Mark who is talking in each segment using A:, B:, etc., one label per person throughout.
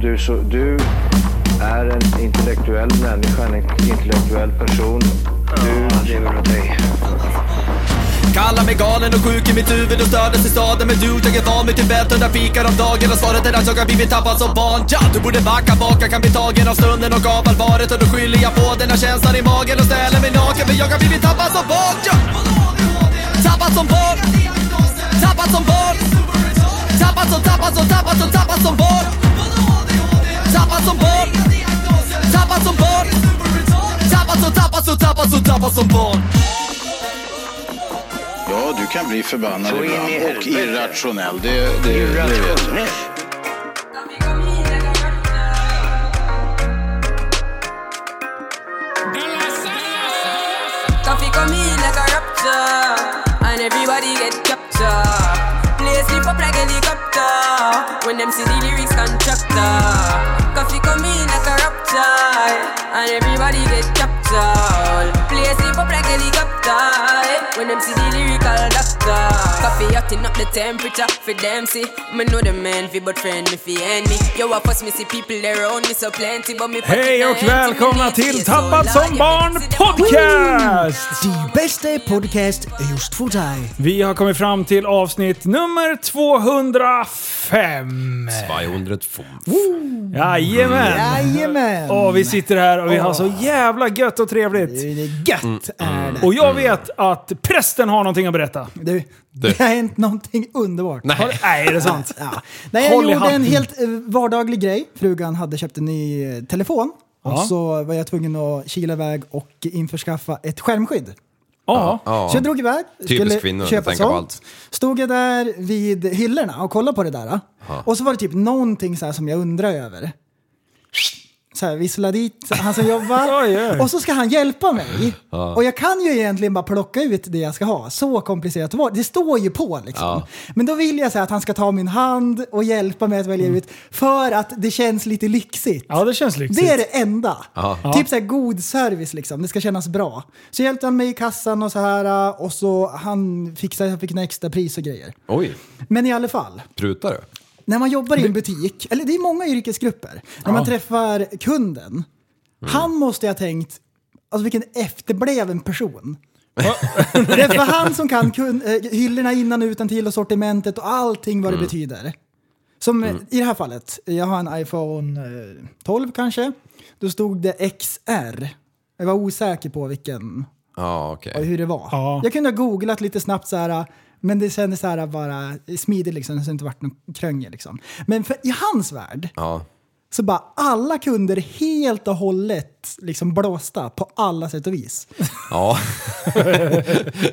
A: du, så, du är en intellektuell människa, en intellektuell person. Du lever av dig.
B: Kallar mig galen och sjuk i mitt huvud och stördes i staden Men du, jag är van vid Tibet och där fikar om dagen Och svaret är att jag har blivit tappad som barn ja, Du borde backa bak, jag kan bli tagen av stunden och av allvaret Och då skyller jag på den här känslan i magen och ställer mig naken För jag har blivit tappad som barn ja. Tappad som barn Tappad som barn Tappad som, tappad som, tappad som, tappad som barn Tappad som barn Tappad som barn Tappad som, tappad som, tappad som, tappad som barn
C: Ja, du kan bli förbannad
A: Så in i
C: ibland och
A: helvete.
C: irrationell. Det, det, det vet jag.
D: Coffee come in like a rapture, and everybody get captured. Play slip up like helicopter when them see the lyrics contractor. Coffee come in like a rapture, and everybody get captured. Play slip up like helicopter when them see the lyrical doctor. Coffee hotting up the temperature for them see. Me know the man fi but friend me fi and me. Yo I fuss me see people around me so plenty but me.
E: Hej och välkomna till Tappad som barn podcast!
F: Die beste podcast just för dig.
E: Vi har kommit fram till avsnitt nummer 205.
G: 205.
E: Jajamän!
F: Jajamän!
E: Och vi sitter här och vi har så jävla gött och trevligt.
F: Det är gött är det.
E: Och jag vet att prästen har någonting att berätta.
F: Du, det har hänt någonting underbart.
G: Nej.
E: Nej, är det sant?
F: Ja. Nej, jag
E: Håll i
F: gjorde en
E: handen.
F: helt eh, vardaglig grej. Frugan hade köpt en ny eh, telefon.
E: Ja.
F: Och så var jag tvungen att kila iväg och införskaffa ett skärmskydd.
E: Ja.
G: Ja.
F: Så jag drog iväg, skulle
G: kvinnor att
F: köpa
G: tänka på
F: sånt.
G: allt.
F: Stod jag där vid hyllorna och kollade på det där. Och så var det typ någonting så här som jag undrar över. Så här, vissla dit han som jobbar.
E: Oj, oj.
F: Och så ska han hjälpa mig. Och jag kan ju egentligen bara plocka ut det jag ska ha. Så komplicerat var det. Det står ju på liksom. Men då vill jag säga att han ska ta min hand och hjälpa mig att välja
G: Mm.
F: ut. För att det känns lite lyxigt.
E: Ja, det känns lyxigt.
F: Det är det enda. Typ så här god service liksom. Det ska kännas bra. Så hjälpte han mig i kassan och så här och så han fixade, jag fick en extra pris och grejer.
G: Oj,
F: Men i alla fall,
G: prutar du?
F: när man jobbar i en butik, eller det är många yrkesgrupper, när man träffar kunden, han måste ju ha tänkt Alltså vilken efterbliven person. det är för han som kan kun, eh, hyllorna innan och utan till och sortimentet och allting vad det betyder. Som eh, i det här fallet, jag har en iPhone eh, 12 kanske. Då stod det XR. Jag var osäker på vilken
G: Ja, okej.
F: och hur det var.
E: Ja.
F: Jag kunde ha googlat lite snabbt så här, men det kändes så här bara smidigt liksom, så det inte vart något kröngel liksom. Men för, i hans värld
G: Ja.
F: så bara alla kunder helt och hållet liksom blåsta på alla sätt och vis.
G: Ja.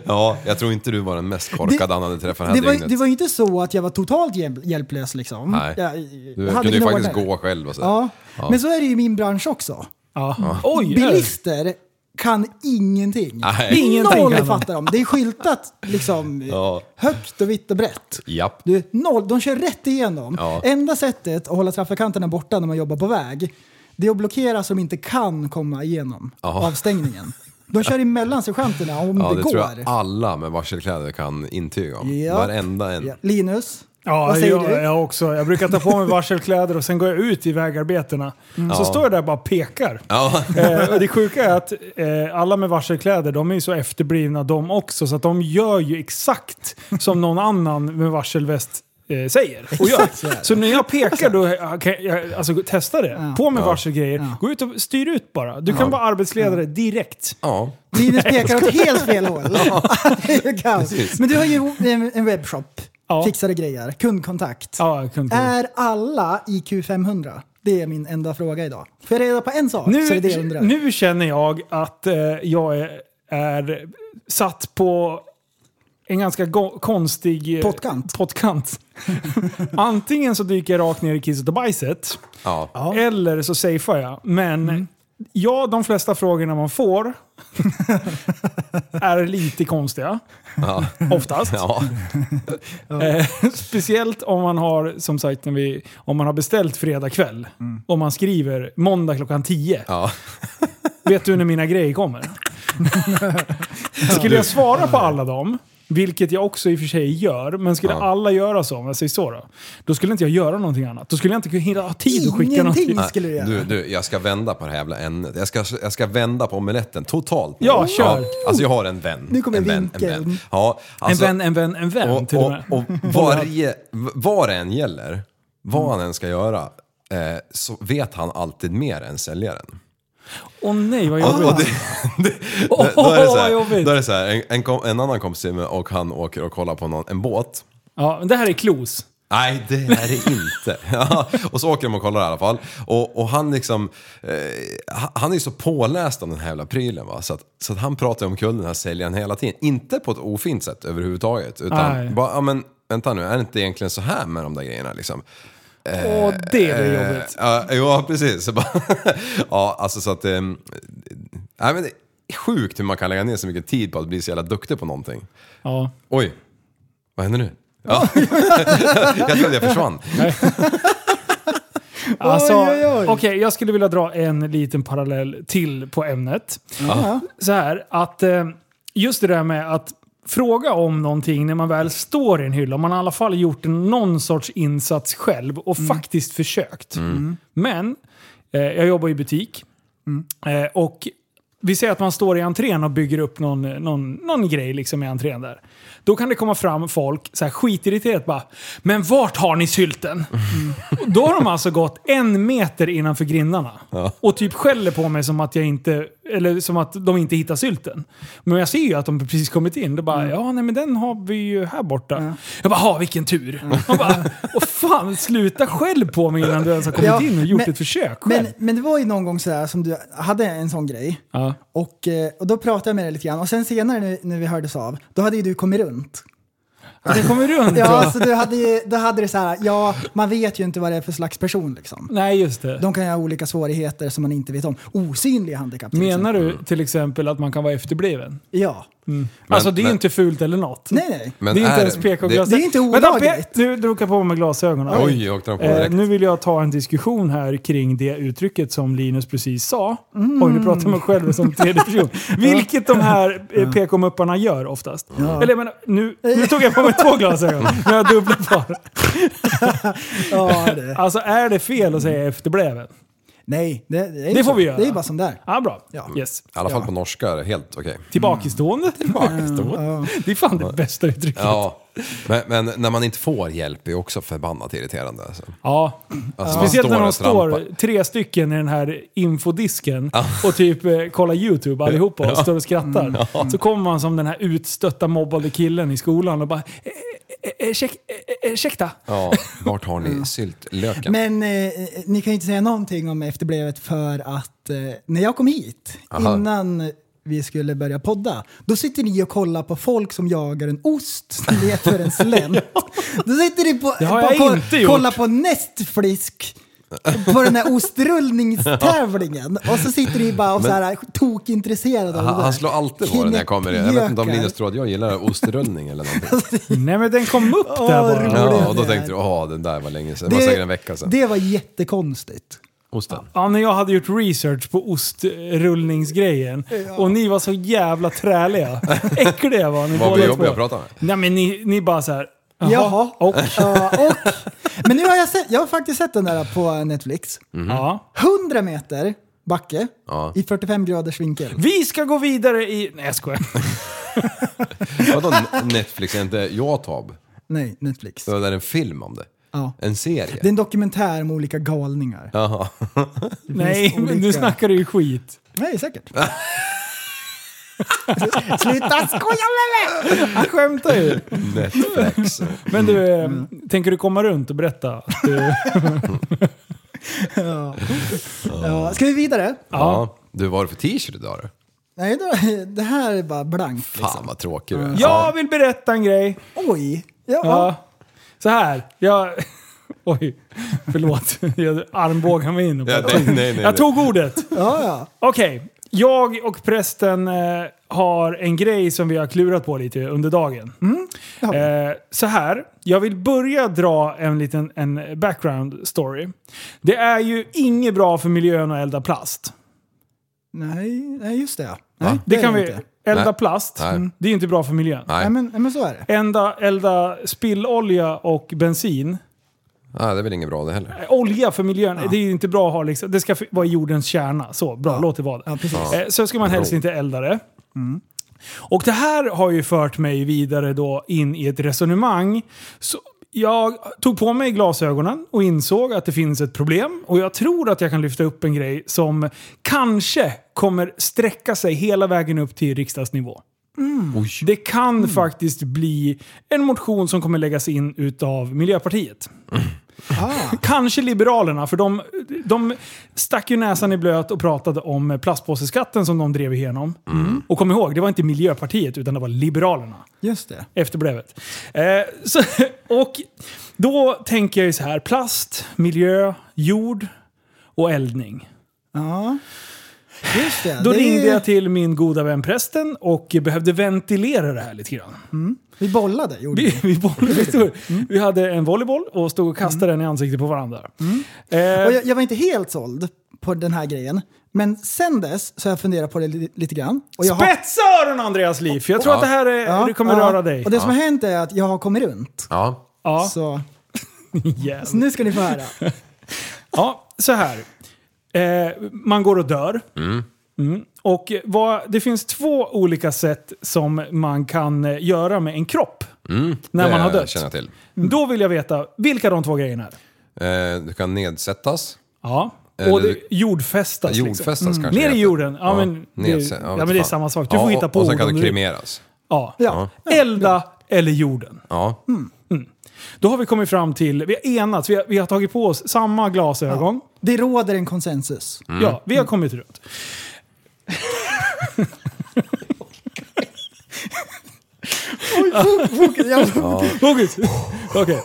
G: ja, jag tror inte du var den mest korkade han hade träffat det här
F: det, var,
G: dygnet.
F: det var ju inte så att jag var totalt hjälp, hjälplös liksom.
G: Nej.
F: Jag,
G: Du
F: hade
G: kunde ju
F: gnålare.
G: faktiskt gå själv alltså. och så.
F: Ja. men så är det ju i min bransch också.
E: Ja. Oj!
F: Bilister kan ingenting.
G: Nej.
E: Ingenting kan
F: Noll
E: de.
F: fattar de. Det är skyltat liksom
G: Ja.
F: högt och vitt och brett.
G: Japp.
F: Du, noll, de kör rätt igenom.
G: Ja.
F: Enda sättet att hålla trafikanterna borta när man jobbar på väg, det är att blockera så de inte kan komma igenom
G: Ja.
F: avstängningen. De kör emellan sergeanterna om
G: Ja,
F: det,
G: det
F: går.
G: tror jag alla med varselkläder kan intyga om.
F: Ja.
G: Varenda en.
F: Ja. Linus,
E: Ja,
F: vad säger
E: jag,
F: du?
E: jag också. Jag brukar ta på mig varselkläder och sen går jag ut i vägarbetena.
F: Mm.
E: Så
G: Ja.
E: står jag där och bara pekar.
G: Ja.
E: Eh, och det sjuka är att eh, alla med varselkläder, de är ju så efterblivna de också, så att de gör ju exakt som någon annan med varselväst eh, säger. Och gör.
F: Exakt så är det.
E: Så när jag pekar då, eh, kan jag, alltså testa det. På med varselgrejer. Gå ut och styr ut bara. Du kan vara arbetsledare direkt.
G: ja.
F: Linus pekar åt helt fel håll. Det är ju kaos. Men du har ju en- en webbshop,
E: Ja.
F: fixade grejer, kundkontakt.
E: Ja, jag kunde inte-
F: Är alla IQ 500? Det är min enda fråga idag. Får jag reda på en sak så är det det jag
E: Nu,
F: undrar.
E: nu känner jag att eh, jag är, är satt på en ganska go- konstig... eh,
F: Pottkant.
E: pottkant. Antingen så dyker jag rakt ner i kisset och bajset,
G: ja.
E: eller så safear jag. Men
F: Mm.
E: ja, de flesta frågorna man får är lite konstiga.
G: Ja.
E: Oftast.
G: Ja.
E: Eh, Speciellt om man har, som sagt, när vi, om man har beställt fredag kväll
F: Mm.
E: och man skriver måndag klockan 10.
G: Ja.
E: Vet du när mina grejer kommer? Skulle jag svara på alla dem Vilket jag också i och för sig gör, men skulle
G: Ja.
E: alla göra så, om jag säger så då, då skulle inte jag göra någonting annat. Då skulle jag inte kunna hinna ha tid att skicka någonting.
F: Ingenting skulle du göra.
G: Du, du, jag ska vända på det här jävla ämnet. Jag ska, jag ska vända på omeletten totalt. nu.
E: Ja, kör.
G: Alltså jag har en vän.
F: Nu kommer
G: en vän, en
F: vinkeln.
G: vän. Ja, alltså,
E: en vän, en vän, en vän
G: och,
E: till och,
G: och,
E: med.
G: och varje, vad det än gäller, vad han än ska göra, eh, så vet han alltid mer än säljaren.
E: Åh nej, vad
G: Och, och
E: jobbigt.
G: det, det, då är det så
E: vad
G: här,
E: jobbigt.
G: då är det så här en, en, kom, en annan kompis till mig och han åker och kollar på någon, en båt.
E: Ja, men det här är klos.
G: Nej, det är det inte. Ja, och så åker de och kollar i alla fall. Och, och han liksom, eh, ha- han är ju så påläst om den här jävla prylen va. Så att, så att han pratar om kullen den här säljaren hela tiden. Inte på ett ofint sätt överhuvudtaget.
E: Nej.
G: Utan bara, ja men vänta nu, är det inte egentligen så här med de där grejerna liksom?
E: Åh, det
G: eh.
E: är jobbigt.
G: Ja, ja precis. Så bara- ja, alltså så att... Eh, nej, men det är sjukt hur man kan lägga ner så mycket tid på att bli så jävla duktig på någonting.
E: Ja.
G: Oj, vad händer nu? Ja. jag trodde jag försvann.
E: Alltså,
F: oj, oj.
E: Okej, jag skulle vilja dra en liten parallell till på ämnet. Så här, att eh, just det där med att fråga om någonting när man väl står i en hylla. Om man i alla fall gjort någon sorts insats själv och
F: Mm.
E: faktiskt försökt. Men, eh, jag jobbar i butik.
F: Mm.
E: Eh, och vi säger att man står i entrén och bygger upp någon, någon, någon grej liksom i entrén där. Då kan det komma fram folk så här skitirriterat bara “Men vart har ni sylten?” Och
F: Mm.
E: Då har de alltså gått en meter innanför grindarna och typ skäller på mig som att, jag inte, eller som att de inte hittar sylten. Men jag ser ju att de precis kommit in. Då bara
F: Mm.
E: “Ja, nej men den har vi ju här borta”. Jag bara “Ha, vilken tur!”
F: Mm.
E: De bara “Åh fan, sluta skäll på mig innan du ens har kommit
F: Ja,
E: in och gjort
F: men-
E: ett försök själv”.
F: Men, men det var ju någon gång sådär som du hade en sån grej.
E: ja.
F: Och, eh, och då pratade jag med dig lite grann och sen senare nu- när vi hördes av, då hade ju du kommit runt.
E: Att jag kommer runt och-
F: Ja, alltså- så du hade ju, då hade du så här, ja, man vet ju inte vad det är för slags person liksom.
E: Nej, just det.
F: De kan ju ha olika svårigheter som man inte vet om. Osynliga handikapp till exempel.
E: Menar du till exempel att man kan vara efterbliven?
F: Ja.
E: alltså det är ju
G: Mm. men-
E: inte fult eller något.
F: Nej, nej.
G: Men
E: det är inte
G: är-
E: ens PK-glasögon.
F: det- det är inte
E: Vänta,
F: olagligt.
E: Pe- Nu drog jag på mig glasögonen.
G: Oj, jag åkte de på
E: Eh,
G: direkt.
E: nu vill jag ta en diskussion här kring det uttrycket som Linus precis sa.
F: Mm.
E: Oj, nu pratar jag mig själv som tredje person. Vilket de här eh, PK-mupparna gör oftast. Eller jag menar, nu, nu tog jag på mig två glasögon. Nu har jag dubbla par.
F: Ja, det.
E: Alltså är det fel att säga efterbliven?
F: Nej, det, det, är ju
E: Det
F: så.
E: får vi göra.
F: Det är ju bara som där.
E: Ja, bra.
F: Ja.
E: Yes.
G: I alla fall på norska är det helt okej.
E: Tillbakastående. Tillbakastående. Det är fan det bästa uttrycket.
G: Mm. Ja, men, men när man inte får hjälp är också förbannat irriterande. Alltså.
E: Ja.
G: Alltså, man
E: Speciellt
G: står
E: när de
G: och
E: står
G: trampar.
E: tre stycken i den här infodisken och typ eh, kollar YouTube allihopa och står och skrattar. Så kommer man som den här utstötta mobbade killen i skolan och bara "Eh, eh, eh, ursäk- eh, eh, ursäkta.
G: Ja, vart har ni syltlöken?
F: Men eh, ni kan ju inte säga någonting om efterbrevet för att eh, när jag kom hit
G: Aha.
F: innan vi skulle börja podda, då sitter ni och kollar på folk som jagar en ost som letar en slänt. Då sitter ni på,
E: Det har
F: på,
E: jag
F: koll-
E: inte gjort.
F: kollar på nästflisk på den här ostrullningstävlingen och så sitter ni bara och så här tokintresserade av
G: Han,
F: det där.
G: Ah, han slår alltid på det när jag kommer in. Jag vet inte om
F: Knäppjökar.
G: Linus tror att jag gillar ostrullning eller någonting.
E: Nej men den kom upp
F: Åh,
E: där bara.
F: roligt.
G: Ja, och då
F: det
G: tänkte du, åh den där var länge sedan. Det var säkert en vecka sedan.
F: Det var jättekonstigt.
G: Osten.
E: Ja, när jag hade gjort research på ostrullningsgrejen och ni var så jävla träliga. Äckliga var ni
G: Vad
E: båda
G: blir jobbiga
E: två.
G: att prata med?
E: Nej men ni, ni bara såhär,
F: Jaha.
E: och
F: Ja, och, men nu har jag sett, jag har faktiskt sett den där på Netflix.
G: Mhm.
E: ja.
F: 100 meter backe
G: Ja.
F: i 45 graders vinkel.
E: Vi ska gå vidare i... Nej jag skojar.
G: Vadå Netflix, är inte Youtube?
F: Nej, Netflix.
G: Det var där en film om det.
F: Ja.
G: En serie.
F: Det är en dokumentär om olika galningar.
G: Jaha.
E: Nej, men nu
F: olika.
E: snackar du ju skit.
F: Nej, säkert. Sluta skoja med mig!
E: Han skämtar ju.
G: Netflix.
E: Men du, eh, tänker du komma runt och berätta? att du-
F: Ja. Ja. Ska vi vidare?
G: Ja. Du, vad har du för t-shirt idag då?
F: Nej, då, det här är bara blankt.
G: Fan vad tråkig du är.
E: jag vill berätta en grej.
F: Oj! Ja.
E: Ja. Så här, jag... Oj, förlåt. Jag armbågar mig in. Och
G: Ja,
E: pratar.
G: nej, nej, nej, nej.
E: jag tog ordet.
F: Ja, ja.
E: Okej, jag och prästen eh, har en grej som vi har klurat på lite under dagen.
F: har vi.
E: Eh, så här, jag vill börja dra en liten en background story. Det är ju inget bra för miljön att elda plast.
F: Nej, nej, just det. ja.
G: Va?
F: Nej,
E: Det,
F: är
E: kan vi,
F: inte.
E: elda
G: Nej.
E: plast,
G: Nej.
E: mm, det är ju inte bra för miljön.
G: Nej.
F: Nej, men, nej, men så är det.
E: Ända, elda spillolja och bensin.
G: Nej, det är väl inget bra det heller.
E: Eh, Olja för miljön, det är ju inte bra att ha liksom. Det ska f- vara jordens kärna. Så, bra, låt det vara det.
F: Ja, precis.
E: Eh, Så ska man helst inte elda det. Mm. Och det här har ju fört mig vidare då in i ett resonemang. Så jag tog på mig glasögonen och insåg att det finns ett problem. Och jag tror att jag kan lyfta upp en grej som kanske kommer sträcka sig hela vägen upp till riksdagsnivå.
F: Mm.
E: Det kan faktiskt bli en motion som kommer läggas in utav Miljöpartiet.
F: Ah,
E: Kanske Liberalerna, för de, de stack ju näsan i blöt och pratade om plastpåseskatten som de drev igenom.
F: Mm.
E: Och kom ihåg, det var inte Miljöpartiet utan det var Liberalerna.
F: Just det.
E: Efterbrevet. Eh, så, och då tänker jag ju så här, plast, miljö, jord och eldning.
F: Ja. Just det.
E: Då
F: det är-
E: ringde jag till min goda vän prästen och behövde ventilera det här lite grann.
F: Mm. Vi bollade, gjorde
E: Vi,
F: vi.
E: vi, bollade stor.
F: Mm.
E: vi hade en volleyboll och stod och kastade den i ansiktet på varandra. Eh,
F: Mm. Och jag, jag var inte helt såld på den här grejen. Men sen dess så har jag funderat på det li- lite grann. Och jag har-
E: Spetsa öronen Andreas Liv! för Jag tror att det här är,
F: Ja,
E: det kommer
F: ja.
E: röra dig.
F: Och det som har hänt är att jag har kommit runt.
G: Ja.
E: ja.
F: Så,
E: Yes.
F: så nu ska ni få höra.
E: ja, så här. Eh, man går och dör. Mm. Och vad, det finns två olika sätt som man kan eh, göra med en kropp när
G: Mm. det
E: man har dött. Mm.
G: känner jag till.
E: Då vill jag veta vilka de två grejerna är.
G: Eh, du kan nedsättas.
E: Ja.
G: Eller-
E: Och det, jordfästas.
G: Jordfästas
E: liksom.
G: kanske
E: Ner
G: det
E: i
G: heter.
E: jorden. Ja, men, det,
G: nedsä-
E: ja,
G: vet
E: men det är
G: fan.
E: samma sak. Du får
G: Ja,
E: hitta
G: och-
E: på
G: Och sen
E: ord om
G: kan
E: du
G: du
E: vill.
G: kremeras.
E: Ja.
F: Ja.
E: Elda eller jorden.
G: Ja.
E: Då har vi kommit fram till, vi har enats, vi har, vi har tagit på oss samma glasögon.
F: Det råder en konsensus.
E: Ja, vi har kommit runt. Fokus! Okej.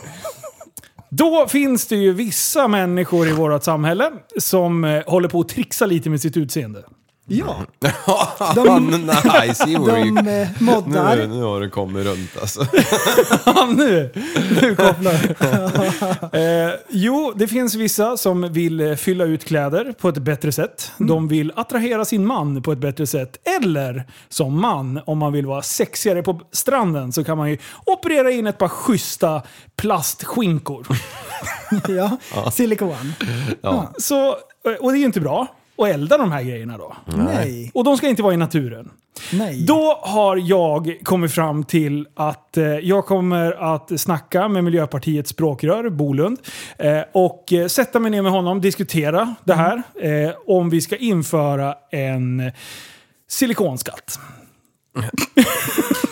E: Då finns det ju vissa människor i vårt samhälle som eh, håller på att trixa lite med sitt utseende.
F: Ja,
G: nice, you
F: de
G: were-
F: eh,
G: nu,
F: moddar.
G: nu har du kommit runt alltså.
E: Ja, nu, nu kopplar jag. eh, Jo, det finns vissa som vill eh, fylla ut kläder på ett bättre sätt. De vill attrahera sin man på ett bättre sätt. Eller som man, om man vill vara sexigare på stranden så kan man ju operera in ett par schyssta plastskinkor.
F: Ja. Silikon.
E: Så, eh, och det är ju inte bra att elda de här grejerna då.
F: Nej.
E: Och de ska inte vara i naturen.
F: Nej.
E: Då har jag kommit fram till att eh, jag kommer att snacka med Miljöpartiets språkrör Bolund eh, och eh, sätta mig ner med honom, diskutera det här. Eh, om vi ska införa en silikonskatt.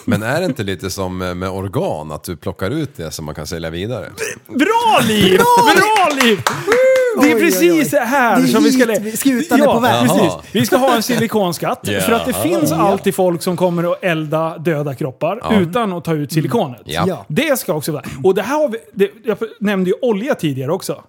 G: Men är det inte lite som eh, med organ, att du plockar ut det som man kan sälja vidare?
E: Typ, Bra liv! Bra liv! Det
F: Oj,
E: är
F: oj,
E: precis
F: oj.
E: här
F: Det är
E: som vi ska...
F: hit
E: le-
F: vi- skutan är på väg.
E: precis.
G: Jaha.
E: Vi ska ha en silikonskatt.
G: Ja.
E: För att det finns alltid folk som kommer att elda döda kroppar utan att ta ut silikonet.
G: Ja.
F: Ja.
E: Det ska också vara. Och det här har vi, det, jag nämnde ju olja tidigare också.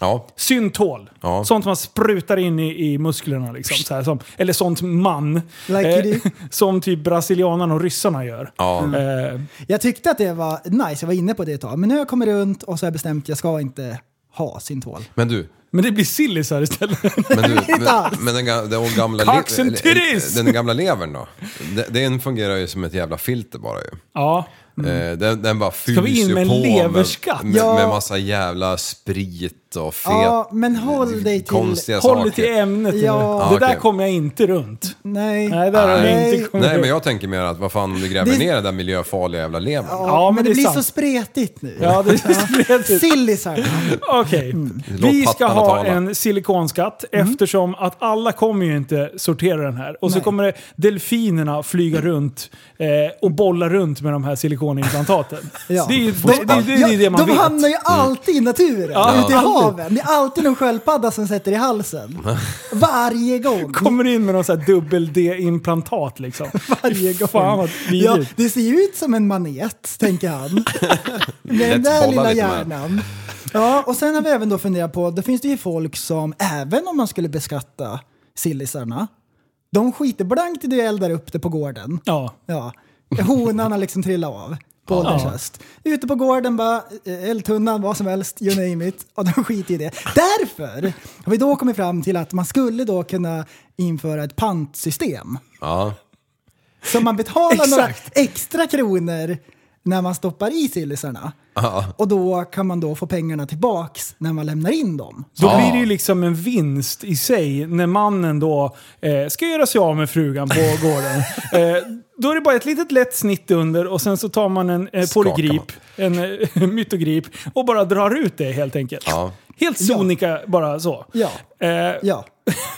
G: Ja.
E: Syntol.
G: Ja.
E: Sånt man sprutar in i, i musklerna. Liksom, så här, som, eller sånt man.
F: Like you do.
E: som typ brasilianarna och ryssarna gör.
G: ja.
E: Eh,
F: Jag tyckte att det var nice, jag var inne på det ett tag. Men nu har jag kommit runt och så har jag bestämt att jag ska inte ha syntol.
G: Men du,
E: men det blir sillisar istället.
G: Men, du, men,
F: alls.
G: men den, ga- den, gamla
E: Cocks and titties!
G: den gamla levern då? De- Den fungerar ju som ett jävla filter bara ju.
E: ja.
G: Eh, Den, den bara fylls
E: Mm. vi in
G: ju
E: med en
G: på
E: leverskatt?
G: med, med,
F: Ja.
G: med massa jävla sprit och fet,
F: Ja, men håll dig till...
G: konstiga
E: Håll
G: saker.
E: dig till ämnet.
F: Ja.
E: eller?
F: Ja,
E: Det där
G: okej.
E: kommer jag inte runt.
F: Nej.
E: Nej, där har jag
F: Nej.
E: inte kommit
G: Nej men
E: runt.
G: jag tänker mer att vad fan om du gräver
F: Det-
G: ner den där miljöfarliga jävla levern?
F: Ja,
E: Ja,
F: men,
E: men
F: det,
E: det är
F: blir
E: sant.
F: så spretigt nu.
E: Ja, det är spretigt.
F: Sillisar.
E: Okej.
F: Mm.
G: Låt
E: Vi ska
G: pattarna
E: ha
G: tala.
E: en silikonskatt eftersom att alla kommer ju inte sortera den här. Och så
F: Nej. Mm.
E: kommer det delfinerna flyga runt eh, och bolla runt med de här silikonimplantaten.
F: Ja.
E: Det är ju det, det, det, det, är det man
F: de
E: vet.
F: hamnar ju alltid i naturen,
E: Ja.
F: ute
E: Alltid.
F: i haven. Det är alltid någon sköldpadda som sätter i halsen. Varje gång.
E: Kommer in med någon sån här dubbel-D-implantat liksom.
F: Varje gång.
E: Fan vad
F: ja,
E: vidrigt.
F: det ser ju ut som en manet, tänker han. Med den
G: Let's
F: där
G: bolla
F: lilla
G: lite med.
F: hjärnan. Ja, och sen har vi även då funderat på, då finns det ju folk som, även om man skulle beskatta sillisarna, de skiter blankt i det och eldar upp det på gården.
E: Ja.
F: Ja. Honan har liksom trillat av på ålderns höst. Ute på gården bara, eh, eldtunnan, vad som helst, you name it. Och de skiter i det. Därför har vi då kommit fram till att man skulle då kunna införa ett pantsystem.
G: Ja.
F: Så man betalar
G: Exakt.
F: några extra kronor när man stoppar i sillisarna. Och då kan man då få pengarna tillbaks när man lämnar in dem.
E: Då
G: Ja.
E: blir det ju liksom en vinst i sig när mannen då eh, ska göra sig av med frugan på gården. Eh, då är det bara ett litet lätt snitt under och sen så tar man en eh,
G: Skakar
E: polygrip, en eh, mytogrip och bara drar ut det helt enkelt.
G: Ja.
E: Helt sonika bara så.
F: Ja.
E: Eh,
F: Ja.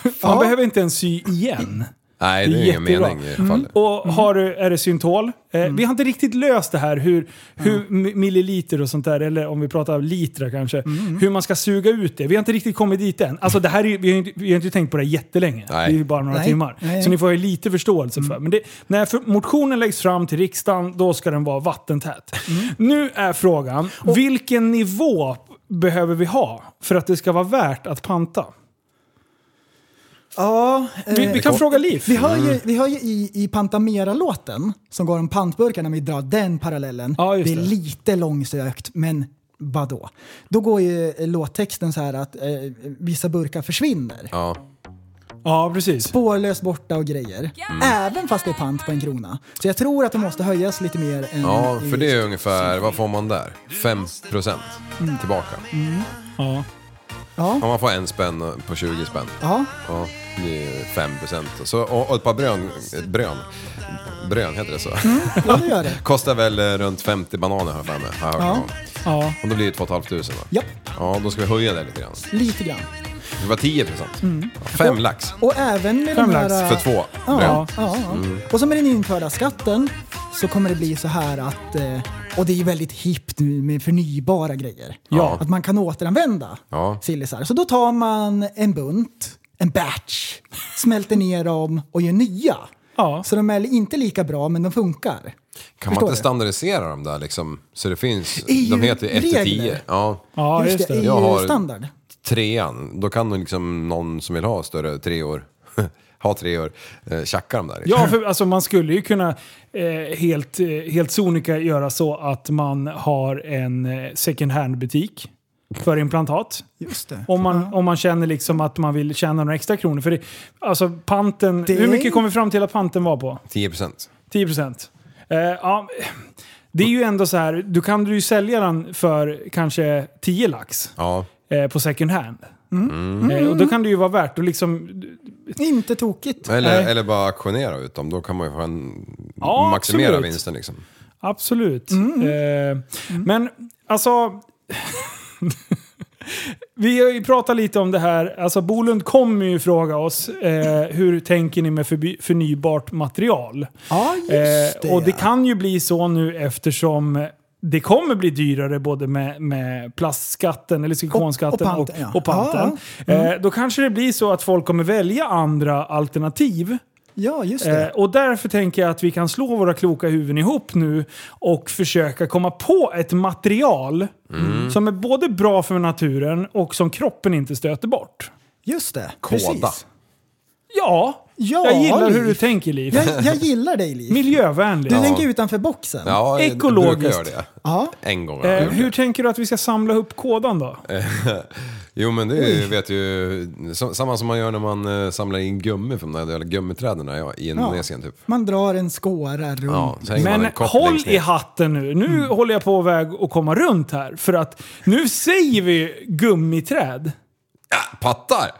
E: Man
F: Ja.
E: behöver inte ens sy igen.
G: Nej, det är ingen
E: Jättebra. Mm.
G: mening i alla fall.
E: Och
F: Mm.
E: har du, är det syntol? Eh, Vi har inte riktigt löst det här hur, hur mi- milliliter och sånt där, eller om vi pratar litrar kanske,
F: Mm,
E: hur man ska suga ut det. Vi har inte riktigt kommit dit än. Alltså det här är, ju- vi, har ju inte, vi har inte tänkt på det här jättelänge.
G: Nej.
E: Det är ju bara några
F: Nej.
E: timmar.
F: Nej. Mm.
E: Så ni får ju lite förståelse för. Men det, när för, motionen läggs fram till riksdagen, då ska den vara vattentät.
F: Mm.
E: Nu är frågan, vilken nivå behöver vi ha för att det ska vara värt att panta?
F: ja eh,
E: Vi, vi kan fråga Liv.
F: Vi har
E: Mm.
F: ju, vi har ju i, i Pantamera-låten som går om pantburkarna, om vi drar den parallellen.
E: Ja, just
F: det är
E: det.
F: lite långsökt, men vadå? Då går ju eh, låttexten så här att eh, vissa burkar försvinner.
G: Ja.
E: Ja, precis.
F: Spårlöst borta och grejer.
E: Mm.
F: Även fast det är pant på en krona. Så jag tror att de måste höjas lite mer än...
G: ja,
F: i-
G: för det är ungefär, vad får man där? 5% tillbaka.
E: Ja.
G: Om man får en spänn på 20 spänn.
F: Ja,
G: Ja, det är 5%. Så, och, och ett par brön, ett brön, brön heter det så.
F: ja det gör det.
G: Kostar väl eh, runt 50 bananer har jag för mig. Har jag hört
F: Ja.
G: någon gång.
E: ja.
G: Och då blir det 2 500 va?
F: Ja,
G: Ja, då ska vi höja det lite grann.
F: lite grann.
G: Det var 10 procent. Fem lax
F: Och även med
E: Fem
F: de här...
E: lax
G: för två.
F: Mm. Ja,
G: Ja.
F: ja, ja. Och så med den införda skatten så kommer det bli så här att, eh, och det är ju väldigt hippt nu med förnybara grejer,
E: Ja.
F: att man kan återanvända
G: Ja.
F: sillisar. Så då tar man en bunt, en batch, smälter ner dem och gör nya.
E: Ja.
F: Så de är inte lika bra men de funkar.
G: Kan man
F: Förstår
G: inte
F: du?
G: standardisera dem där liksom? Så det finns,
F: EU
G: de heter 1 till 10.
F: regler.
G: Ja.
E: Ja, just,
F: E
E: det.
G: Jag har-
F: EU-standard.
G: Trean, då kan nog liksom någon som vill ha större treor, ha treor, eh, tjacka dem där.
E: Ja, för alltså, man skulle ju kunna eh, helt, eh, helt sonika göra så att man har en eh, second hand-butik för implantat.
F: Just det.
E: Om man, om man känner liksom att man vill tjäna några extra kronor. För det, alltså panten,
F: Det-
E: hur mycket kom vi fram till att panten var på?
G: 10 procent.
E: 10 procent. Eh, ja, det är ju ändå så här, du kan du ju sälja den för kanske 10 lax
G: Ja.
E: eh, på second hand. Eh, och då kan det ju vara värt att liksom...
F: Inte tokigt.
G: Eller,
E: Nej.
G: eller bara auktionera ut dem, då kan man ju få en,
E: Ja,
G: maximera
E: absolut.
G: vinsten liksom.
E: Absolut.
F: Mm.
E: Eh, Men alltså... Vi har ju pratat lite om det här, alltså Bolund kommer ju fråga oss eh, hur tänker ni med förby- förnybart material?
F: Ja, just det.
E: Eh, och det kan ju bli så nu eftersom det kommer bli dyrare både med, med plastskatten eller silikonskatten
F: Och-
E: och,
F: och
E: och,
F: panten, ja. Mm.
E: panten. Eh, då kanske det blir så att folk kommer välja andra alternativ.
F: Ja, just
E: Eh,
F: det.
E: och därför tänker jag att vi kan slå våra kloka huvuden ihop nu och försöka komma på ett material
G: Mm.
E: som är både bra för naturen och som kroppen inte stöter bort.
F: Just det.
G: Kåda.
F: Precis.
E: Ja,
F: Ja,
E: jag gillar hur du
F: Liv.
E: tänker Liv.
F: Jag, jag gillar dig, Liv.
E: Miljövänlig.
F: Du tänker utanför boxen.
G: Ja, jag
E: Ekologiskt.
G: brukar göra det.
F: Ja.
G: En gång. har jag
E: Eh,
G: gjort det.
E: hur tänker du att vi ska samla upp kodan då?
G: Eh, Jo men det är ju, vet ju, som- samma som man gör när man eh, samlar in gummi från de där jävla gummiträden där, ja, i Indonesien typ.
F: Man drar en skåra runt.
G: Ja, så hänger man
E: Men
G: en kopp
E: håll
G: längst ner. Mm.
E: i hatten nu. Nu håller jag på väg att komma runt här. För att nu säger vi gummiträd.
G: Pattar!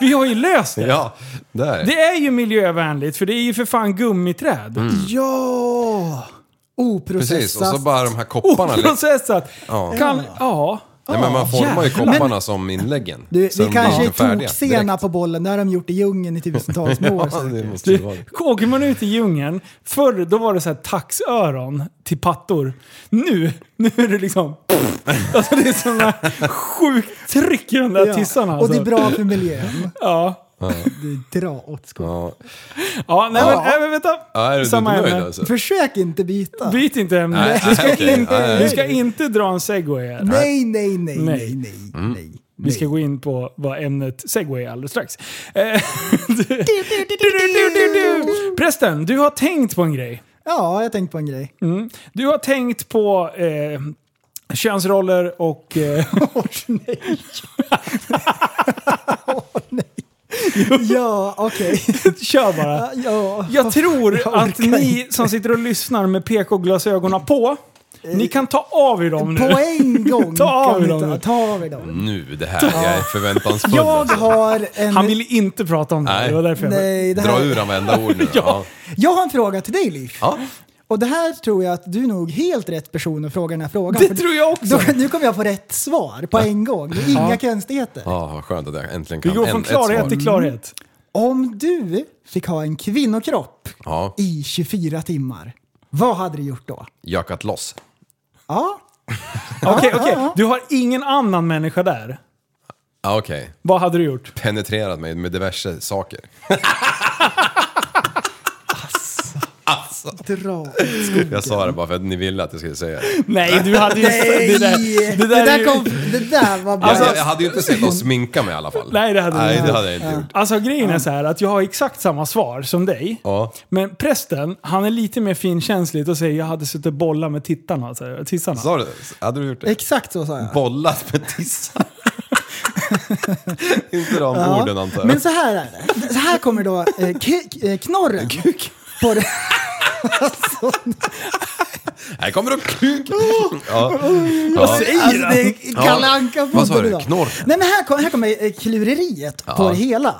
E: Vi har ju löst det.
G: Ja, där.
E: Det är ju miljövänligt för det är ju för fan gummiträd.
G: Mm.
F: Ja! Oprocessat.
G: Precis, och så bara de här kopparna.
E: Oh,
G: li-
E: Oprocessat.
G: Ja.
E: Kan, ja.
G: Nej, men man formar ju
E: Jävlar.
G: kopparna som inläggen.
F: Du,
G: Så
F: vi
G: de
F: kanske
G: blir
F: är
G: liksom färdiga
F: toksena
G: direkt.
F: på bollen. Det har de gjort i djungeln i tusentals år.
G: Ja, det
F: säkert.
G: måste ju vara.
E: Du, åker man ut i djungeln, förr då var det så här taxöron till pattor. Nu, nu är det liksom... Alltså det är sådana sjukt tryck i de där tissarna.
F: Och det är
E: alltså.
F: bra för miljön.
E: Ja.
F: Det dra åt skogen.
G: Ja.
E: Ja, nej men,
F: Ja.
E: nej, men vänta.
G: Ja, är du
E: Samma
G: inte nöjd
E: ämne.
G: alltså?
F: Försök inte byta.
E: Byt inte ämne.
G: Nej, nej, okej. Nej, nej.
E: Vi ska inte dra en segway här.
F: Nej, nej, nej,
E: Nej.
F: nej, nej,
G: Mm.
F: nej.
E: Vi ska gå in på vad ämnet segway är alldeles strax. Eh, Prästen, du har tänkt på en grej.
F: Ja, jag har tänkt på en grej.
E: Du har tänkt på eh, könsroller och... Eh,
F: Åh nej. Åh nej. Ja, okej.
E: Kör bara.
F: Ja.
E: Jag tror
F: Jag
E: att
F: orkar
E: ni som sitter och lyssnar med PK-glasögonen på, ni kan ta av er dem
F: På
E: nu.
F: en gång
E: Ta av
F: kan
E: er
F: vi
E: dem
F: ta,
E: nu.
F: ta av er dem.
G: Nu, det här, jag är förväntansfull.
F: Jag
G: Mm. alltså.
F: har en...
E: Han ville inte prata om det, här,
G: Nej.
E: det var därför jag...
F: Nej, det
G: Dra
F: här...
G: ur han varenda ord nu. ja.
F: Jag har en fråga till dig, Liv.
G: Ja.
F: Och det här tror jag att du är nog helt rätt person att fråga den här frågan.
E: Det
F: för
E: tror jag också.
F: Då, nu kommer jag få rätt svar på en gång. Det är inga konstigheter.
G: Ja, vad skönt att jag äntligen
E: Vi
G: kan
E: går
G: en-
E: från
G: ett svar.
E: klarhet till klarhet.
F: Om du fick ha en kvinnokropp
G: Ja,
F: i 24 timmar, vad hade du gjort då?
G: jakat loss.
F: Ja, Mm.
E: Okej, okej. Du har ingen annan människa där.
G: Ja, okej.
E: Vad hade du gjort?
G: Penetrerat mig med diverse saker.
F: dra.
G: Jag sa det bara för att ni ville att jag skulle säga det.
E: Nej, du hade ju... Det där, det där,
F: Det
E: är ju-
F: där, kom, det där var bra.
E: Alltså-
G: jag, jag hade ju inte sett dem sminka mig i alla fall.
E: Nej, det hade du
G: Nej,
E: inte.
G: det hade jag inte gjort.
E: Alltså grejen är så här att jag har exakt samma svar som dig.
G: Ja.
E: Men prästen, han är lite mer finkänslig och säger jag hade suttit och bollat med tittarna. Så här, tissarna.
G: Sa du det? Hade du gjort det?
F: Exakt så sa jag.
G: Bollat med tissar. inte de orden antar jag.
F: Men så här är det. Så här kommer då eh, k- eh, knorren. På det. Alltså,
G: Här kommer de kuk! Ja.
E: Vad säger
F: alltså
E: han?
F: det är Kalle
G: Ja.
F: anka
G: Vad sa du? Knorren?
F: Nej men här, kom, här kommer eh, klureriet på
G: Ja.
F: det hela.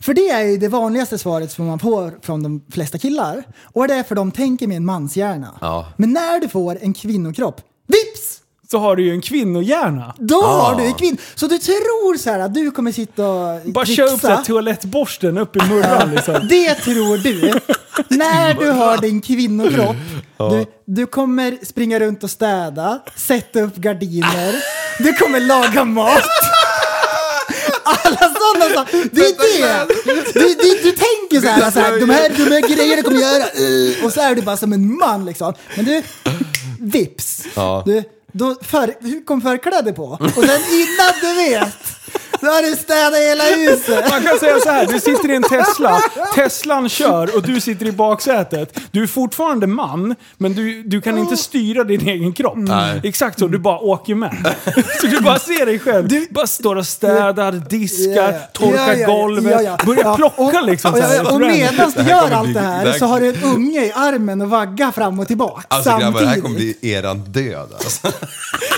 F: För det är ju det vanligaste svaret som man får från de flesta killar. Och det är för de tänker med en manshjärna.
G: Ja.
F: Men när du får en kvinnokropp, vips!
E: Så har du ju en kvinnohjärna.
F: Då
G: Ah.
F: har du en kvinn... Så du tror så här att du kommer sitta och
E: Bara
F: trixa.
E: kör upp den här toalettborsten upp i murran liksom.
F: Det tror du. När du har din kvinnokropp, du, du kommer springa runt och städa, sätta upp gardiner, du kommer laga mat. Alla sådana saker. Det är det. Du, du, du tänker så här, så här de, här, de här grejerna kommer jag göra. eh, Och så är du bara som en man liksom. Men du, vips.
G: Ja.
F: Du, då för, du kom förkläde på. Och sen innan du vet, då har du städat hela huset.
E: Man kan säga så här, du sitter i en Tesla, Teslan kör och du sitter i baksätet. Du är fortfarande man, men du, du kan inte styra din egen kropp.
F: Mm.
G: Nej.
E: Exakt så, du bara åker med. Så du bara ser dig själv. Du bara står och städar, diskar,
F: Ja, ja. Ja,
E: torkar
F: ja, ja,
E: golvet,
F: ja, ja.
E: börjar
F: Ja,
E: plocka
F: och,
E: liksom.
F: Och,
E: så här.
F: och, och medan du
G: här
F: gör
G: kommer
F: allt
G: bli-
F: det
G: det
F: här
G: här-
F: så har du en unge i armen och vagga fram och tillbaka
G: Alltså
F: samtidigt.
G: grabbar, det här kommer bli eran död alltså.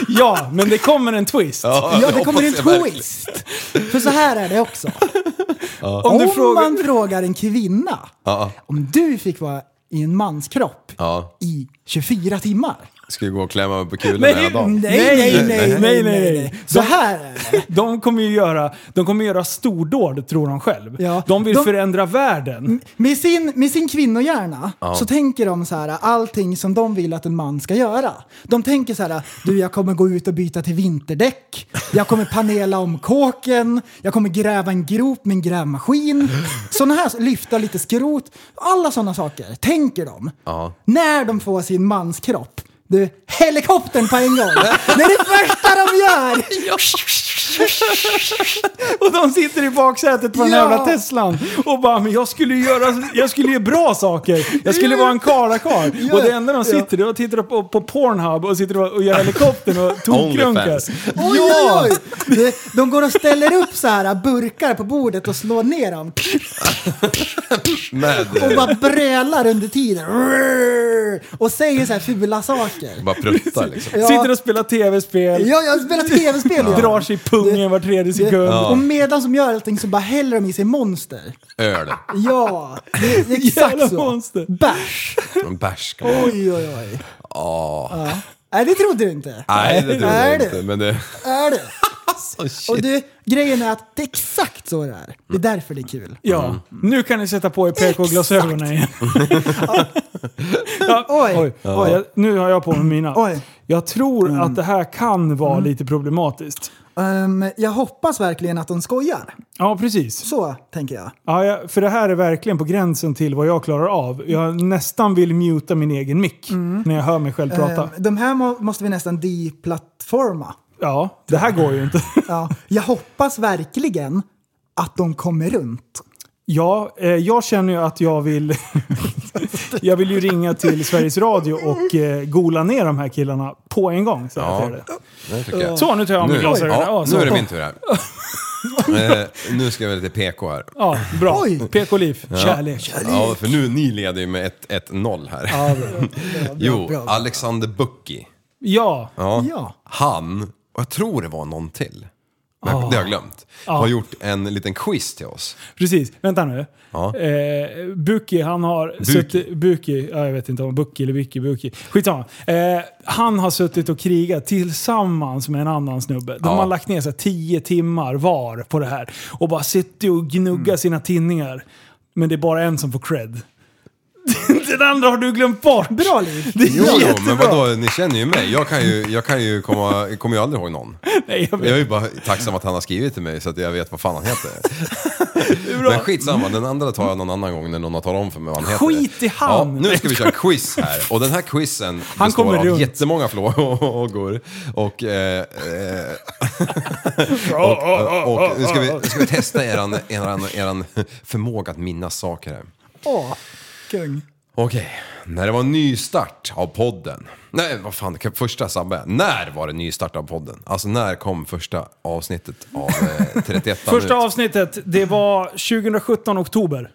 E: Ja, men det kommer en twist.
F: Ja, det
G: jag
F: kommer en
G: hoppas jag verkligen.
F: twist. För så här är det också.
E: Om
F: Om,
E: du frågar...
F: man frågar en kvinna,
G: Ja.
F: om du fick vara i en mans kropp
G: Ja,
F: i 24 timmar.
G: ska ju gå och klämma mig på kulen
E: Nej,
G: hela dagen.
E: nej, nej, nej, nej, nej.
F: Så här är det.
E: De kommer ju göra, de kommer göra stordåd, tror de själv.
F: Ja.
E: De vill
F: De- Mm.
E: förändra världen.
F: Med sin, med sin kvinnohjärna så tänker de så här allting som de vill att en man ska göra. De tänker så här, du jag kommer gå ut och byta till vinterdäck, jag kommer panela om kåken, jag kommer gräva en grop med en grävmaskin. Sådana här, lyfta lite skrot, alla sådana saker tänker de. När de får sin mans kropp, du, helikoptern på en gång! Det är det första de gör!
E: Och de sitter i baksätet på den
F: Ja.
E: jävla Teslan och bara men jag skulle ju göra, jag skulle göra bra saker. Jag skulle vara en karlakarl. Och det enda de sitter är och tittar på, på Pornhub och sitter och, och gör helikoptern och tokrunkar.
G: Onlyfans.
F: Oj, oj, oj. De, de går och ställer upp så här burkar på bordet och slår ner dem.
G: Med,
F: Och
G: eh,
F: bara brölar under tiden. Och säger så här fula saker.
G: bara prutta liksom.
F: Ja.
E: Sitter och spelar tv-spel,
F: Ja, jag spelar tv-spel. Ja.
E: drar sig i pungen var tredje sekund.
F: Och medan de gör allting så bara häller de i sig monster.
G: Öl.
F: Ja, det är
E: Jävla
F: exakt så.
E: monster.
F: Bärs.
G: En bärs kan man.
F: Oj, oj, oj. Ja. Nej, det trodde du inte.
G: Nej, det trodde
F: Är
G: jag
F: det?
G: inte. Men det...
F: Är det?
G: Alltså,
F: Och
G: shit.
F: du, grejen är att det är exakt så det är. Det är därför det är kul.
E: Ja, nu kan ni sätta på er PK-glasögonen igen. ja,
F: Oj.
E: Ja, jag, nu har jag på mig mina.
F: Oj. Mm.
E: Jag tror att det här kan vara lite problematiskt.
F: Ehm, jag hoppas verkligen att de skojar.
E: Ja, precis.
F: Så tänker jag.
E: Ja, jag, för det här är verkligen på gränsen till vad jag klarar av. Jag nästan vill muta min egen mick när jag hör mig själv prata.
F: Mm. Ehm, de här må, måste vi nästan deplattforma.
E: ja, det här går ju inte.
F: Ja, jag hoppas verkligen att de kommer runt.
E: Ja, eh, jag känner ju att jag vill... jag vill ju ringa till Sveriges Radio och eh, gola ner de här killarna på en gång. Så, här
G: Ja.
E: ser jag det.
G: Det tycker jag.
E: så nu tar jag av mig
G: Nu,
E: glasögonen. Ja,
G: ja,
E: så.
G: nu är det min tur här. Eh, nu ska jag vara lite PK här.
E: Ja, bra.
F: Oj.
E: PK-liv. Kärlek.
G: Ja, för nu, ni leder ju med 1-0 här.
E: Ja, bra.
G: jo,
F: bra, bra.
G: Alexander Bucki.
E: ja.
G: Ja.
F: Ja.
G: Han, och jag tror det var någon till,
E: Ah.
G: men det har jag glömt, har gjort en liten quiz till oss.
E: Precis, vänta nu.
G: Ja.
E: Eh, Buki, han har suttit... Buki, ja, jag vet inte om Buki eller Buki, Buki. Skitsamma. Eh, han har suttit och krigat tillsammans med en annan snubbe. De
G: Ja.
E: har lagt ner så här, tio timmar var på det här. Och bara suttit och gnuggat
G: Mm.
E: sina tinningar. Men det är bara en som får cred. Den andra har du glömt bort!
F: Bra liv.
E: Det är
G: Jo, jo
E: jättebra!
G: men vadå, ni känner ju mig. Jag kan ju, jag kan ju komma, jag kommer ju aldrig ihåg någon.
E: Nej, jag
G: Jag
E: vet.
G: är ju bara tacksam att han har skrivit till mig så att jag vet vad fan han heter.
E: bra.
G: Men skitsamma, den andra tar jag någon annan gång när någon har talat om för mig vad han heter.
E: Skit i han!
G: Ja, nu ska vi köra quiz här. Och den här quizen
E: Han
G: består
E: kommer
G: av
E: runt.
G: jättemånga frågor. Och, eh, eh, och, och, och nu ska vi, nu ska vi testa eran, eran, eran förmåga att minnas saker här.
F: Åh, kung.
G: Okej, när det var nystart av podden. Nej, vad fan, första Sabbe. När var det nystart av podden? Alltså när kom första avsnittet av eh, 31
E: Första
G: minut?
E: avsnittet, det var 2017 oktober.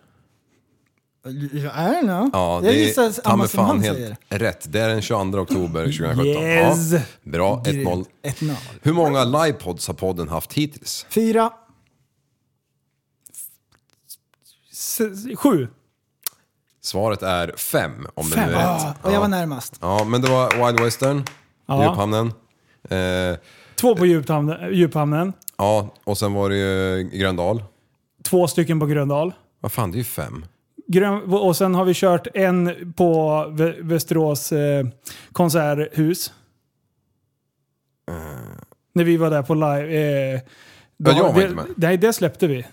F: I don't know.
G: Ja,
F: jag
G: det
F: gissar
G: är ta
F: samma
G: mig
F: som
G: fan
F: han
G: helt
F: säger.
G: rätt. Det är den 22 oktober 2017.
E: Yes.
G: Ja, bra, 1-0.
F: 1-0.
G: Hur många livepods har podden haft hittills?
F: Fyra.
E: S- Sju.
G: Svaret är fem, om det nu är
F: Ja,
G: rätt.
F: Ah, och jag var närmast.
G: Ja, men det var Wild Western,
E: Ja.
G: Djuphamnen. Eh,
E: Två på djuphamnen, djuphamnen.
G: ja, och sen var det ju Gröndal.
E: Två stycken på Gröndal.
G: Vad fan, det är ju fem.
E: Grön, och sen har vi kört en på Vä- Västerås eh, konserthus. När vi var där på live. Eh, då-
G: Eh. Ja, jag var
E: det,
G: inte med.
E: Nej, det släppte vi.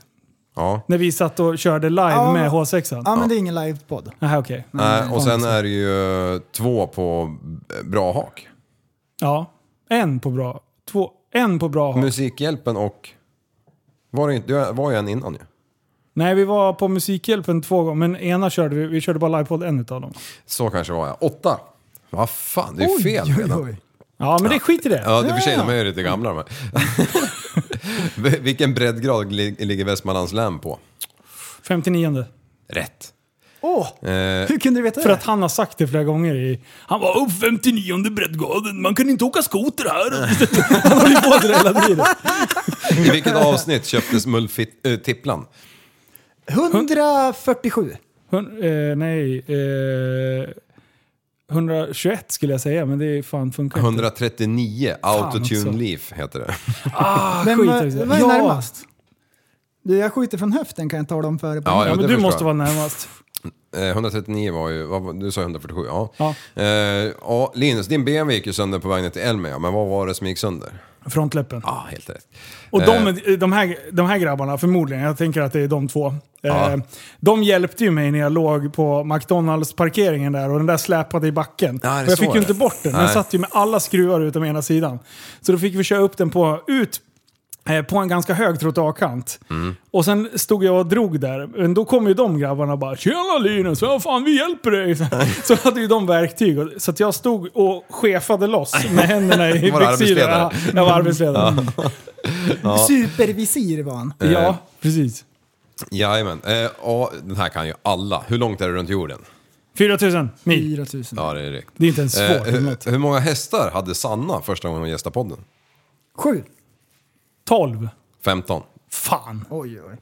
G: Ja.
E: När vi satt och körde live
F: Ja.
E: med H6an.
F: Ja, men det är ingen livepodd.
E: Aha, okej. Mm.
G: Nej, och sen är det ju eh, två på eh, Bra Hak.
E: Ja. En på bra. Två. En på bra.
G: Musikhjälpen och... Var det, inte- det var ju en innan ju.
E: Nej, vi var på Musikhjälpen två gånger, men ena körde vi. Vi körde bara livepodd en utav dem.
G: Så kanske var jag. Åtta! Vad fan, det är ju fel redan.
E: Ja, men det skit i det.
G: Ja, det är för sig, de är ju lite gamla de här. Vil- Vilken breddgrad li- ligger Västmanlands län på?
E: 59.
G: Rätt.
F: Åh,
G: Eh,
F: hur kunde du veta
E: För
F: det?
E: att han har sagt det flera gånger i... Han var upp 59 breddgraden, man kan inte åka skoter här. han håller på så där hela tiden.
G: I vilket avsnitt köptes Mullfit, äh, Tipplan?
F: 147.
E: Hun, eh, nej... Eh, 121 skulle jag säga, men det fan funkar inte.
G: 139,
E: också.
G: Autotune Leaf heter det.
F: Vem
E: skit
F: var,
E: i det.
F: var
E: Ja.
F: närmast? Du, jag skjuter från höften kan jag tala om före.
G: Ja,
E: Ja,
G: det
E: men du
G: förstår
E: måste
G: jag.
E: vara närmast.
G: Eh, 139 var ju, vad, var- du sa 147, ja.
E: Ja.
G: Eh, ja, Linus, din BMW gick ju sönder på väg ner till Elmia, men vad var det som gick sönder?
E: Frontläppen.
G: Ja, helt rätt.
E: Och
G: Eh,
E: de, de, här, de här grabbarna, förmodligen, jag tänker att det är de två.
G: Ja.
E: Eh, de hjälpte ju mig när jag låg på McDonalds-parkeringen där och den där släpade i backen.
G: Ja, det är
E: och jag
G: så
E: fick ju
G: det.
E: inte bort den. Den
G: Nej.
E: satt ju med alla skruvar utom ena sidan. Så då fick vi köra upp den på, ut eh, på en ganska hög trottoarkant.
G: Mm.
E: Och sen stod jag och drog där. Men då kom ju de grabbarna och bara “Tjena Linus, ja, fan vi hjälper dig”. Så hade ju de verktyg. och- Så att jag stod och chefade loss med händerna i
G: Var du
E: byxfickan.
G: arbetsledare?
E: Ja, Jag var arbetsledare.
F: Supervisir var han.
E: Ja, precis.
G: Jajamän. Eh, ja, den här kan ju alla. Hur långt är det runt jorden?
E: 4000 mil.
F: 4000.
G: Ja, det är riktigt.
E: Det är inte ens
G: Eh,
E: svårt. eller något.
G: hur, hur många hästar hade Sanna första gången hon gästade podden?
F: Sju.
E: 12.
G: 15.
E: Fan.
F: Oj, oj.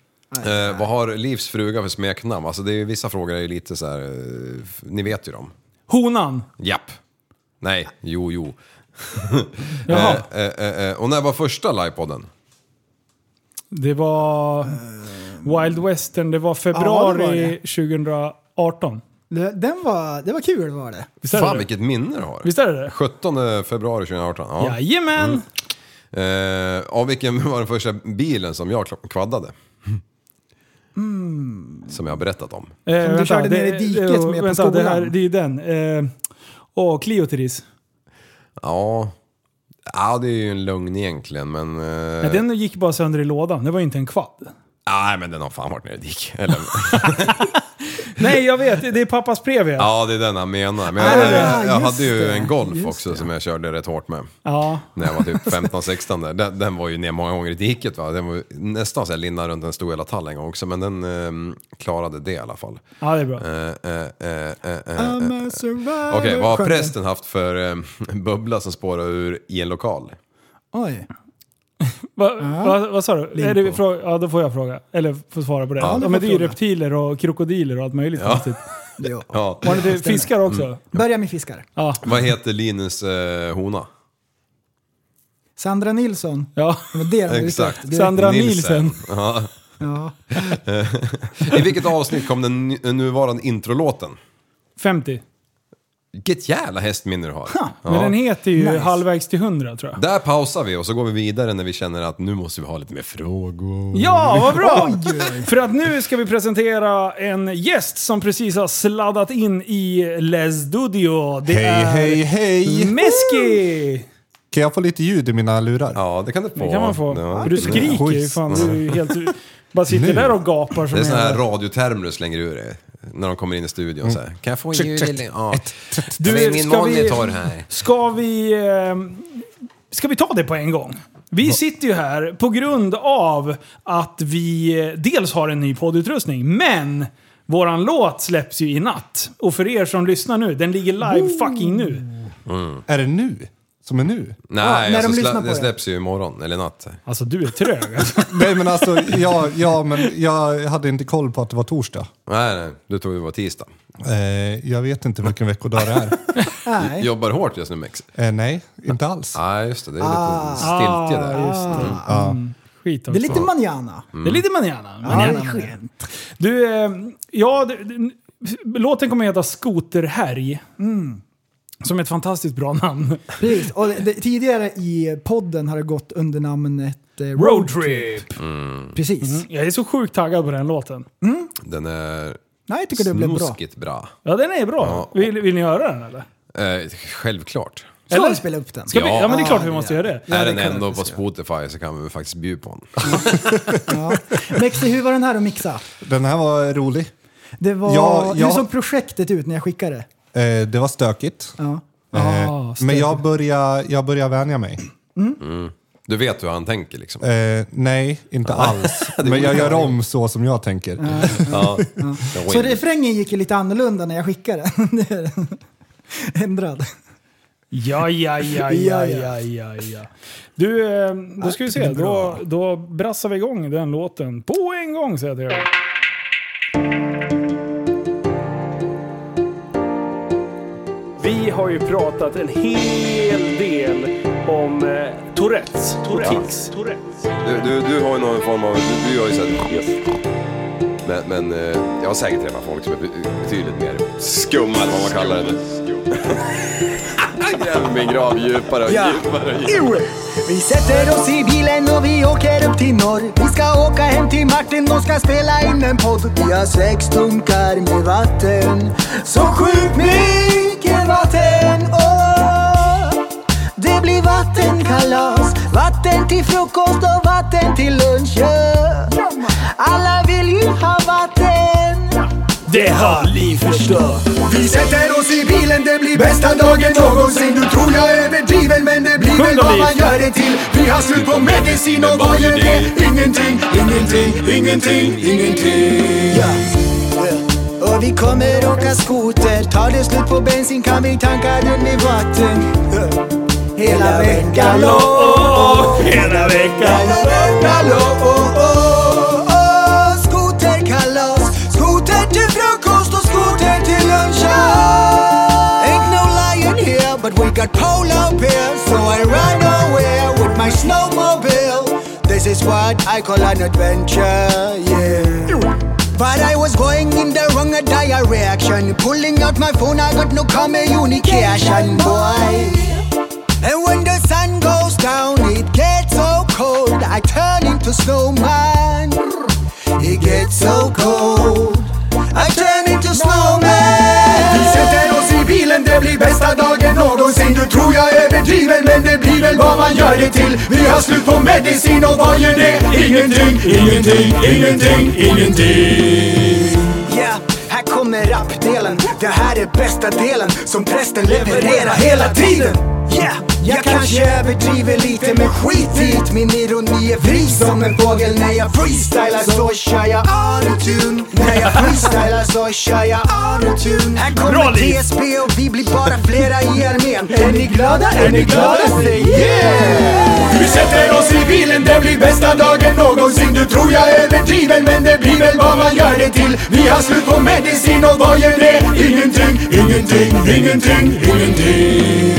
G: Eh, vad har Livs fruga för smeknamn? Alltså det är ju, vissa frågor är ju lite så här, eh, f- ni vet ju dem.
E: Honan.
G: Japp. Nej, jo, jo.
E: Jaha.
G: Eh, eh, eh, eh, och när var första livepodden?
E: Det var Wild Western. Det var februari
F: Ja, det var det.
E: 2018.
F: Det, den var, det var kul var det.
E: Visst är
G: Fan
E: det det?
G: vilket minne du har.
E: Visst är det det?
G: 17 februari 2018. Ja.
E: Jajamän!
G: Eh, och vilken var den första bilen som jag kla- kvaddade?
E: Mm.
G: Som jag har berättat om.
E: Eh,
F: du körde ner i diket
E: det- eh,
F: med på
E: vänta, det, här,
F: skolan.
E: det är ju den. Eh, Åh, Clioteris.
G: Ja. Ja, det är ju en lugn egentligen, men... eh,
E: Nej, den gick bara sönder i lådan. Det var ju inte en kvadd.
G: Nej, men den har fan varit nere i dik. Eller,
E: Nej, jag vet. Det är pappas Previa. Ja.
G: Ja, det är den han menar. Men
H: Ah,
G: jag, jag, jag
H: just
G: hade ju
H: det,
G: en Golf
H: just
G: också
H: det.
G: som jag körde rätt hårt med.
E: ja.
G: När jag var typ 15-16 där. Den, den var ju ner många gånger i diket va. Den var ju nästan så jag linnade runt en stor hela tall en gång också. Men den ehm, klarade det i alla fall.
E: det är bra.
G: Eh, eh, eh, eh, eh.
H: I'm a survivor.
G: Okej, vad har
H: Sjöng
G: prästen haft för ehm, bubbla som spårar ur i en lokal?
H: den. Oj.
E: Va, va, vad sa du?
H: Limpo.
E: Är det, fråga, ja, då får jag fråga. Eller får svara på det. Ja,
H: du får
E: men det är ju
H: fråga.
E: reptiler och krokodiler och allt möjligt
G: Ja.
E: konstigt.
H: Ja.
G: Ja.
E: Var det inte fiskar också?
H: Börja med fiskar.
E: Ja.
G: Vad heter Linus eh, hona?
H: Sandra Nilsson.
E: ja.
H: Det var det de var ute efter.
G: Exakt.
H: Du-
E: Sandra Nielsen.
G: Ja.
H: Ja.
G: I vilket avsnitt kom den nu- nuvarande introlåten?
E: 50.
G: Vilket jävla hästminne du har.
E: Men den heter ju
H: Nice.
E: Halvvägs till 100 tror jag.
G: Där pausar vi och så går vi vidare när vi känner att nu måste vi ha lite mer frågor.
E: Ja, vad bra! För att nu ska vi presentera en gäst som precis har sladdat in i Les Studio. Det
I: Hej,
E: är
I: hej, hej!
E: Meski!
I: Kan jag få lite ljud i mina lurar?
G: Ja, det kan du få.
E: Det kan man få.
G: Ja.
E: För du skriker ju. Fan, du är ju helt... du Bara sitter där och gapar som
G: Det är sådana här
E: jävla-
G: radiotermer du slänger ur dig. När de kommer in i studion så här. Kan jag få en
I: Check,
G: ljud
I: check.
G: eller? Ja.
E: Du,
G: Men Alltså, min
E: ska vi-
G: monitor här.
E: Ska vi... ehm, Ska vi ta det på en gång? Vi sitter ju här på grund av att vi eh, dels har en ny poddutrustning, men våran låt släpps ju i natt. Och för er som lyssnar nu, den ligger live fucking nu.
I: Är det nu? Som är nu?
G: Nej,
H: när
G: alltså,
H: de
G: slä,
H: lyssnar på
G: det,
H: det.
G: släpps ju imorgon eller natt.
E: Alltså du är trög. Alltså.
I: Nej men alltså, ja, ja, men jag hade inte koll på att det var torsdag.
G: Nej, nej. Du tog det var tisdag.
I: Eh, jag vet inte vilken veckodag det är.
H: Nej.
G: Jobbar hårt just nu Mex.
I: Eh, nej, inte alls.
G: Nej, just det. Det är lite
H: Ah.
G: stiltje där.
E: Skit
H: Det
E: också.
H: är lite manjana.
G: Mm.
E: Det är lite manana.
H: Ja,
E: manana.
H: det är skönt.
E: Du, eh, ja, det- det- låten kommer heta Skoterhärj. Mm. Som ett fantastiskt bra namn.
H: Precis. Och det, det, tidigare i podden har det gått under namnet eh,
E: Roadtrip.
H: Precis.
G: Mm.
E: Jag är så sjukt taggad på den låten.
G: Den är
H: Nej, jag tycker det blev bra.
G: snuskigt bra.
E: Ja, den är bra.
G: Ja.
E: Vill, vill ni göra den eller?
G: Eh, självklart.
H: Ska
E: Eller?
H: vi spela upp den?
E: Ska vi?
G: Ja.
E: ja, men det är klart vi måste göra det.
G: är
H: det
G: den
H: kan jag
G: ändå
H: inte
G: på
H: säga.
G: Spotify så kan vi faktiskt bjuda på den.
H: Ja. Mexi, hur var den här att mixa?
I: Den här var rolig.
H: Det var,
I: Ja, ja.
H: Hur såg projektet ut när jag skickade det?
I: Eh, det var stökigt.
H: Ja.
I: Eh,
E: Ah, stökigt.
I: men jag börjar jag börjar vänja mig.
G: Du vet hur han tänker liksom.
I: Eh, nej, inte alls. Men jag gör om så som jag tänker.
G: Ja. Jag
H: Så
G: går in.
H: refrängen gick ju lite annorlunda när jag skickade den. Det är den. Ändrad.
E: Ja, ja, ja, ja,
H: Ja, ja.
E: ja, ja, ja. Du, eh, då ska vi se. Då, då brassar vi igång den låten på en gång säger jag till er. Vi har ju pratat en hel del om eh, Tourettes. Tourettes.
G: Du, du, du har ju någon form av... Du, du har ju sett... Men, men eh, jag har säkert träffat folk som är be- betydligt mer skumma eller vad man kallar det. Gräver min grav djupare och djupare. och djupare.
F: Vi sätter oss i bilen och vi åker upp till norr Vi ska åka hem till Martin och ska spela in en podd Vi har sex dunkar med vatten Så sjukt mycket vatten Åh, Det blir vattenkalas Vatten till frukost och vatten till lunch ja. Alla vill ju ha vatten det har liv förstört Vi sätter oss i bilen, det blir bästa dagen någonsin Du tror jag överdriver men det blir väl vad man gör det till Vi har slut på medicin och vad gör det? Ingenting, ingenting, ingenting, ingenting Och vi kommer åka skoter Tar det slut på bensin kan vi tanka den med vatten Hela veckan lång Hela veckan lång Skoterkalas Skoter till frukost och skoter till lunch Ain't no lion here but we got polo bear So I run away with my snowmobile This is what I call an adventure, yeah but I was going in the wrong direction Pulling out my phone, I got no communication, boy and when the sun goes down, it gets so cold. I turn into snowman. It gets so cold. I turn into snowman. Vi sätter oss i bilen, det blir bästa dagen någonsin. Du tror jag överdriver, men det blir väl vad man gör det till. Vi har slut på medicin och vad gör det? Ingenting, ingenting, ingenting, ingenting. Ja, här kommer
J: som är rapdelen. Det här är bästa delen som prästen levererar hela tiden. Yeah! Jag kanske överdriver lite men skit dit Min ironi är fri som en fågel När jag freestylar så kör jag autotune När jag freestylar så kör jag autotune Här
E: Bra,
J: kommer
E: Liv.
J: TSB och vi blir bara flera i armén Är ni glada? Är ni glada? Säg yeah! Vi sätter oss i bilen, det blir bästa dagen någonsin Du tror jag överdriver men det blir väl vad man gör det till Vi har slut på medicin och vad gör det? Ingenting, ingenting, ingenting, ingenting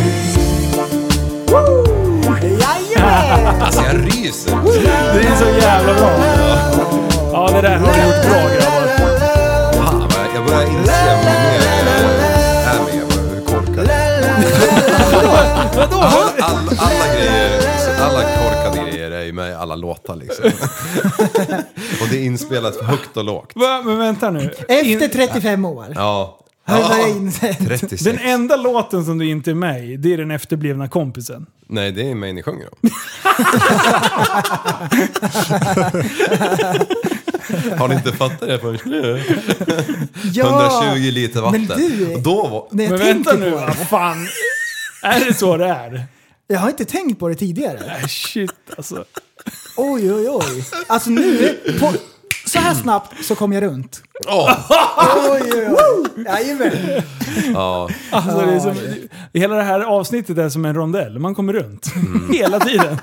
J: Jajamän!
G: Alltså jag ryser.
E: Det är så jävla bra. Ja, det där har du gjort bra grabbar.
G: Fan, vad jag- jag börjar inse mer eh, här med jag börjar- hur korkad. Alla, alla, alla grejer, alla korkade grejer är ju med i alla låtar liksom. och det är inspelat högt och lågt.
E: Va, Men vänta nu.
F: Efter 35 år.
G: Ja.
F: Har du
G: Ja,
F: börjat inse?
G: 36.
E: Den enda låten som du inte är med i, det är den efterblivna kompisen.
G: Nej, det är mig ni sjunger om. Har ni inte fattat det förrän nu? 120 liter vatten.
F: Men du-
G: Och Då var...
F: När jag
E: Men
F: tänker
E: vänta
F: på
E: nu,
F: det.
E: vad fan. Är det så det är?
F: Jag har inte tänkt på det tidigare.
E: Äh, Shit alltså.
F: Oj, oj, oj. Alltså nu, på, så här snabbt så kom jag runt.
G: Åh!
F: Oj, oj, oj. Jajamän.
G: ja.
E: Alltså, det är som, hela det här avsnittet är som en rondell. Man kommer runt. Hela tiden.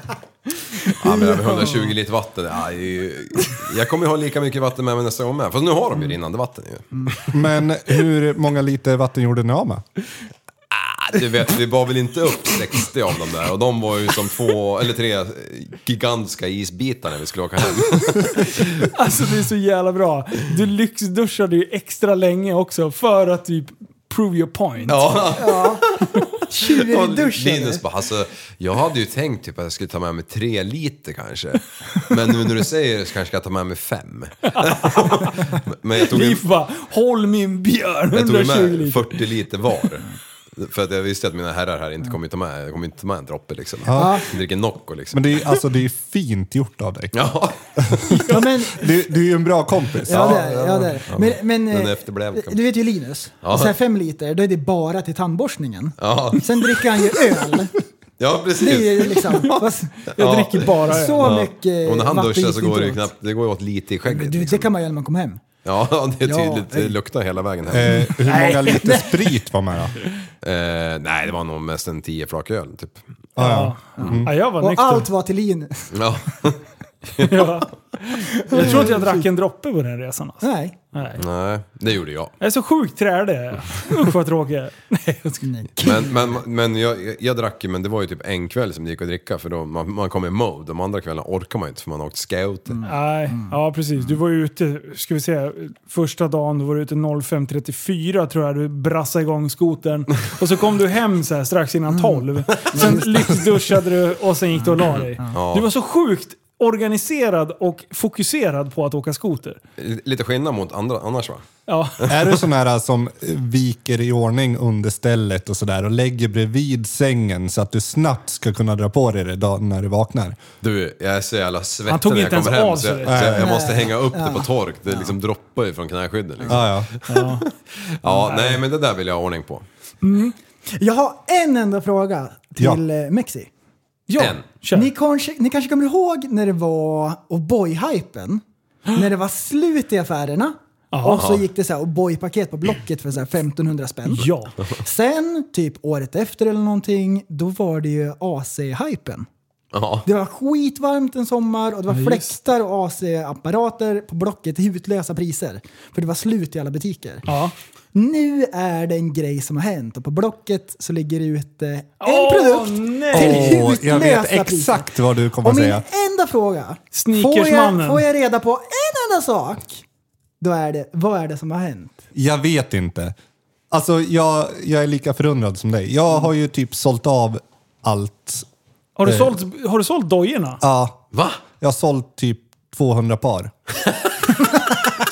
G: ja, men över 120 liter vatten. Ja, det är ju... Jag kommer ju ha lika mycket vatten med mig nästa gång med. Fast nu har
F: Mm.
G: de ju rinnande vatten ju.
I: Men hur många liter vatten gjorde ni av med?
G: Ah, Du vet, vi bar väl inte upp 60 av dem där. Och de var ju som två eller tre eh, gigantiska isbitar när vi skulle åka hem.
E: Alltså det är så jävla bra. Du lyxduschade ju extra länge också för att typ prove your point.
G: Ja.
F: Tjuren i
G: Och
F: duschen.
G: Linus bara, alltså, jag hade ju tänkt typ att jag skulle ta med mig tre liter kanske. Men nu när du säger det så kanske jag tar med mig fem. Men jag tog, ju-
E: Liv bara, håll min björn
G: jag tog ju
E: 120
G: med
E: liter.
G: 40 liter var. För att jag visste att mina herrar här inte kommer ta med, jag kommer inte ta med en droppe liksom. Jag dricker Nocco liksom.
I: Men det är, alltså, det är fint gjort av dig.
G: Ja,
F: Ja, men,
I: Du, du är ju en bra kompis.
F: ja, det är det, ja, det. är det. Men, men
G: Den
F: eh,
G: efterblivna kan-
F: du vet ju Linus.
G: Ja.
F: Så här fem liter, då är det bara till tandborstningen.
G: ja,
F: Sen dricker han ju öl.
G: ja
F: Det är
G: precis.
F: ju liksom... vad-
E: Jag
G: Ja.
E: dricker bara öl.
F: Så mycket
G: Och när han
F: vatten
G: duschar
F: gick
G: så
F: inte
G: går det ju
F: åt.
G: knappt, det går ju åt lite i
F: Men
G: skägget.
F: Du, det
G: Liksom.
F: kan man göra när man kommer hem.
G: Ja, det är
F: Ja. eh.
G: tydligt, det luktar hela vägen hem.
I: Eh, hur många liter sprit var med då?
G: Eh, nej, det var nog mest en 10 flak öl typ.
I: Ah, ja.
G: Mm.
E: Ja, jag var
F: Och
E: nykter.
F: allt var till Linus.
G: Ja.
E: Ja. Jag tror inte jag drack en droppe på den resan. Alltså.
F: Nej.
E: Nej.
G: Nej, det gjorde jag.
E: Jag är så sjukt trälig. Usch vad tråkig jag är. Nej, jag ska...
G: Men, men, men jag, jag- jag drack ju, men det var ju typ en kväll som det gick att dricka för då man, man kom i mode. De andra kvällarna orkar man ju inte för man har åkt scouter.
E: Nej,
I: Mm.
E: ja precis. Du var ju ute, ska vi säga, första dagen du var ute 05.34 tror jag du brassade igång skoten. Och så kom du hem så här strax
I: Mm.
E: innan 12. Sen lyxduschade du och sen gick du och la dig. Du var så sjukt organiserad och fokuserad på att åka skoter.
G: Lite skillnad mot andra annars va?
E: Ja,
I: Är du sån här som viker i ordning understället och sådär och lägger bredvid sängen så att du snabbt ska kunna dra på dig det dag när du vaknar?
G: Du, jag är så jävla svettig
E: Han tog
G: när jag
E: inte ens
G: kommer hem
E: av
G: så
E: sig
G: jag,
E: det.
G: så jag, jag måste hänga upp det på tork. Det liksom droppar ju från knäskydden. Liksom.
I: Ah, ja.
G: Ja, nej men det där vill jag ha ordning på.
F: Jag har en enda fråga till
I: Ja.
F: eh, Mexi.
E: ja
G: En.
E: kör.
F: Ni kanske, ni kanske kommer ihåg när det var O'boy-hypen? När det var slut i affärerna.
E: Jaha.
F: Och så gick det så här O'boy-paket på Blocket för så här 1500 spänn.
E: Ja.
F: Sen, typ året efter eller någonting, då var det ju AC-hypen.
G: Ja.
F: Det var skitvarmt en sommar och det var fläktar och AC-apparater på Blocket till hutlösa priser. För det var slut i alla butiker.
E: Ja.
F: Nu är det en grej som har hänt och på Blocket så ligger det ute en
E: Åh,
F: produkt
E: nej.
F: till
I: Åh,
F: hutlösa
I: jag vet
F: priser.
I: exakt vad du kommer
F: Och
I: att
F: min
I: säga.
F: enda fråga. Får jag,
E: Sneakersmannen.
F: får jag reda på en enda sak, då är det, vad är det som har hänt?
I: Jag vet inte. Alltså, jag, jag är lika förundrad som dig. Jag har ju typ sålt av allt.
E: Har
I: Eh.
E: du sålt, har du sålt dojorna?
I: Ja,
G: Va?
I: jag har sålt typ 200 par.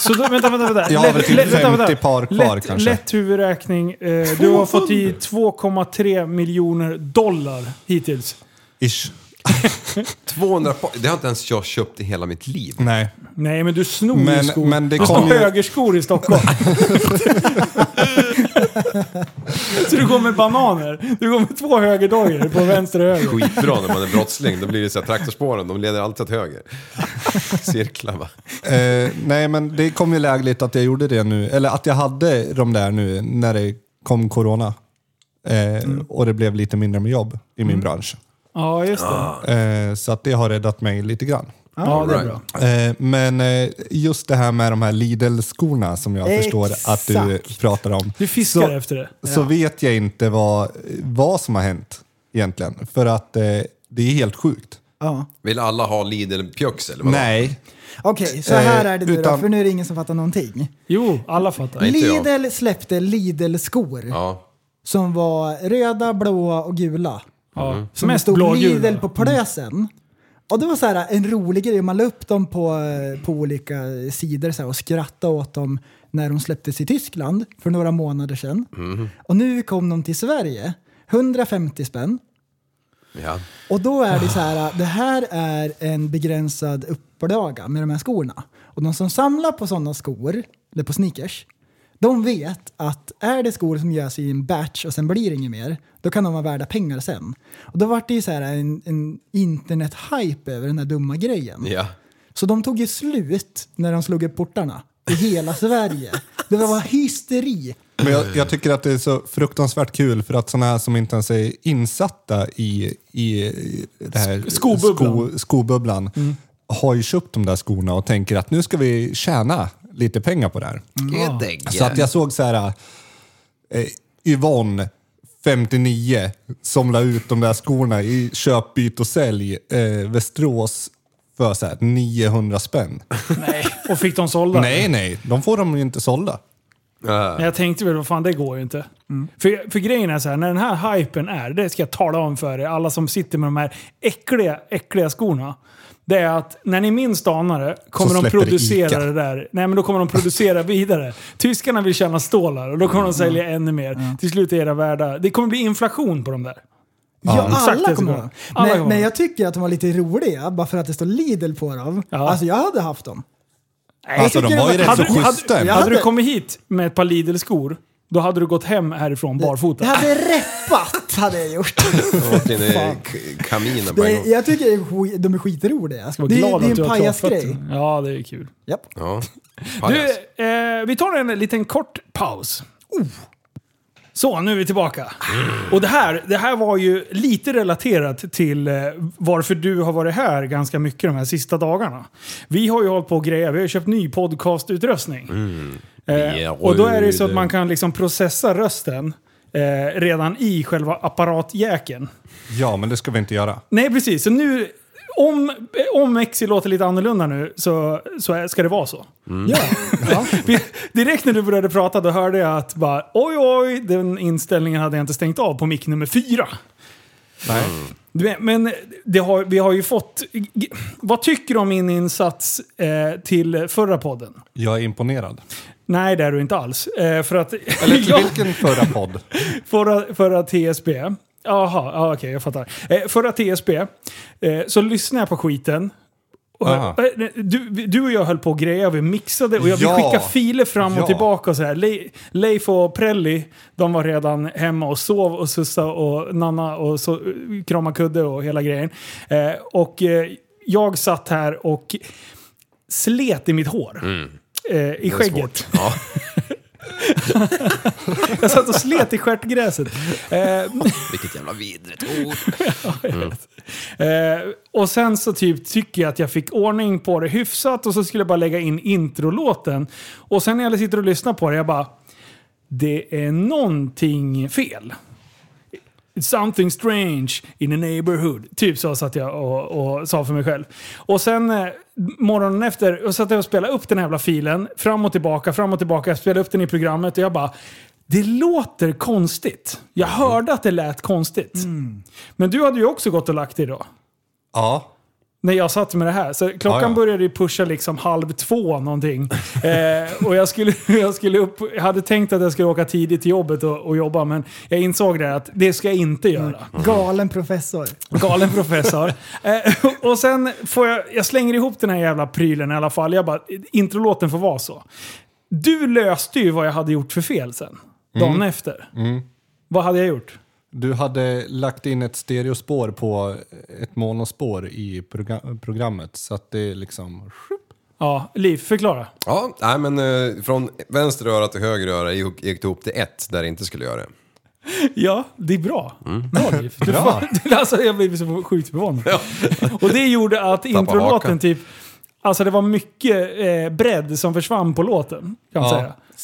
E: Så då, vänta, vänta, vänta.
I: Jag har väl typ
E: lätt- vänta, vänta.
I: 50 par kvar
E: lätt,
I: kanske.
E: Lätt huvudräkning. Eh, du har fått i 2,3 miljoner dollar hittills.
I: Ish.
G: 200 par. Det har inte ens jag köpt i hela mitt liv.
I: Nej.
E: Nej, men du snor ju
I: Men-
E: skor.
I: men det
E: du
I: kom
E: snor
I: ju-
E: högerskor i Stockholm. så du går med bananer. Du går med två högerdojor på vänster och höger.
G: Skitbra när man är brottsling. Då blir det så här, traktorspåren, de leder alltid åt höger. Cirklar va?
I: Eh, nej, men det kom ju lägligt att jag gjorde det nu. Eller att jag hade de där nu när det kom corona. Eh, Och det blev lite mindre med jobb i min bransch.
E: Ja, just det.
I: Eh, så att det har räddat mig lite grann.
E: Ja, det är
G: Alright.
E: bra.
I: Eh, men eh, just det här med de här Lidl-skorna som jag förstår att du
F: Exakt.
I: pratar om.
E: Du fiskar
I: Så-
E: efter det.
I: så vet jag inte vad, vad som har hänt egentligen. För att eh, det är helt sjukt.
F: Ja.
G: Vill alla ha Lidl-pjöks eller vad?
I: Nej.
F: Okej, så här
I: Eh,
F: är det nu då,
I: utan-
F: för nu är det ingen som fattar någonting.
E: Jo, alla fattar.
G: Nej, inte jag.
F: Lidl släppte Lidl-skor
G: Ja.
F: som var röda, blåa och gula.
E: Ja.
F: Som det
E: Mest
F: stod
E: blågul.
F: Lidl på plösen. Och det var så här, en rolig grej, man la upp dem på, eh, på olika sidor så här, och skrattade åt dem när de släpptes i Tyskland för några månader sedan. Och nu kom de till Sverige, 150 spänn.
G: Ja.
F: Och då är det så här, det här är en begränsad upplaga med de här skorna. Och de som samlar på sådana skor, eller på sneakers, de vet att är det skor som görs i en batch och sen blir det inget mer, då kan de vara värda pengar sen. Och då vart det ju så här en, en internet-hype över den här dumma grejen.
G: ja.
F: Så de tog ju slut när de slog upp portarna i hela Sverige. Det var hysteri.
I: Men jag, jag tycker att det är så fruktansvärt kul för att sådana här som inte ens är insatta i, i det här
E: skobubblan.
I: sko, skobubblan har ju köpt de där skorna och tänker att nu ska vi tjäna lite pengar på det här. Så att jag såg så här, eh, Yvonne, 59, som la ut de där skorna i köp, byt och sälj, eh, Västerås, för så här 900 spänn.
E: Och fick de sålda?
I: nej, nej, de får de ju inte sålda.
E: Men jag tänkte väl, vad fan det går ju inte.
I: Mm.
E: För, för grejen är så här, när den här hypen är, det ska jag tala om för er, alla som sitter med de här äckliga, äckliga skorna. Det är att när ni minst anar det
I: Så
E: kommer de
I: släpper det
E: producera
I: Ica.
E: det där. Nej men då kommer de producera vidare. Tyskarna vill tjäna stålar och då kommer
I: Mm.
E: de sälja ännu mer. Till slut är era värda... Det kommer bli inflation på de där.
F: Ja,
E: Exakt det
F: alla
E: som
F: kommer
E: går.
F: ihåg.
E: Alla
F: Men,
E: kommer
F: men
E: ihåg.
F: jag tycker att de var lite roliga bara för att det står Lidl på dem.
E: Ja.
F: Alltså jag hade haft dem.
I: Alltså de
F: tycker
I: var ju
F: det
I: rätt
F: var-
I: så
E: Hade, du-
I: schyssta.
E: hade,
F: Jag
E: hade du
F: hade-
E: kommit hit med ett par Lidl-skor, då hade du gått hem härifrån barfota.
F: Jag hade reppat, hade jag gjort.
G: Jag har varit inne i k- kaminen på en
F: Det,
G: gång.
F: jag tycker det är sk- de är skitroliga. Det,
E: Jag
F: det
E: ska
F: är
E: vara glad att
F: en
E: du har
F: pajasgrej.
E: klarfötter. Ja, det är kul.
F: Japp.
G: Ja.
E: Du,
G: Pajas.
E: eh, vi tar en liten kort paus. Så, nu är vi tillbaka. Och det här, det här var ju lite relaterat till eh, varför du har varit här ganska mycket de här sista dagarna. Vi har ju hållit på och grejat, vi har ju köpt ny podcastutrustning.
G: Mm. Vi
E: Eh,
G: är
E: och då är det ju så att
G: röda.
E: man kan liksom processa rösten eh, redan i själva apparatjäkeln.
I: Ja, men det ska vi inte göra.
E: Nej, precis. Så nu, om, om Mexi låter lite annorlunda nu så, så är- ska det vara så.
I: Mm.
E: Ja. Vi- Direkt när du började prata då hörde jag att bara, oj oj, den inställningen hade jag inte stängt av på mick nummer fyra.
I: Nej.
E: Du vet, Men det har, vi har ju fått... g- Vad tycker du om min insats eh, till förra podden?
I: Jag är imponerad.
E: Nej, det är du inte alls. Eh, för att...
I: Eller till
E: Ja.
I: vilken förra podd?
E: Förra, förra TSB. Jaha, ja, okej jag fattar. Eh, förra TSB eh, så lyssnade jag på skiten. Och,
I: Aha.
E: eh, du, du och jag höll på och grejade, vi mixade och jag,
I: Ja.
E: vi skickade filer fram och
I: Ja.
E: tillbaka. Och så här. Le, Leif och Prelli, de var redan hemma och sov och Sussa och Nanna och så, krama kudde och hela grejen. Eh, och eh, jag satt här och slet i mitt hår.
I: Mm.
E: Eh, I skägget.
G: Ja.
E: Jag satt och slet i stjärtgräset. Eh,
G: Vilket jävla vidrigt ord. Mm.
E: Eh, och sen så typ tycker jag att jag fick ordning på det hyfsat och så skulle jag bara lägga in introlåten. Och sen när jag sitter och lyssnar på det, jag bara... Det är någonting fel. It's something strange in a neighborhood. Typ så satt jag och, och sa för mig själv. Och sen eh, morgonen efter och satt jag och spelade upp den här jävla filen. Fram och tillbaka, fram och tillbaka. Jag spelade upp den i programmet och jag bara... Det låter konstigt. Jag
I: Mm.
E: hörde att det lät konstigt. Men du hade ju också gått och lagt dig då.
I: Ja.
E: när jag satt med det här. Så klockan
I: Ja, ja.
E: började ju pusha liksom halv två någonting. Eh, och jag, skulle, jag, skulle upp, jag hade tänkt att jag skulle åka tidigt till jobbet och, och jobba, men jag insåg där att det ska jag inte
I: Mm.
E: göra.
F: Galen professor.
E: Galen professor. Eh, och sen får jag, jag slänger ihop den här jävla prylen i alla fall. Jag bara, introlåten får vara så. Du löste ju vad jag hade gjort för fel sen. Dagen efter. Vad hade jag gjort?
I: Du hade lagt in ett stereospår på ett monospår i proga- programmet så att det liksom...
E: Ja, Liv, förklara.
G: Ja, nej men eh, från vänster öra till höger öra gick gick det ihop till ett där det inte skulle göra det.
E: Ja, det är bra. Bra, Liv. Du
I: Bra.
E: Fan, alltså, jag blev så sjukt förvånad. Och det gjorde att introlåten
G: hakan.
E: typ... Alltså det var mycket eh, bredd som försvann på låten. Kan man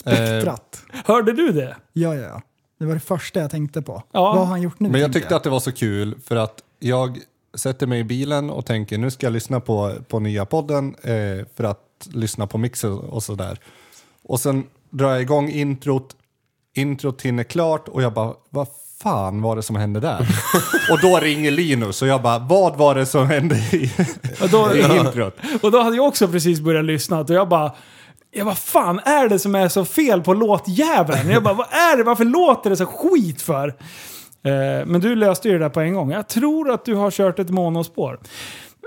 E: säga.
I: Eh,
F: Tratt.
E: Hörde du det?
F: Ja, ja, ja. Det var det första jag tänkte på.
E: Ja.
F: Vad har han gjort nu?
I: men jag
F: tänkte
I: tyckte att det var så kul för att jag sätter mig i bilen och tänker nu ska jag lyssna på, på nya podden eh, för att lyssna på mixen och sådär. Och sen drar jag igång introt, introt hinner klart och jag bara vad fan var det som hände där? och då ringer Linus och jag bara vad var det som hände i,
E: Och då,
I: i introt?
E: Och då hade jag också precis börjat lyssna och jag bara... Jag bara, fan är det som är så fel på låtjäveln? Jag bara, vad är det? Varför låter det så skit för? Eh, men du löste ju det där på en gång. Jag tror att du har kört ett monospår.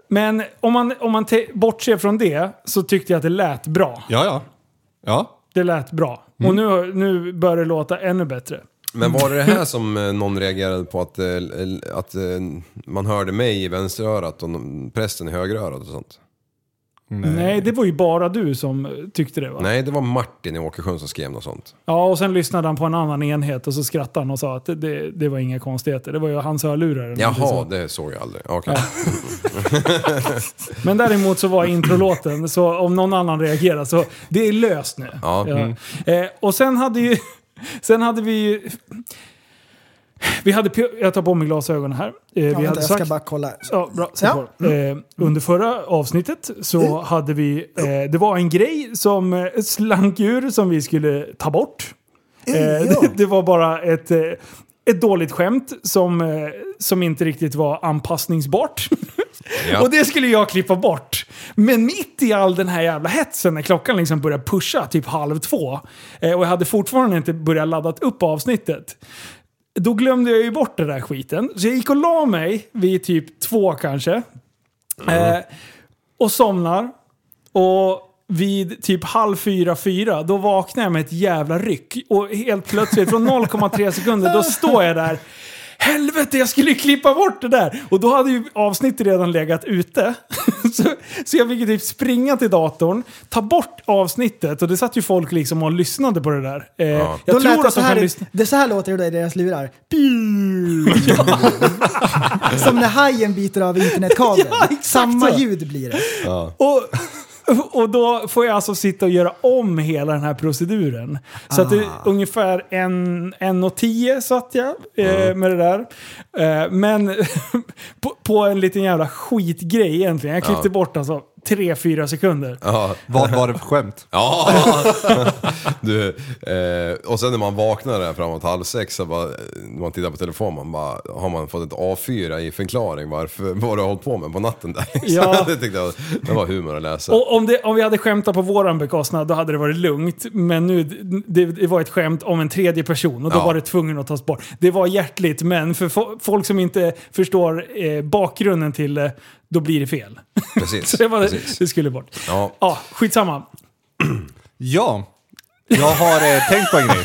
E: Men om man, om man te- bortser från det så tyckte jag att det lät bra.
I: Ja, ja. Ja,
E: Det lät bra.
G: Mm.
E: Och nu, nu börjar det låta ännu bättre.
G: Men var det det här som eh, någon reagerade på att, eh, l- att eh, man hörde mig i vänsterörat och någon- prästen i högerörat och sånt?
E: Nej. det var ju bara du som eh, tyckte det va?
G: Nej, det var Martin i Åkersjön som skrev något sånt.
E: Ja, och sen lyssnade han på en annan enhet och så skrattade han och sa att det, det, det var inga konstigheter. Det var ju hans hörlurar. eller någonting
G: Jaha,
E: sånt.
G: det såg jag aldrig. Okej.
E: Men däremot så var introlåten, så om någon annan reagerar så det är löst nu.
G: Ja. Mm.
E: Eh, och sen hade ju... Sen hade vi ju... Vi hade, pio- jag tar på mig glasögonen här. Eh, vi
F: ja,
E: hade Eh,
F: vänta, jag ska bara kolla.
E: Ja, bra. Sätt
F: Ja. Mm.
E: på. Eh, under förra avsnittet så hade vi... Eh, det var en grej som eh, slank ur som vi skulle ta bort. Eh, det, det var bara ett, eh, ett dåligt skämt som, eh, som inte riktigt var anpassningsbart.
G: Ja.
E: Och det skulle jag klippa bort. Men mitt i all den här jävla hetsen när klockan liksom började pusha typ halv två eh, och jag hade fortfarande inte börjat laddat upp avsnittet. Då glömde jag ju bort den där skiten. Så jag gick och la mig vid typ två kanske. Eh, och somnar. Och vid typ halv fyra, fyra, då vaknar jag med ett jävla ryck. Och helt plötsligt, från 0,3 sekunder, då står jag där. Helvete, jag skulle ju klippa bort det där! Och då hade ju avsnittet redan legat ute. så, så jag fick ju typ springa till datorn, ta bort avsnittet. Och det satt ju folk liksom och lyssnade på det där. Eh, Jag
F: Då lät
E: tror
F: det
E: att
F: så
E: de
F: här,
E: kan
F: ut-
E: lyssna.
F: det så här låter det i deras lurar. Som när hajen biter av internetkabeln.
E: Ja, exakt
F: Samma
E: så.
F: ljud blir det.
E: Och, och då får jag alltså sitta och göra om hela den här proceduren. Så att det,
G: Ah.
E: ungefär en, en och tio satt jag
G: Mm.
E: eh, med det där. Eh, men på, på en liten jävla skitgrej egentligen. Jag klippte bort alltså tre, fyra sekunder.
G: Ja.
I: Vad var det för skämt?
G: Ja! Du, eh, och sen när man vaknar där framåt halv sex, så bara, eh, när man tittar på telefonen, man bara, har man fått ett A4 i förklaring varför, vad du har hållit på med på natten där.
E: Ja.
G: det tyckte jag det var humor att läsa.
E: Och om, det, om vi hade skämtat på våran bekostnad då hade det varit lugnt. Men nu, det, det var ett skämt om en tredje person och då
G: Ja.
E: var det tvungen att tas bort. Det var hjärtligt men för fo- folk som inte förstår eh, bakgrunden till det, då blir det fel.
G: Precis.
E: Så det, var,
G: precis.
E: det skulle bort.
G: Ja.
E: Ja, skitsamma.
I: Ja, jag har eh, tänkt på en grej.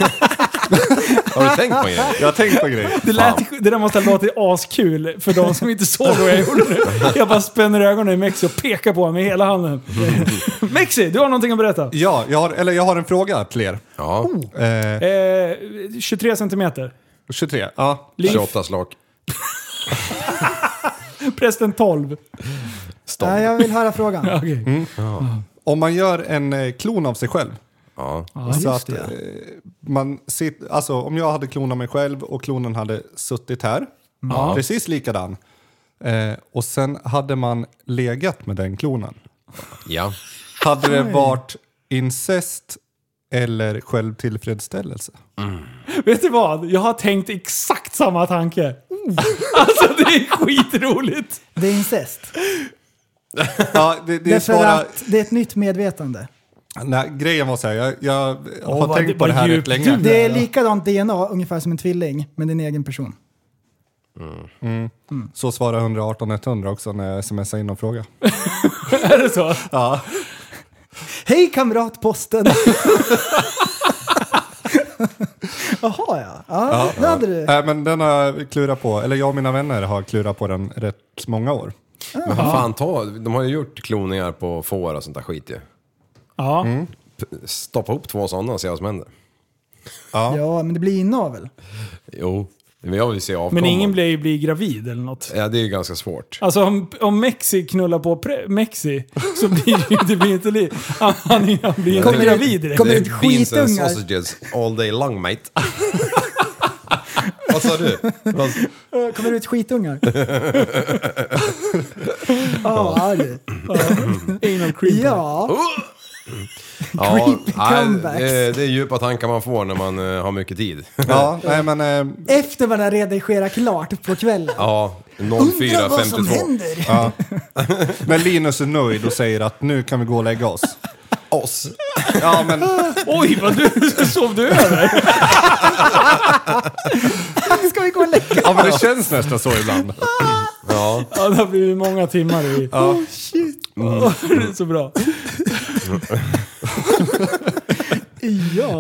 G: Har du tänkt på en grej?
I: Jag har tänkt på en grej.
E: Det, lät, det där måste ha låtit askul för de som inte såg vad jag gjorde nu. Jag bara spänner ögonen i Mexi och pekar på honom med hela handen. Mexi, du har någonting att berätta.
I: Ja, jag har, eller jag har en fråga till er.
G: Ja,
I: Eh,
E: Eh, 23 centimeter.
I: 23, ja.
G: 28 slak.
E: Prästen 12.
G: Stånd.
F: Ja, jag vill höra frågan.
E: Okej.
I: Om man gör en eh, klon av sig själv.
G: Ja.
I: så att, eh, man sit, alltså, om jag hade klonat mig själv och klonen hade suttit här, precis likadan. Eh, och sen hade man legat med den klonen.
G: ja.
I: Hade det varit incest eller självtillfredsställelse?
E: Vet du vad? Jag har tänkt exakt Oh. samma tanke. Alltså det är skitroligt.
F: Det är incest.
I: Ja, det, det är
F: Därför
I: svåra...
F: att det är ett nytt medvetande.
I: Nej, grejen var så här, jag, jag har
E: vad-
I: tänkt på
E: vad
I: det här
E: djupt
I: rätt länge.
F: Det är likadant DNA, ungefär som en tvilling, men det är en egen person.
I: Så svarar 118 100 också när jag smsar in någon fråga.
E: Är det så?
F: Hej kamratposten! Jaha ja. Ja, det hade du.
I: Nej, Äh, men den har jag klurat på, eller jag och mina vänner har klurat på den rätt många år.
G: Men vad fan, ta, de har ju gjort kloningar på får och sånt där skit ju.
E: Ja.
G: P- Stoppa ihop två sådana och se vad som händer.
F: Ja, men det blir inavel.
G: Jo, men jag vill se avkomman.
E: Men ingen blir, blir gravid eller något.
G: Ja, det är ju ganska svårt.
E: Alltså om, om Mexi knullar på pre- Mexi så blir det, ju- det blir inte liv. Han, han, han blir inte
F: Kommer det-
E: gravid direkt.
F: kommer-
G: Det
F: det
G: är beans and
F: skitungar?
G: sausages all day long mate. vad sa du? Vad-
F: Ö, Eh, Kommer det ut skitungar? Ja, vad arg.
E: Anal cream.
F: Ja,
G: Ja,
F: Creepy
G: nej,
F: comebacks.
G: det, det är djupa tankar man får när man eh, har mycket tid.
I: Ja, nej men... eh,
F: efter man har redigerat klart på kvällen.
G: Ja,
F: Undrar vad som
G: 04.52.
F: händer.
I: Ja. Men Linus är nöjd och säger att nu kan vi gå och lägga oss.
G: Oss.
I: Ja, men
E: Oj, vad du, sov du över?
F: Ska vi gå och lägga
I: Ja, men det känns nästan så ibland.
G: Ja,
E: Ja, det har blivit många timmar i. Oh shit.
F: Mm.
E: det är så bra.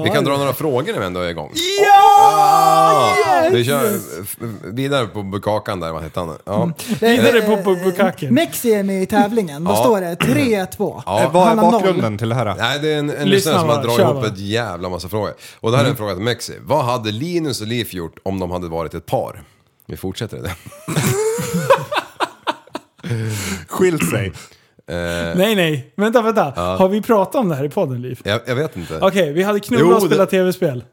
G: vi kan dra några frågor när vi ändå är igång.
E: Ja!
G: Ja, vi kör f- vidare på bukakan där, vad hette han? Ja.
F: Mm.
E: Vidare
F: eh,
E: på bukaken.
F: Mexi är med i tävlingen. Då
G: Ja.
F: står det 3-2.
G: Ja.
I: Äh, Eh, Vad är
F: Han har noll.
I: bakgrunden till det här?
G: Nej, det är en, en
E: Lyssna
G: lyssnare som
E: bara,
G: har dragit
E: kör
G: ihop
E: bara.
G: ett jävla massa frågor. Och det här är
F: Mm.
G: en fråga till Mexi. Vad hade Linus och Liv gjort om de hade varit ett par? Vi fortsätter det.
I: Skilt sig.
E: Nej, nej. Vänta, vänta. Har vi pratat om det här i podden, Liv?
G: Jag, jag vet inte.
E: Okej, vi hade
G: Jo,
E: knullat och
G: det-
E: spelat tv-spel.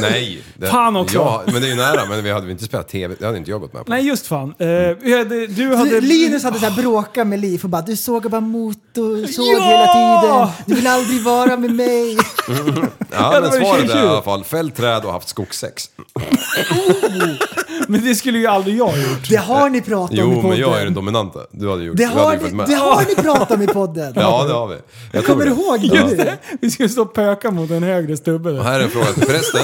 G: Nej. Det,
E: Fan också.
G: Ja, men det är ju nära. Men vi hade väl inte spelat TV. Det hade inte jag gått med på.
E: Nej, just fan. Eh, vi hade, du
F: Du,
E: hade...
F: Mm. Linus hade så här bråkat med Liv och bara du såg bara motorsåg
E: Ja!
F: hela tiden. Du vill aldrig vara med mig.
G: ja,
E: det
G: men
E: var ju
G: svaret är i
E: tjur.
G: alla fall fällt träd och haft skogssex.
E: Men det skulle ju aldrig jag gjort.
F: Det har ni pratat om i
G: Jo,
F: podden.
G: men jag är den dominanta. Du hade gjort...
F: det,
G: du hade
F: har
G: ju följt
F: ni,
G: med.
F: det har ni pratat om i podden.
G: Ja, det har vi. Jag, tror
F: Kommer
G: det.
F: du ihåg det?
E: Just det. Vi skulle stå och pöka mot en högre stubbe.
G: Och
E: där.
G: här är en fråga till prästen.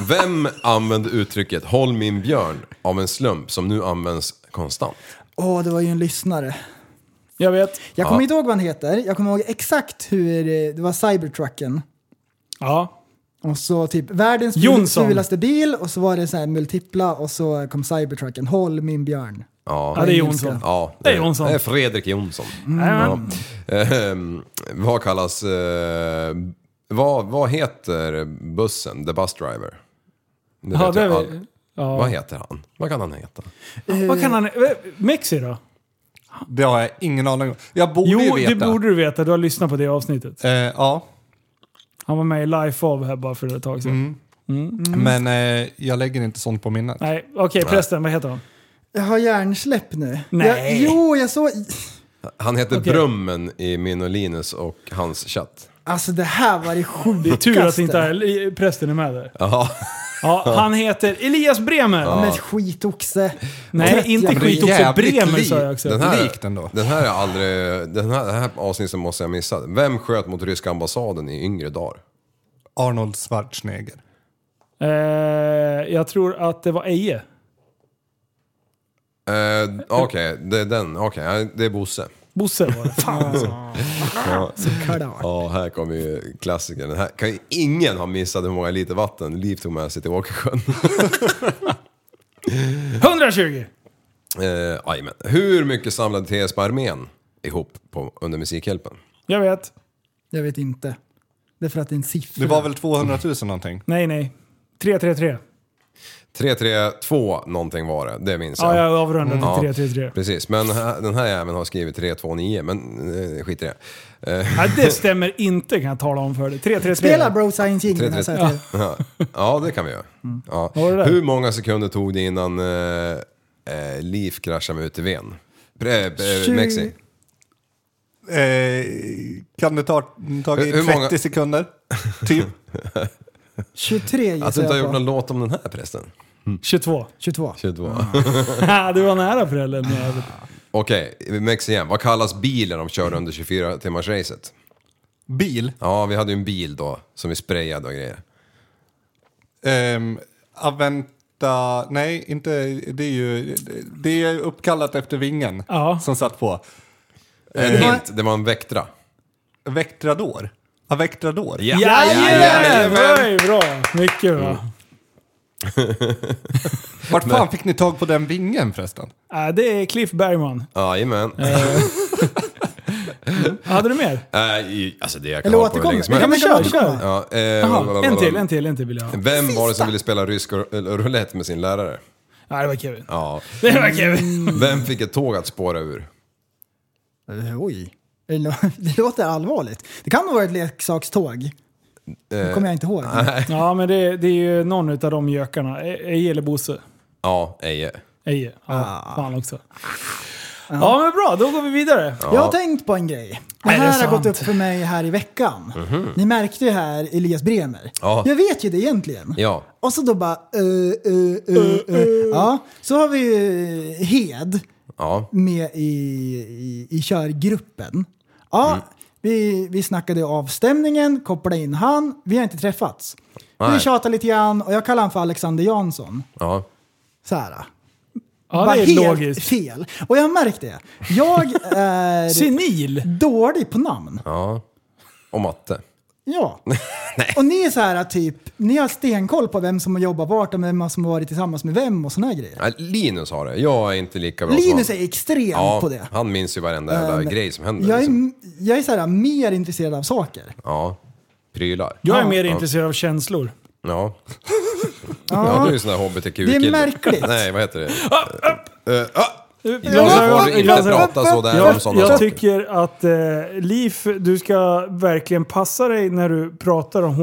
G: Vem använde uttrycket “Håll min björn” av en slump som nu används konstant?
F: Åh, det var ju en lyssnare.
E: Jag vet.
F: Jag kommer inte ihåg vad han heter. Jag kommer ihåg exakt hur eh, det var cybertrucken.
E: Ja.
F: Och så typ världens
E: Jonsson.
F: fulaste bil och så var det så här multipla och så kom cybertrucken. Håll min björn.
E: Ja, det är Jonsson.
G: Ja,
E: Det är Jonsson.
G: Det är Fredrik Jonsson.
E: Ja. Mm.
G: Ehm, vad kallas... Eh, vad, vad heter bussen, the bus driver? Det
E: Ja,
G: vet
E: det
G: jag
E: är
G: all-
E: vi. Ja.
G: Vad heter han? Vad kan han heta?
E: Vad kan han... eh, Mexi då?
I: Det har jag ingen aning om. Jag borde
E: Jo,
I: ju veta.
E: det borde du veta. Du har lyssnat på det avsnittet.
I: Eh, ja,
E: Han var med i Life of här bara för ett tag sedan.
I: men eh, jag lägger inte sånt på minnet.
E: Nej, okej. prästen, vad heter han?
F: Jag har hjärnsläpp nu.
E: Nej.
F: Jag, jo, jag såg...
G: Han heter
E: Okej.
G: Brummen i min och Linus och hans chatt.
F: Alltså det här var det sjukaste. Det
E: Tur att inte eh, prästen är med där.
G: Ja,
E: Ja, han heter Elias Bremer.
F: Men skitoxe.
E: Nej,
F: Trött
E: inte
F: jävla-
E: skit också.
I: Jävligt
E: Bremer
I: lik.
E: sa jag också.
G: den här,
I: Likt ändå.
G: Den här, är aldrig, den här, den här avsnittet måste jag missa. Vem sköt mot ryska ambassaden i yngre dagar?
I: Arnold Schwarzenegger.
E: Eh, jag tror att det var Eje.
G: Eh, okej, det är den. Okej, ja, det är Bosse.
E: Bosse var det. Fan alltså.
F: Såklart.
G: Ja, här kommer ju klassikern. Den här kan ju ingen ha missat hur många liter vatten Liv tog med sig till Åkersjön.
E: 120!
G: Eh, Jajamän. hur mycket samlade TS på armén ihop på, under Musikhjälpen?
E: Jag vet.
F: Jag vet inte. Det är för att det är en siffra.
I: Det var väl 200 000 någonting?
E: Nej, nej. 333.
G: 332 någonting var det, det minns
E: Ja,
G: jag.
E: jag avrundar till 333.
G: Precis, men här- den här jäveln har skrivit 329, men eh, skit i det.
E: Ja, det stämmer inte kan jag tala om för dig. 333.
F: Spela Bro Science alltså. King.
G: Tre, tre.
F: Ja.
G: Ja, ja det kan vi göra. Ja.
E: Var Mm. det där?
G: Hur många sekunder tog det innan eh, eh, Liv kraschade med UTVn? Pre, eh,
F: Tjugo-
G: Mexi?
I: Eh, kan det ta tag i
G: Hur- hur
I: 30
G: många-
I: sekunder? Typ.
F: 23
G: Att
F: gissar
G: du Alltså, inte har
F: jag på.
G: gjort någon låt om den här prästen?
E: 22.
F: 22.
G: 22.
E: du var nära föräldern. jävel.
G: Okej, Mex igen. Vad kallas bilen de körde under 24-timmarsracet?
I: Bil?
G: Ja, vi hade ju en bil då som vi sprayade och grejer.
I: Ehm, Aventa... Nej, inte... Det är ju... Det är uppkallat efter vingen
E: Ja.
I: som satt på.
G: En hint, det var en Vectra.
I: Vectrador? Avectrador?
E: Jajamän! Bra! Mycket bra.
I: Vart fan fick ni tag på den vingen förresten?
E: Äh, det är Cliff Bergman.
G: Jajamän.
E: Hade du mer?
G: Äh, i- alltså det jag kan
F: Eller
G: hålla på hur
F: återkommer.
G: länge som
F: Ja,
E: Ja,
G: helst.
E: men kör, kör.
G: Ja, eh,
E: Jaha, en till, en till, en till vill jag ha.
G: Vem var det som ville spela rysk ro- eller roulette med sin lärare?
E: Ja, det var Kevin.
G: Ja.
E: Det var Kevin.
G: Vem fick ett tåg att spåra ur?
F: Eh, Oj. Det lå- Det låter allvarligt. Det kan nog vara ett
G: Eh,
F: leksakståg. Det kommer jag inte ihåg.
E: Ja, men det, det är ju någon utav de gökarna. E- Eje eller Bosse?
G: Ja, Eje.
E: Eje. Ja,
F: Ah.
E: fan också. Ja, men bra. Då går vi vidare.
F: Jag har tänkt på en grej. Det
E: Nej, det är
F: här har
E: sant.
F: gått upp för mig här i veckan. Ni märkte ju här Elias Bremer.
G: Mhm. Ja.
F: Jag vet ju det egentligen.
G: Ja.
F: Och så då bara... eh, eh, eh, eh. Ja, så har vi ju Hed
G: Ja.
F: med i, i, i körgruppen. Ja, vi, vi snackade avstämningen, kopplade in han. Vi har inte träffats. Vi
G: Nej.
F: tjatar lite grann och jag kallar han för Alexander Jansson.
G: Ja.
F: Så här.
E: Ja,
F: Bara
E: det är
F: helt
E: logiskt.
F: fel. Och jag har märkt det. Jag är
E: Senil.
F: dålig på namn.
G: Ja. Och matte.
F: Ja. Och ni är så här typ, ni har stenkoll på vem som har jobbat vart och vem som har varit tillsammans med vem och såna här grejer.
G: Ja, Linus har det. Jag är inte lika bra
F: Linus
G: som
F: är
G: han.
F: extremt
G: ja,
F: på det.
G: Han minns ju varenda jävla grej som händer.
F: Jag
G: liksom.
F: är, jag är så här mer intresserad av saker.
G: Ja. Prylar.
E: Jag är mer
G: Ja.
E: intresserad av känslor.
G: Ja. Ja, du är ju sån där hbtq-kille.
F: Det är märkligt.
G: Nej, vad heter det? Eh, ah!
E: Ah, Jag-
G: Så får du inte
E: jag-
G: prata så där om
E: Jag,
G: sådana
E: jag
G: saker.
E: tycker att eh, Liv, du ska verkligen passa dig när du pratar om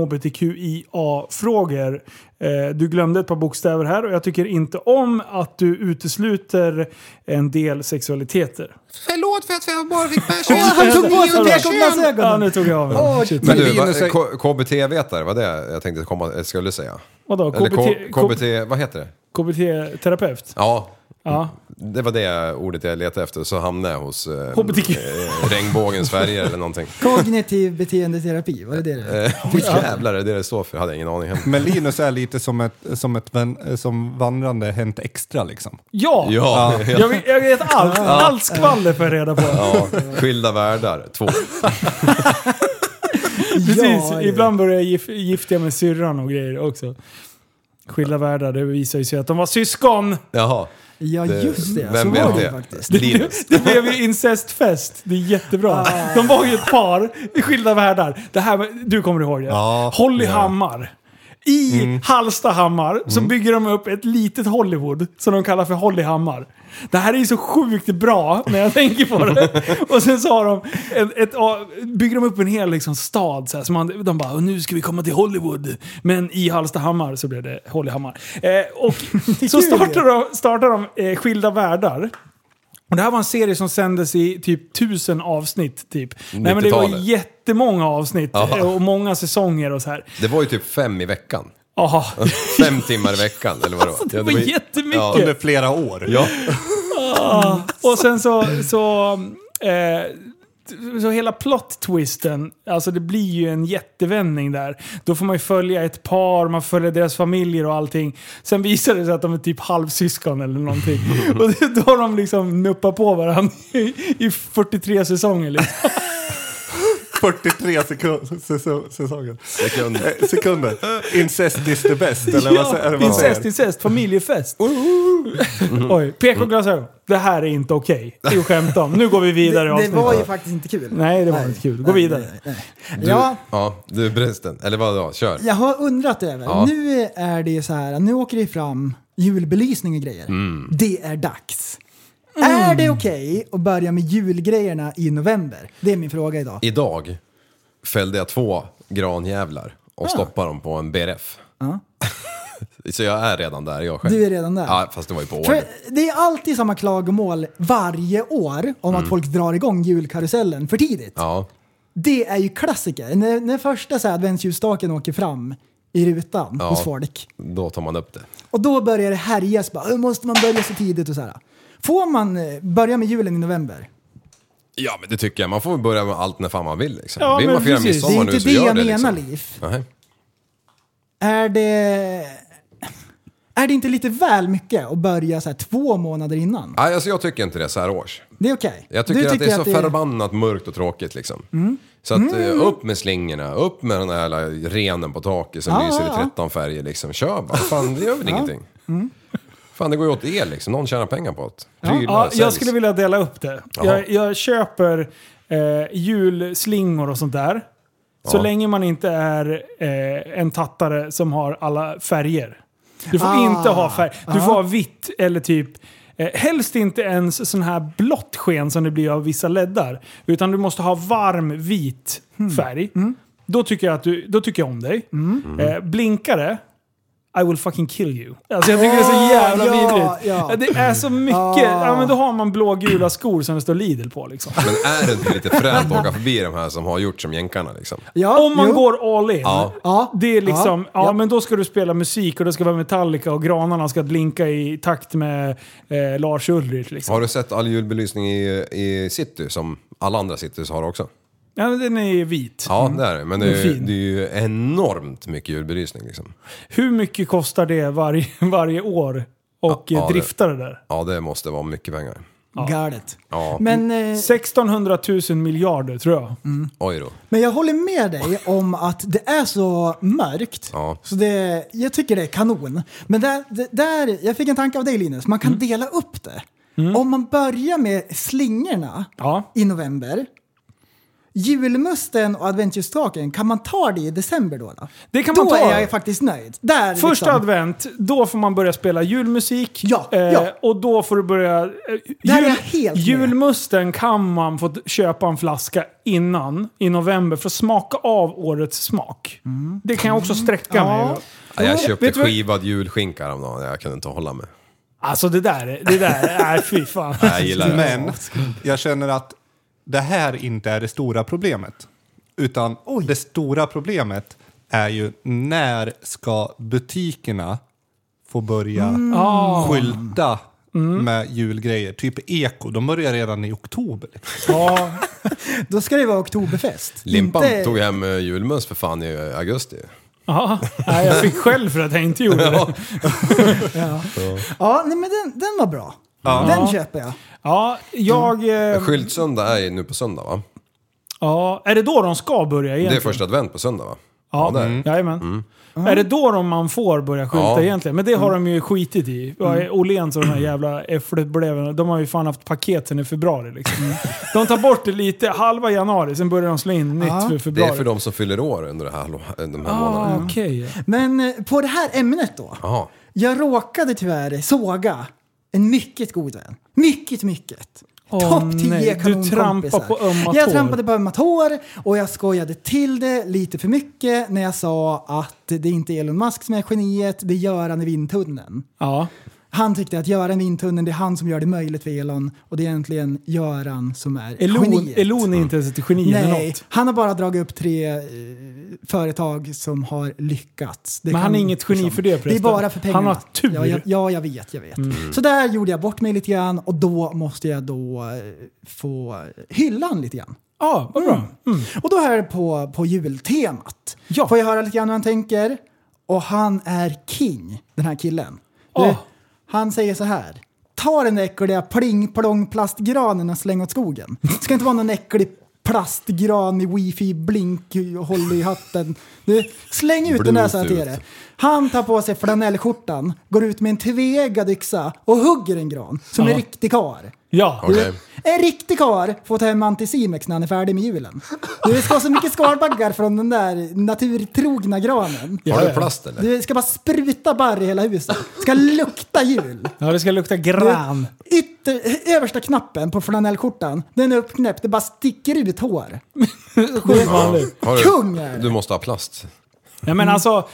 E: hbtqia-frågor. Eh, du glömde ett par bokstäver här och jag tycker inte om att du utesluter en del sexualiteter.
G: Förlåt för att jag bara fick bärs.
F: Åh, han tog på sig
E: Ja,
F: pekopplatsögonen!
E: nu tog jag av mig.
F: Åh, shit.
G: Men du,
I: Linus
G: vad-
I: är-
G: K- KBT-vetare, vad det jag tänkte komma, jag skulle säga?
E: Vadå?
G: Eller
E: KBT,
G: K- KBT, vad heter det?
E: KBT-terapeut?
G: Ja,
E: Ja.
G: det var det ordet jag letade efter, så hamnade jag hos eh,
E: HBTQ.
G: eh, regnbågens färger eller någonting.
F: Kognitiv beteendeterapi, var det det det
G: Åh jävlar, det är det det står för? hade jag ingen aning heller.
I: Men Linus är lite som ett, som ett vän, som vandrande Hänt Extra liksom.
E: Ja!
G: Ja,
E: Jag, vet, jag vet allt. Allt skvaller får jag reda på.
G: ja, skilda världar, två.
E: Precis,
F: Ja, ja.
E: ibland börjar jag gif gifta mig med syrran och grejer också. Skilda världar, det visar ju sig att de var syskon!
G: Jaha.
F: Ja, just det.
G: Vem
F: så var
G: vet
F: det
G: det?
F: faktiskt.
G: Linus.
E: Det blev ju incestfest, det är jättebra. De var ju ett par i skilda världar. Det här, med- du kommer ihåg det?
I: Ja.
E: Holly Hammar. I Hallstahammar så bygger de upp ett litet Hollywood som de kallar för Hollyhammar. Det här är ju så sjukt bra när jag tänker på det. Och sen så har de ett, ett, bygger de upp en hel liksom stad. Så här, så man, de bara nu ska vi komma till Hollywood. Men i Hallstahammar så blev det Hollyhammar. Eh, och så startar de, startar de eh, Skilda Världar. Och det här var en serie som sändes i typ tusen avsnitt. Typ. Nej, men det var
G: 90-talet.
E: jättemånga avsnitt
G: Ja.
E: eh, och många säsonger och så här.
G: Det var ju typ fem i veckan.
E: Jaha.
G: Fem timmar i veckan, eller vad det var.
E: Alltså, det
G: Ja,
E: var jättemycket.
I: Under flera år.
G: Ja,
E: Och sen så... så eh, så hela plot-twisten, alltså det blir ju en jättevändning där. Då får man ju följa ett par, man följer deras familjer och allting. Sen visar det sig att de är typ halvsyskon eller någonting. Och det- då har de liksom nuppat på varandra i, i 43 säsonger. Liksom.
I: 43 sekund, säso- säsonger.
G: sekund.
I: Eh, sekunder. Incest is the best, eller vad, sä- eller vad säger
E: incest, incest, familjefest. Oj, PK-glasögon. Det här är inte okej. Det är ju skämt om. Nu går vi vidare i
F: Det, det var ju
E: avsnittet.
F: faktiskt inte kul.
E: Nej, det var inte kul. Gå
F: nej,
E: vidare.
F: nej, nej.
G: Du,
F: Ja,
G: ja. du förresten. Eller vadå, kör.
F: jag har undrat över.
G: Ja.
F: Nu är det ju så här, nu åker det fram julbelysning och grejer.
G: Mm.
F: Det är dags. Är
E: Mm.
F: det okej att börja med julgrejerna i november? Det är min fråga idag.
G: Idag fällde jag två granjävlar
F: Ah.
G: och stoppade dem på en BRF. Så jag är redan där, jag själv.
F: Du är redan där.
G: Ja, fast det var ju på
F: För
G: order.
F: Eh, det är alltid samma klagomål varje år om
I: Mm.
F: att folk drar igång julkarusellen för tidigt.
G: Ja.
F: Det är ju klassiker. När, när första så här, adventsljusstaken åker fram i rutan
G: Ja.
F: hos folk.
G: Då tar man upp det.
F: Och då börjar det härjas. Bara, "Ö, måste man börja så tidigt? Och så här. Får man eh, börja med julen i november?
G: Ja, men det tycker jag. Man får väl börja med allt när fan man vill. Liksom.
E: Ja,
G: vill
E: men
G: man fira
E: precis.
F: Det är
G: midsommar
F: inte
G: nu så
F: det
G: gör
F: jag
G: det.
F: menar,
G: liksom.
F: Liv.
G: Nej.
F: Är det... Är det inte lite väl mycket att börja så här två månader innan?
G: Nej, alltså jag tycker inte det så här års.
F: Det är okej.
G: Jag
F: Du
G: tycker, att det är så
F: det-
G: förbannat mörkt och tråkigt liksom. Så att, eh, upp med slingorna, upp med den där jävla renen på taket som
F: Ja,
G: lyser
F: ja,
G: i
F: ja.
G: 13 färger liksom. Kör bara, fan det gör väl ingenting. Fan det går ju åt el liksom, någon tjänar pengar på det. Prylar,
E: Ja, jag
G: säljs.
E: skulle vilja dela upp det.
G: Jaha.
E: Jag, jag köper eh, julslingor och sånt där. Så
G: Ja.
E: länge man inte är eh, en tattare som har alla färger. Du får
F: Ah.
E: inte ha färg. Du får ha vitt eller typ... Eh, helst inte ens sån här blått sken som det blir av vissa leddar. Utan du måste ha varm vit
F: Hmm.
E: färg. Då, tycker jag att du, då tycker jag om dig.
F: Hmm.
E: Eh, blinkare. I will fucking kill you. Alltså jag tycker det är så jävla
F: ja,
E: vidrigt.
F: ja.
E: Det är så mycket.
F: Ah.
E: Ja, men då har man blågula skor som det står Lidl på liksom.
G: Men är det inte lite fränt att åka förbi de här som har gjort som jänkarna liksom?
F: Ja,
E: Om man
F: jo.
E: går all in.
G: Ja.
F: Ja.
E: Det är liksom, ja,
F: Ja.
E: men då ska du spela musik och det ska vara Metallica och granarna ska blinka i takt med eh, Lars Ulrich. Liksom.
G: Har du sett all julbelysning i, i city som alla andra citys har också?
E: Ja, men den är ju vit.
G: Ja, det är det. Men det
E: Den är
G: är, ju-
E: fin.
G: det är ju enormt mycket julbelysning liksom.
E: Hur mycket kostar det varje, varje år? Och
G: Ja, ja,
E: eh,
G: det-
E: drifta det där?
G: Ja, det måste vara mycket pengar.
F: Galet.
G: Ja,
F: Men, eh,
E: 1600 000 miljarder tror jag.
F: Mm.
G: oj då.
F: men jag håller med dig om att det är så mörkt.
G: Ja.
F: Så det, jag tycker det är kanon. Men där, det- där, jag fick en tanke av dig Linus, man
E: Mm.
F: kan dela upp det. Om man börjar med slingorna
E: Ja.
F: i november. Julmusten och adventsljusstaken, kan man ta det i december då? Då,
E: Det kan
F: då
E: man ta.
F: är jag faktiskt nöjd. Där,
E: Första
F: liksom.
E: advent, då får man börja spela julmusik.
F: Ja, ja.
E: Och då får du börja... eh,
F: Där är jag helt med.
E: julmusten kan man få t- köpa en flaska innan, i november, för att smaka av årets smak.
F: Mm.
E: Det kan jag också sträcka mig
G: Ja, jag köpte
E: Vet du vad-
G: skivad julskinka häromdagen, jag kunde inte hålla mig.
E: Alltså det där, det där, nej fy fan.
G: Nej, Jag gillar det.
I: Men jag känner att det här inte är det stora problemet. Utan det stora problemet är ju när ska butikerna få börja
G: Ah.
I: skylta med julgrejer? Typ eko, de börjar redan i oktober.
E: Ja,
F: då ska det vara oktoberfest.
G: Limpan
F: Inte-
G: tog hem eh, julmöss för fan i eh, augusti.
E: ja. Nej, jag fick skäll för att jag inte gjorde det.
F: Ja, nej, men den, den var bra. Den köper jag.
E: Ja, jag...
G: Mm.
E: Eh,
G: Skyltsöndag är ju nu på söndag va?
E: ja, är det då de ska börja
G: Det är
E: egentligen?
G: första advent på söndag va?
E: Ja, mm.
G: Ja, där. Mm.
E: jajamän. Är det då de man får börja skylta
G: Ja.
E: egentligen? Men det har de ju skitit i. Mm. Åhléns och de här jävla äfflebleven, de har ju fan haft paket sen i februari liksom.
G: Mm.
E: De tar bort det lite, halva januari, sen börjar de slå in nytt för
G: Det
E: februari.
G: är för de som fyller år under det här, halv- de här
E: Ah,
G: månaderna.
E: okej.
F: Men eh, på det här ämnet då.
G: Jaha.
F: Jag råkade tyvärr såga en mycket god vän. Mycket, mycket.
E: Åh,
F: Topp 10
E: nej. Du
F: kanonkompisar.
E: trampade på ömma
F: Jag
E: tår.
F: trampade på ömma tår och jag skojade till det lite för mycket när jag sa att det är inte Elon Musk som är geniet, det är Göran i vindtunneln.
E: Ja.
F: Han tyckte att Göran i vindtunneln, det är han som gör det möjligt för Elon och det är egentligen Göran som är
E: Elon,
F: geniet.
E: Elon är inte ens ett geni eller
F: Nej,
E: något.
F: han har bara dragit upp tre eh, företag som har lyckats. Det liksom-
E: Men han är inget geni för det
F: Det är
E: förresten.
F: bara för pengarna.
E: Han har tur. Mm.
F: Ja, jag, ja, jag vet, jag vet. Så där gjorde jag bort mig lite grann och då måste jag då eh, få hylla han lite grann.
E: Ja, vad
F: Mm.
E: bra. Mm.
F: Och då hör jag på, på jultemat.
E: Ja.
F: Får jag höra lite grann hur han tänker? Och han är king, den här killen. Du,
E: Ah.
F: Han säger så här. Ta den där äckliga pling-plong-plastgranen och släng åt skogen. Det ska inte vara någon äcklig plastgran i wifi blink håll i hatten. Du, släng ut den där så här till er. Han tar på sig flanellskjortan, går ut med en tveeggad yxa och hugger en gran som
E: Ja.
F: en riktig kar.
E: Ja.
G: Okej.
F: En riktig kar får ta hem antisimex när han är färdig med julen. Det ska så mycket skalbaggar från den där naturtrogna granen.
G: Har du plast eller?
F: Det ska bara spruta barr i hela huset. Det ska lukta jul.
E: ja, det ska lukta gran.
F: Ytter, översta knappen på flanellskjortan, den är uppknäppt. Det bara sticker ut hår.
E: Sjukt vanligt.
G: Har du-
F: Kung är det.
G: Du måste ha plast.
E: Ja, men alltså,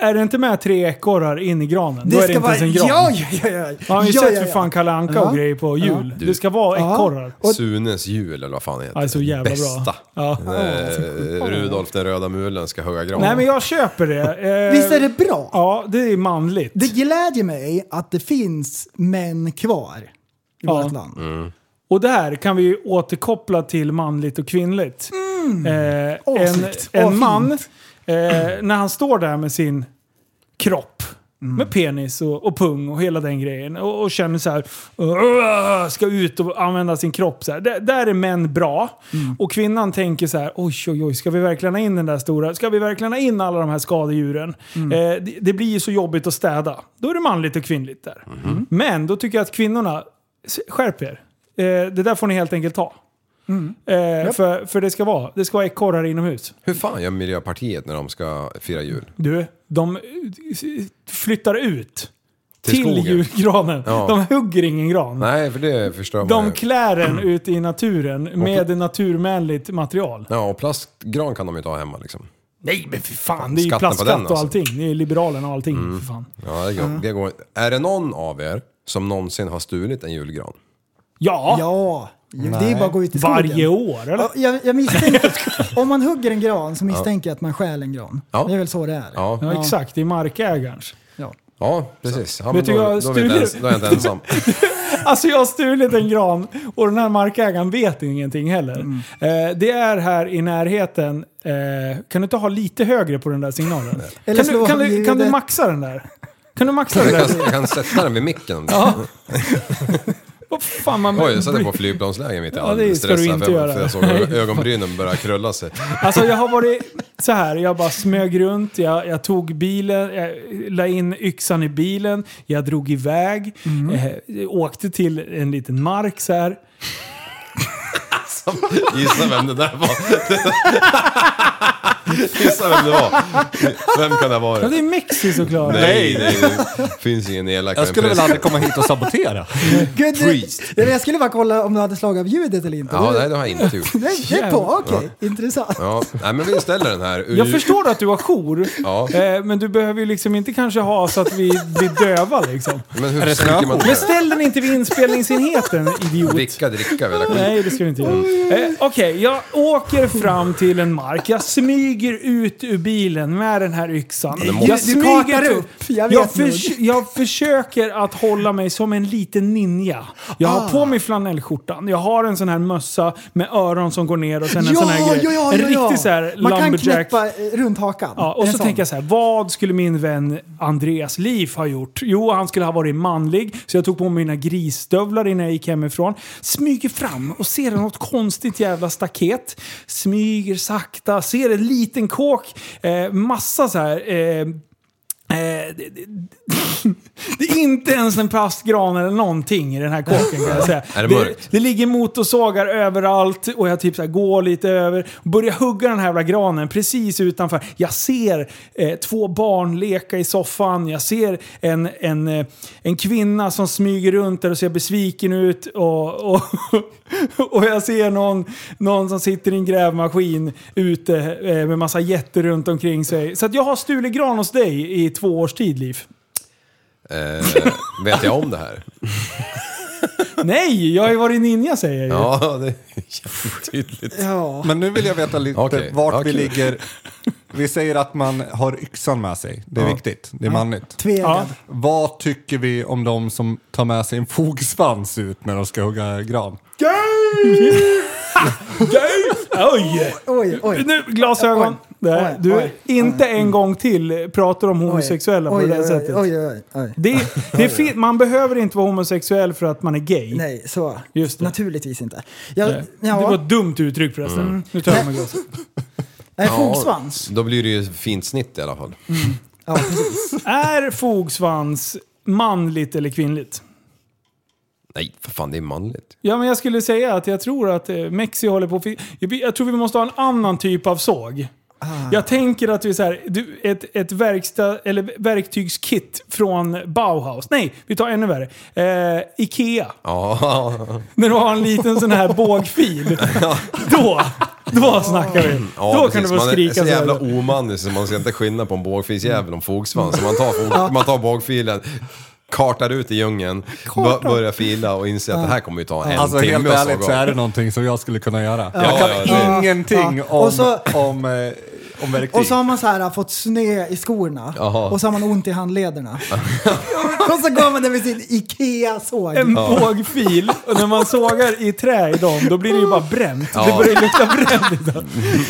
E: är det inte med tre ekorrar in i granen, då
F: Det
E: är det inte ens en gran.
F: Ja, ja, ja. ja.
E: Man har ju
F: ja,
E: sett
F: ja,
E: för
F: ja.
E: fan Kalle Anka
F: Ja.
E: och grejer på jul. Det ska vara
F: Ja.
E: ekorrar.
F: Och-
G: Sunes jul eller vad fan det heter.
E: Ja, det är så jävla
G: Bästa.
E: bra. Ja.
G: Eh, Rudolf den röda mulen ska hugga gran.
E: Nej men jag köper det. Eh,
F: Visst är det bra?
E: Ja, det är manligt.
F: Det glädjer mig att det finns män kvar i
E: Ja. Mm.
F: vårt land.
E: Och där kan vi ju återkoppla till manligt och kvinnligt. Eh, en
F: snyggt. Mm. Åh,
E: en
F: fint.
E: man, eh, när han står där med sin kropp, med penis och, och pung och hela den grejen och, och känner så här, "Åh, ska ut och använda sin kropp. Så här. Där, där är män bra. Och kvinnan tänker så här, oj oj oj, ska vi verkligen ha in den där stora, ska vi verkligen ha in alla de här skadedjuren? Eh, det, det blir ju så jobbigt att städa. Då är det manligt och kvinnligt där. Men då tycker jag att kvinnorna, s- skärp er. Eh, det där får ni helt enkelt ta. Eh, för, för det ska vara, det ska vara ekorrar inomhus.
G: Hur fan gör Miljöpartiet när de ska fira jul?
E: Du, de eh, flyttar ut
G: Till
E: till,
G: skogen.
E: julgranen.
G: Ja.
E: De hugger ingen gran.
G: Nej, för det förstör man
E: De
G: ju.
E: klär den ute i naturen med naturvänligt material.
G: Ja, och plastgran kan de ju inte ha hemma liksom.
E: Nej men för fan, det är ju
G: Skatten på
E: plastskatt
G: den, alltså. Mm.
E: och allting. Det är ju Liberalerna och allting. För fan.
G: Ja, det går, det går inte. Är det någon av er som någonsin har stulit en julgran?
E: Ja,
F: Ja, ju- det är bara att gå ut i skogen.
E: varje år eller?
F: Ja, Jag, jag misstänker, om man hugger en gran så misstänker jag att man stjäl en gran.
G: Ja.
F: Det är väl så det är.
G: Ja,
E: Ja, exakt, det är markägarens.
G: ja precis. Ja,
E: Vet
G: men
E: du,
G: då,
E: jag
G: då, är vi inte ens, då är jag inte ensam.
E: Alltså jag har stulit en gran och den här markägaren vet ingenting heller.
F: Mm.
E: Eh, det är här i närheten. Eh, kan du inte ha lite högre på den där signalen?
F: Eller
E: kan, du,
F: slå
E: kan, du, kan du
F: ljudet.
E: maxa den där? Kan du maxa den
G: Jag
E: där?
G: kan, jag kan sätta den vid micken om det.
E: Vad fan man...
G: Oj, jag satte på flygplansläge mitt i all
E: Ja, det ska du
G: stress här,
E: inte
G: för,
E: göra.
G: för jag såg hur ögonbrynen börja krulla sig.
E: Alltså jag har varit så här, jag bara smög runt, jag, jag tog bilen, jag la in yxan i bilen, jag drog iväg,
F: Mm.
E: eh, åkte till en liten mark så här.
G: Gissa vem det där var. Gissa vem det var. Vem kan det ha
E: Ja, det
G: varit?
E: är Mexi såklart.
G: Nej, nej, nej. Finns ingen elakare
I: Jag skulle
G: än
I: väl
G: präst.
I: aldrig komma hit och sabotera.
F: Gud,
G: Priest.
F: det, jag skulle bara kolla om du hade slagit av ljudet eller inte.
G: Ja,
F: det,
G: nej, det har jag inte gjort.
F: det, det är på, okej. Intressant.
G: Ja, nej, men vi ställer den här.
E: Jag förstår att du har jour,
G: Ja.
E: eh, men du behöver ju liksom inte kanske ha så att vi blir döva liksom.
G: Men hur tänker man
E: Men
G: det?
E: ställ den inte vid inspelningsenheten, idiot.
G: Dricka, dricka, hela skiten.
E: Nej, det ska du inte göra. Eh, Okej, jag åker fram till en mark. Jag smyger ut ur bilen med den här yxan.
G: det
E: jag
F: Du kakar upp, jag
E: Jag,
F: vet nog.
E: förs- jag försöker att hålla mig som en liten ninja. Jag har
F: Ah.
E: på mig flanellskjortan, jag har en sån här mössa med öron som går ner och sen en sån här grej. en riktig så här
F: Man kan
E: lumberjack.
F: knäppa eh, runt hakan.
E: Ja,
F: Är
E: och
F: det
E: så
F: sån?
E: tänker jag så här, vad skulle min vän Andreas Liv ha gjort? Jo, han skulle ha varit manlig, så jag tog på mig mina grisstövlar innan jag gick hemifrån. Smyger fram och ser något konstigt jävla staket. Smyger sakta, ser en liten kåk, eh, massa så här... Eh, Eh, det, det, det är inte ens en plastgran eller någonting i den här kåken kan jag säga.
G: Är det mörkt?
E: det ligger motorsågar överallt och jag typ så här går lite över och börjar hugga den här jävla granen precis utanför. Jag ser eh, två barn leka i soffan. Jag ser en, en, eh, en kvinna som smyger runt där och ser besviken ut. Och, och, och jag ser någon, någon som sitter i en grävmaskin ute eh, med massa jätter runt omkring sig. Så att jag har stulit gran hos dig i två års tid, Liv.
G: Eh, vet jag om det här?
E: Nej, jag har ju varit ninja säger jag ju.
G: Ja, det är jättetydligt.
F: Ja.
I: Men nu vill jag veta lite
G: Okej,
I: vart
G: ja,
I: vi
G: kul.
I: ligger. Vi säger att man har yxan med sig. Det är viktigt. Det är manligt.
F: Tvegad.
E: Ja.
I: Vad tycker vi om de som tar med sig en fogsvans ut när de ska hugga gran?
E: Oj!
F: Oj, oj.
E: Nu, glasögon.
F: Oj.
E: Nej,
F: Oj,
E: Du,
F: oj.
E: inte en gång till pratar om homosexuella på
F: oj,
E: det där
F: oj,
E: sättet.
F: Oj, oj, oj.
E: Det, det är fel. Man behöver inte vara homosexuell för att man är gay.
F: Nej, så.
E: Just det.
F: Naturligtvis inte. Jag,
E: Nej.
F: ja,
E: Det var ett dumt uttryck förresten. Nu tar jag med glasögon.
F: nej, fogsvans.
G: Då blir det ju fint snitt i alla fall.
F: Ja, precis.
E: Är fogsvans manligt eller kvinnligt?
G: Nej, för fan, det är manligt.
E: Ja, men jag skulle säga att jag tror att eh, Mexi håller på att fi- jag, bi- jag tror vi måste ha en annan typ av såg.
G: Ah.
E: Jag tänker att vi så här, du, ett, ett verkstad, eller verktygskit från Bauhaus. Nej, vi tar ännu värre. Eh, Ikea.
G: Ja,
E: När du har en liten sån här bågfil. Då, då snackar vi.
G: Mm. ja
E: då kan
G: precis.
E: du få skrika
G: Man är så jävla
E: här.
G: omanlig så man ska inte skilja på en bågfilsjävel och en fogsvans. Så Man tar, fog, man tar bågfilen, kartar ut i djungeln, bör, börjar fila och inser att det här kommer ju ta en
I: Alltså
G: timme
I: helt
G: att
I: ärligt
G: såga
I: så
G: av.
I: är det någonting som jag skulle kunna göra.
G: Ja,
I: jag
G: ja,
I: kan
G: det-
I: ingenting
F: Ja. Och
I: om,
F: så-
I: om, eh,
G: om verktyg.
F: Och så har man så här, äh, fått snö i skorna
G: Typ. Jaha.
F: och så har man ont i handlederna. och så går man där med sin IKEA-såg.
E: En bågfil. Och när man sågar i trä i dem, då blir det ju bara bränt. Det
G: Ja.
E: börjar ju lukta bränt. idag.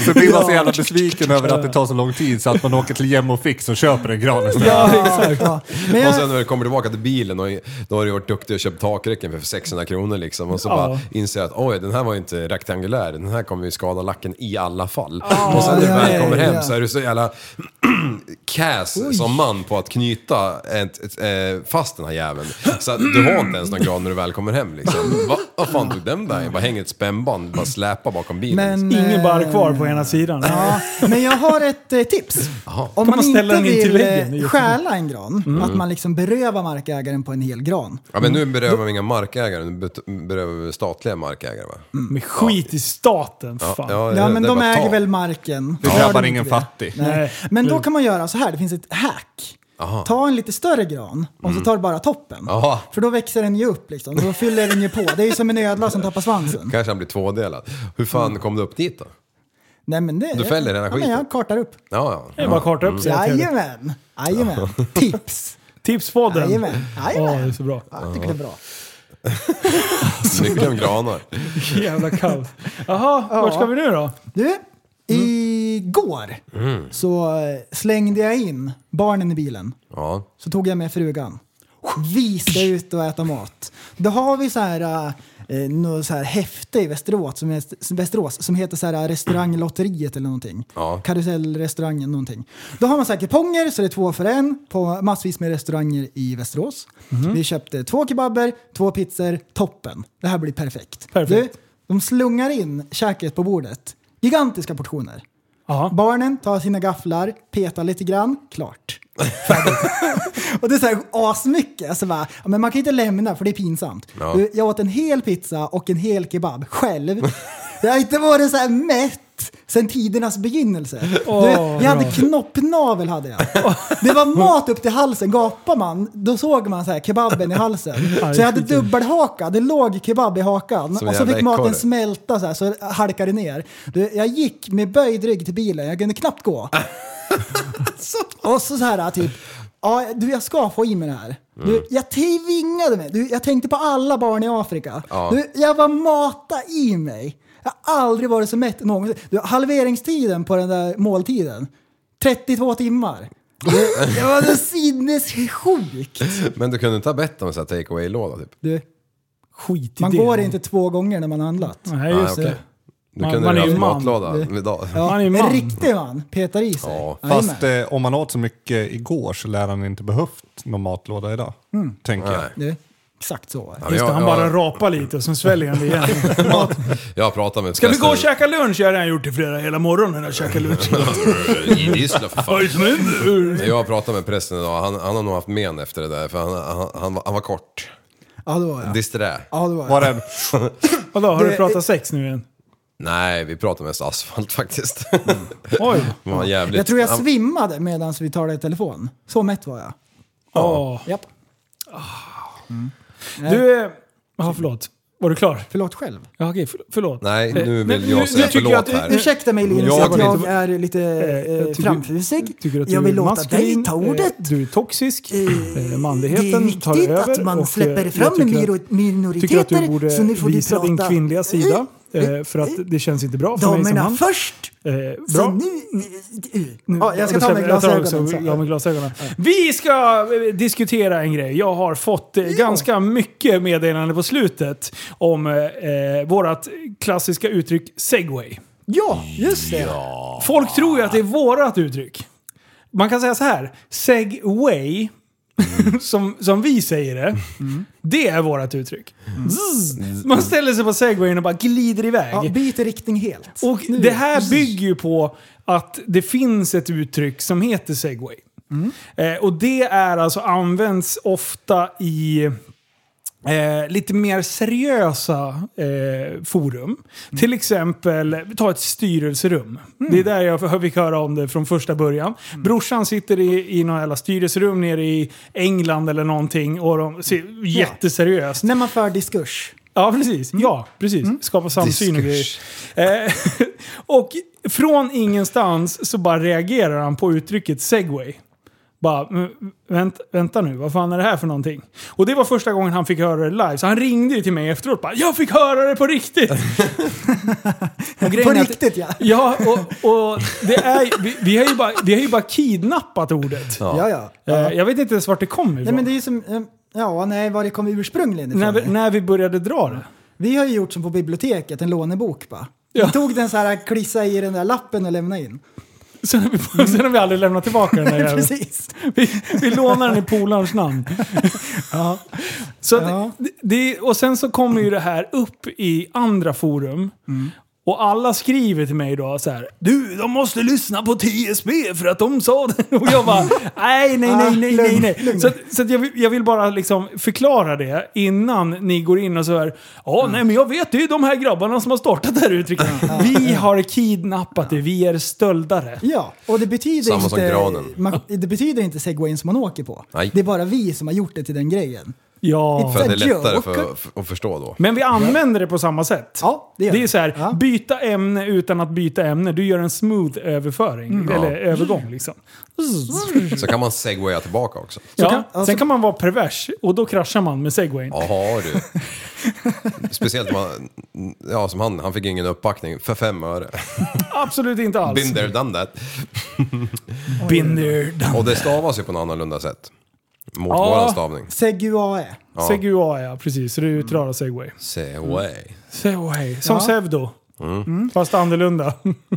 I: Så blir man så jävla besviken över att det tar så lång tid så att man åker till Gem och Fix och köper en gran istället.
F: Ja, exakt. Ja. Men
G: Och
F: jag,
G: sen när du kommer tillbaka till bilen, och, då har du varit duktig och köpt takräcken för 600 kronor liksom. Och så
E: Ja.
G: bara inser jag att oj, den här var ju inte rektangulär. Den här kommer ju skada lacken i alla fall. och sen när du
F: ja,
G: väl
F: ja,
G: kommer hem
F: ja.
G: så är du så jävla kass som man på att knyta ett, ett, eh, fast den här jäveln. Så att du har inte ens någon gran när du väl kommer hem liksom. Va, vad fan tog den vägen? Bara hänger ett spännband, bara släpa bakom bilen.
F: men,
E: Ingen barr
F: eh,
E: kvar på ena sidan.
F: Ja, men jag har ett eh, tips. Om
E: Kan man ställa
F: inte
E: den in till
F: vill, eh,
E: väggen? Det är jättebra.
F: stjäla en gran,
G: Mm.
F: att man liksom berövar markägaren på en hel gran.
G: Ja, men nu berövar vi inga markägare, nu bet- berövar vi statliga markägare va?
F: Mm.
E: Med skit i staten, för fan.
F: Ja, men
G: det är
F: de
G: bara
F: äger
G: ta.
F: väl marken.
I: Det
F: Gör de
I: drabbar
F: inte
I: ingen
F: det?
I: fattig.
F: Nej.
E: Nej.
F: Men då
E: Mm.
F: kan man göra så här, det finns ett hack. Ta en lite större gran och så tar du bara toppen.
G: Mm. Jaha.
F: För då växer den ju upp liksom. Då fyller den ju på. Det är ju som en ödla som tappar svansen.
G: Kanske han blir tvådelad. Hur
F: Mm.
G: fan kom du upp dit då?
F: Nej, men det,
G: Du fäller den här
F: ja, men
G: skiten.
F: jag kartar upp.
G: Ja,
E: Det
G: ja.
E: är bara att karta upp sig. helt enkelt.
F: Jajamän! Jajamän! Tips!
E: Tipspodden.
F: Jajamän!
E: Ja,
F: Jajamän!
E: det är så bra.
F: Ja, jag tycker det är bra.
G: Mycket om granar.
E: Jävla kaos. Jaha, vart ska vi nu då?
G: Mm.
F: Du, igår så eh, slängde jag in barnen i bilen.
G: Ja.
F: Så tog jag med frugan. Vi ska ut och äta mat. Då har vi så här, eh, något så här häfte i Västerås som, är, Västerås som heter så här restauranglotteriet eller någonting.
G: Ja.
F: Karusellrestaurangen någonting. Då har man så här kuponger så det är två för en på massvis med restauranger i Västerås. Vi köpte två kebaber, två pizzor, toppen. Det här blir perfekt.
E: Perfekt.
F: Du, de slungar in käket på bordet. Gigantiska portioner.
E: Jaha.
F: Barnen tar sina gafflar, petar lite grann, klart. Färdigt. och det är så här asmycket. Alltså bara, ja, men man kan ju inte lämna för det är pinsamt.
G: Ja.
F: Du, Jag åt en hel pizza och en hel kebab själv. Jag har inte varit så här mätt sen tidernas begynnelse.
E: Åh,
F: du, jag hade
E: bra.
F: knoppnavel hade jag. Det var mat upp till halsen. Gapade man, då såg man så här kebaben i halsen. Så jag hade dubbelhaka. Det låg kebab i hakan.
G: Som en
F: och så
G: jävla
F: fick maten
G: ekorre.
F: smälta så här så halkade det ner. Du, jag gick med böjd rygg till bilen. Jag kunde knappt gå. Och så så här typ, ja, du jag ska få i mig det här.
G: Mm.
F: Du, jag tvingade mig. Du, jag tänkte på alla barn i Afrika.
G: Ja.
F: Du, jag var mata i mig. Jag har aldrig varit så mätt någonsin. Du, halveringstiden på den där måltiden, 32 timmar. Du, jag var så sinnessjukt.
G: Men du kunde inte ha bett om en sån här take away-låda typ?
F: Du,
E: Skit i
F: man
E: det.
F: går inte två gånger när man har handlat.
E: Nej, just
G: Ah, okej.
E: det.
G: Du
E: Man-
G: kunde
E: man
G: ju
E: är
G: ha
E: ju man.
G: haft matlåda idag.
F: Ja,
E: Man är ju
F: en
E: man.
F: riktig man petar i sig.
G: Ja,
F: Jajamän.
I: Fast eh, om man åt så mycket igår så lär han inte behövt någon matlåda idag. Tänker jag.
G: Nej.
F: Du, exakt så är det.
G: Ja, men
E: Just det, han
G: jag,
E: bara
G: jag,
E: rapar lite och sen sväljer han det igen.
G: jag har pratat med
E: Ska vi gå och käka lunch? Jag har redan gjort det flera hela morgonen. Jag käkar lunch.
G: Gissla för
E: Vad är det
G: fan.
E: som händer?
G: Jag har pratat med prästen idag, han, han har nog haft men efter det där för han, han, han, var- han var kort.
F: Ja, då var jag.
G: Disträ.
F: Ja, då var jag.
I: Var det,
E: Vadå, har du pratat sex nu igen?
G: Nej, vi pratar mest asfalt faktiskt.
E: Mm. Oj.
G: Det var jävligt.
F: Jag tror jag
G: Han-
F: svimmade medan vi talade i telefon. Så mätt var jag.
E: Ja.
F: Japp.
E: Du, eh, jaha förlåt. Var du klar?
F: Förlåt själv.
E: Ja, okej, för- förlåt.
G: Nej, nu
E: Nej,
G: vill jag säga
E: tycker
G: förlåt
E: jag att-
G: här.
F: Ursäkta mig Linus
G: Jag
F: att
G: vill
F: jag
G: inte-
F: är lite
E: Eh, jag
F: eh,
E: tycker-
F: framfusig.
E: Tycker att
F: Jag
E: du
F: vill
E: är
F: låta
E: maskulin,
F: dig ta ordet.
E: eh, Du är toxisk. Eh,
F: Det är
E: manligheten tar
F: viktigt
E: över.
F: att man
E: och, eh,
F: släpper
E: jag
F: fram
E: tycker att-
F: minor-
E: tycker att du
F: minoriteter.
E: borde
F: Så nu får du
E: visa din
F: prata.
E: kvinnliga sida.
F: Eh,
E: Eh, för att det känns inte bra för mig som
F: Damerna
E: man.
F: först!
E: Eh,
F: Så
E: bra.
F: nu... Ja, jag ska ta
E: Då
F: med
E: jag tar också
F: glasögonen sen.
E: av mig glasögonen. Vi ska eh, diskutera en grej. Jag har fått eh, ganska mycket meddelande på slutet om eh, eh, vårat klassiska uttryck segway.
F: Ja, just det.
E: Folk tror ju att det är vårat uttryck. Man kan säga så här. Segway, som, som vi säger det, det är vårat uttryck. Zzz. Man ställer sig på segwayen och bara glider iväg.
F: Ja, byt riktning helt.
E: Och det här bygger ju på att det finns ett uttryck som heter segway. Eh, och det är alltså används ofta i eh, lite mer seriösa eh, forum. Till exempel, vi tar ett styrelserum. Det är där jag fick höra om det från första början. Brorsan sitter i, i några jävla styrelserum nere i England eller någonting och de ser jätteseriöst.
F: När man för diskurs.
E: Ja, precis. Ja, precis. Skapa samsyn och grejer. Eh, Och från ingenstans så bara reagerar han på uttrycket segway. Bara, "Men, vänt, vänta nu, vad fan är det här för någonting? Och det var första gången han fick höra det live, så han ringde ju till mig efteråt bara, jag fick höra det på riktigt! Och grejen
F: På
E: är att-
F: riktigt ja.
E: Ja, och, och det är, vi, vi, har ju bara, vi har ju bara kidnappat ordet.
F: Ja, ja.
E: Eh, Jag vet inte ens vart det kom ifrån.
F: Nej men det är ju som, eh, ja nej var det kom ursprungligen ifrån.
E: när, vi, när vi började dra det.
F: Vi har ju gjort som på biblioteket, en lånebok bara.
E: Ja.
F: Vi tog den så här, klissa i den där lappen och lämna in.
E: Sen har vi, sen har vi aldrig lämnat tillbaka den där jäveln.
F: Mm. Precis.
E: Vi, vi lånar den i polarens namn. Så att
F: Ja.
E: det, det, och sen så kommer ju det här upp i andra forum. Och alla skriver till mig då så här. Du, de måste lyssna på TSB för att de sa det. Och jag bara, nej, nej, nej, nej, nej. nej. Så, att, så att jag, vill- jag vill bara liksom förklara det innan ni går in och så här. Ja, nej, men jag vet, det är de här grabbarna som har startat det här uttrycket. Vi har kidnappat det, vi är stöldare.
F: Ja, och det betyder
G: Samma som
F: inte...
G: granen.
F: Man, det betyder inte segwayen som man åker på.
G: Nej.
F: Det är bara vi som har gjort det till den grejen.
E: Ja.
G: För att det är
F: It's a
G: lättare
F: joke.
G: för, för, att förstå då.
E: Men vi använder det på samma sätt.
F: Ja, det gör
E: Det är
F: vi.
E: så här,
F: Ja.
E: byta ämne utan att byta ämne. Du gör en smooth överföring,
F: Mm.
E: eller övergång liksom.
G: Så kan man segwaya tillbaka också.
E: Ja.
F: kan- Mm. ja,
E: Sen
F: så-
E: kan man vara pervers och då kraschar man med segwayn.
G: Jaha du. Speciellt om man, ja som han, han fick ingen uppbackning för fem öre.
E: Absolut inte alls.
G: Been there, done that.
E: Binder.
G: Och det stavas ju på något annorlunda sätt. Mot
E: Ja.
G: våran stavning.
F: Seguae.
G: Ja.
E: Segua ja, precis. Så det är utrara segway.
G: Segway.
E: Mm. Segway. Som
F: Mm. Ja.
E: Sevdo.
G: Mm.
E: Fast annorlunda.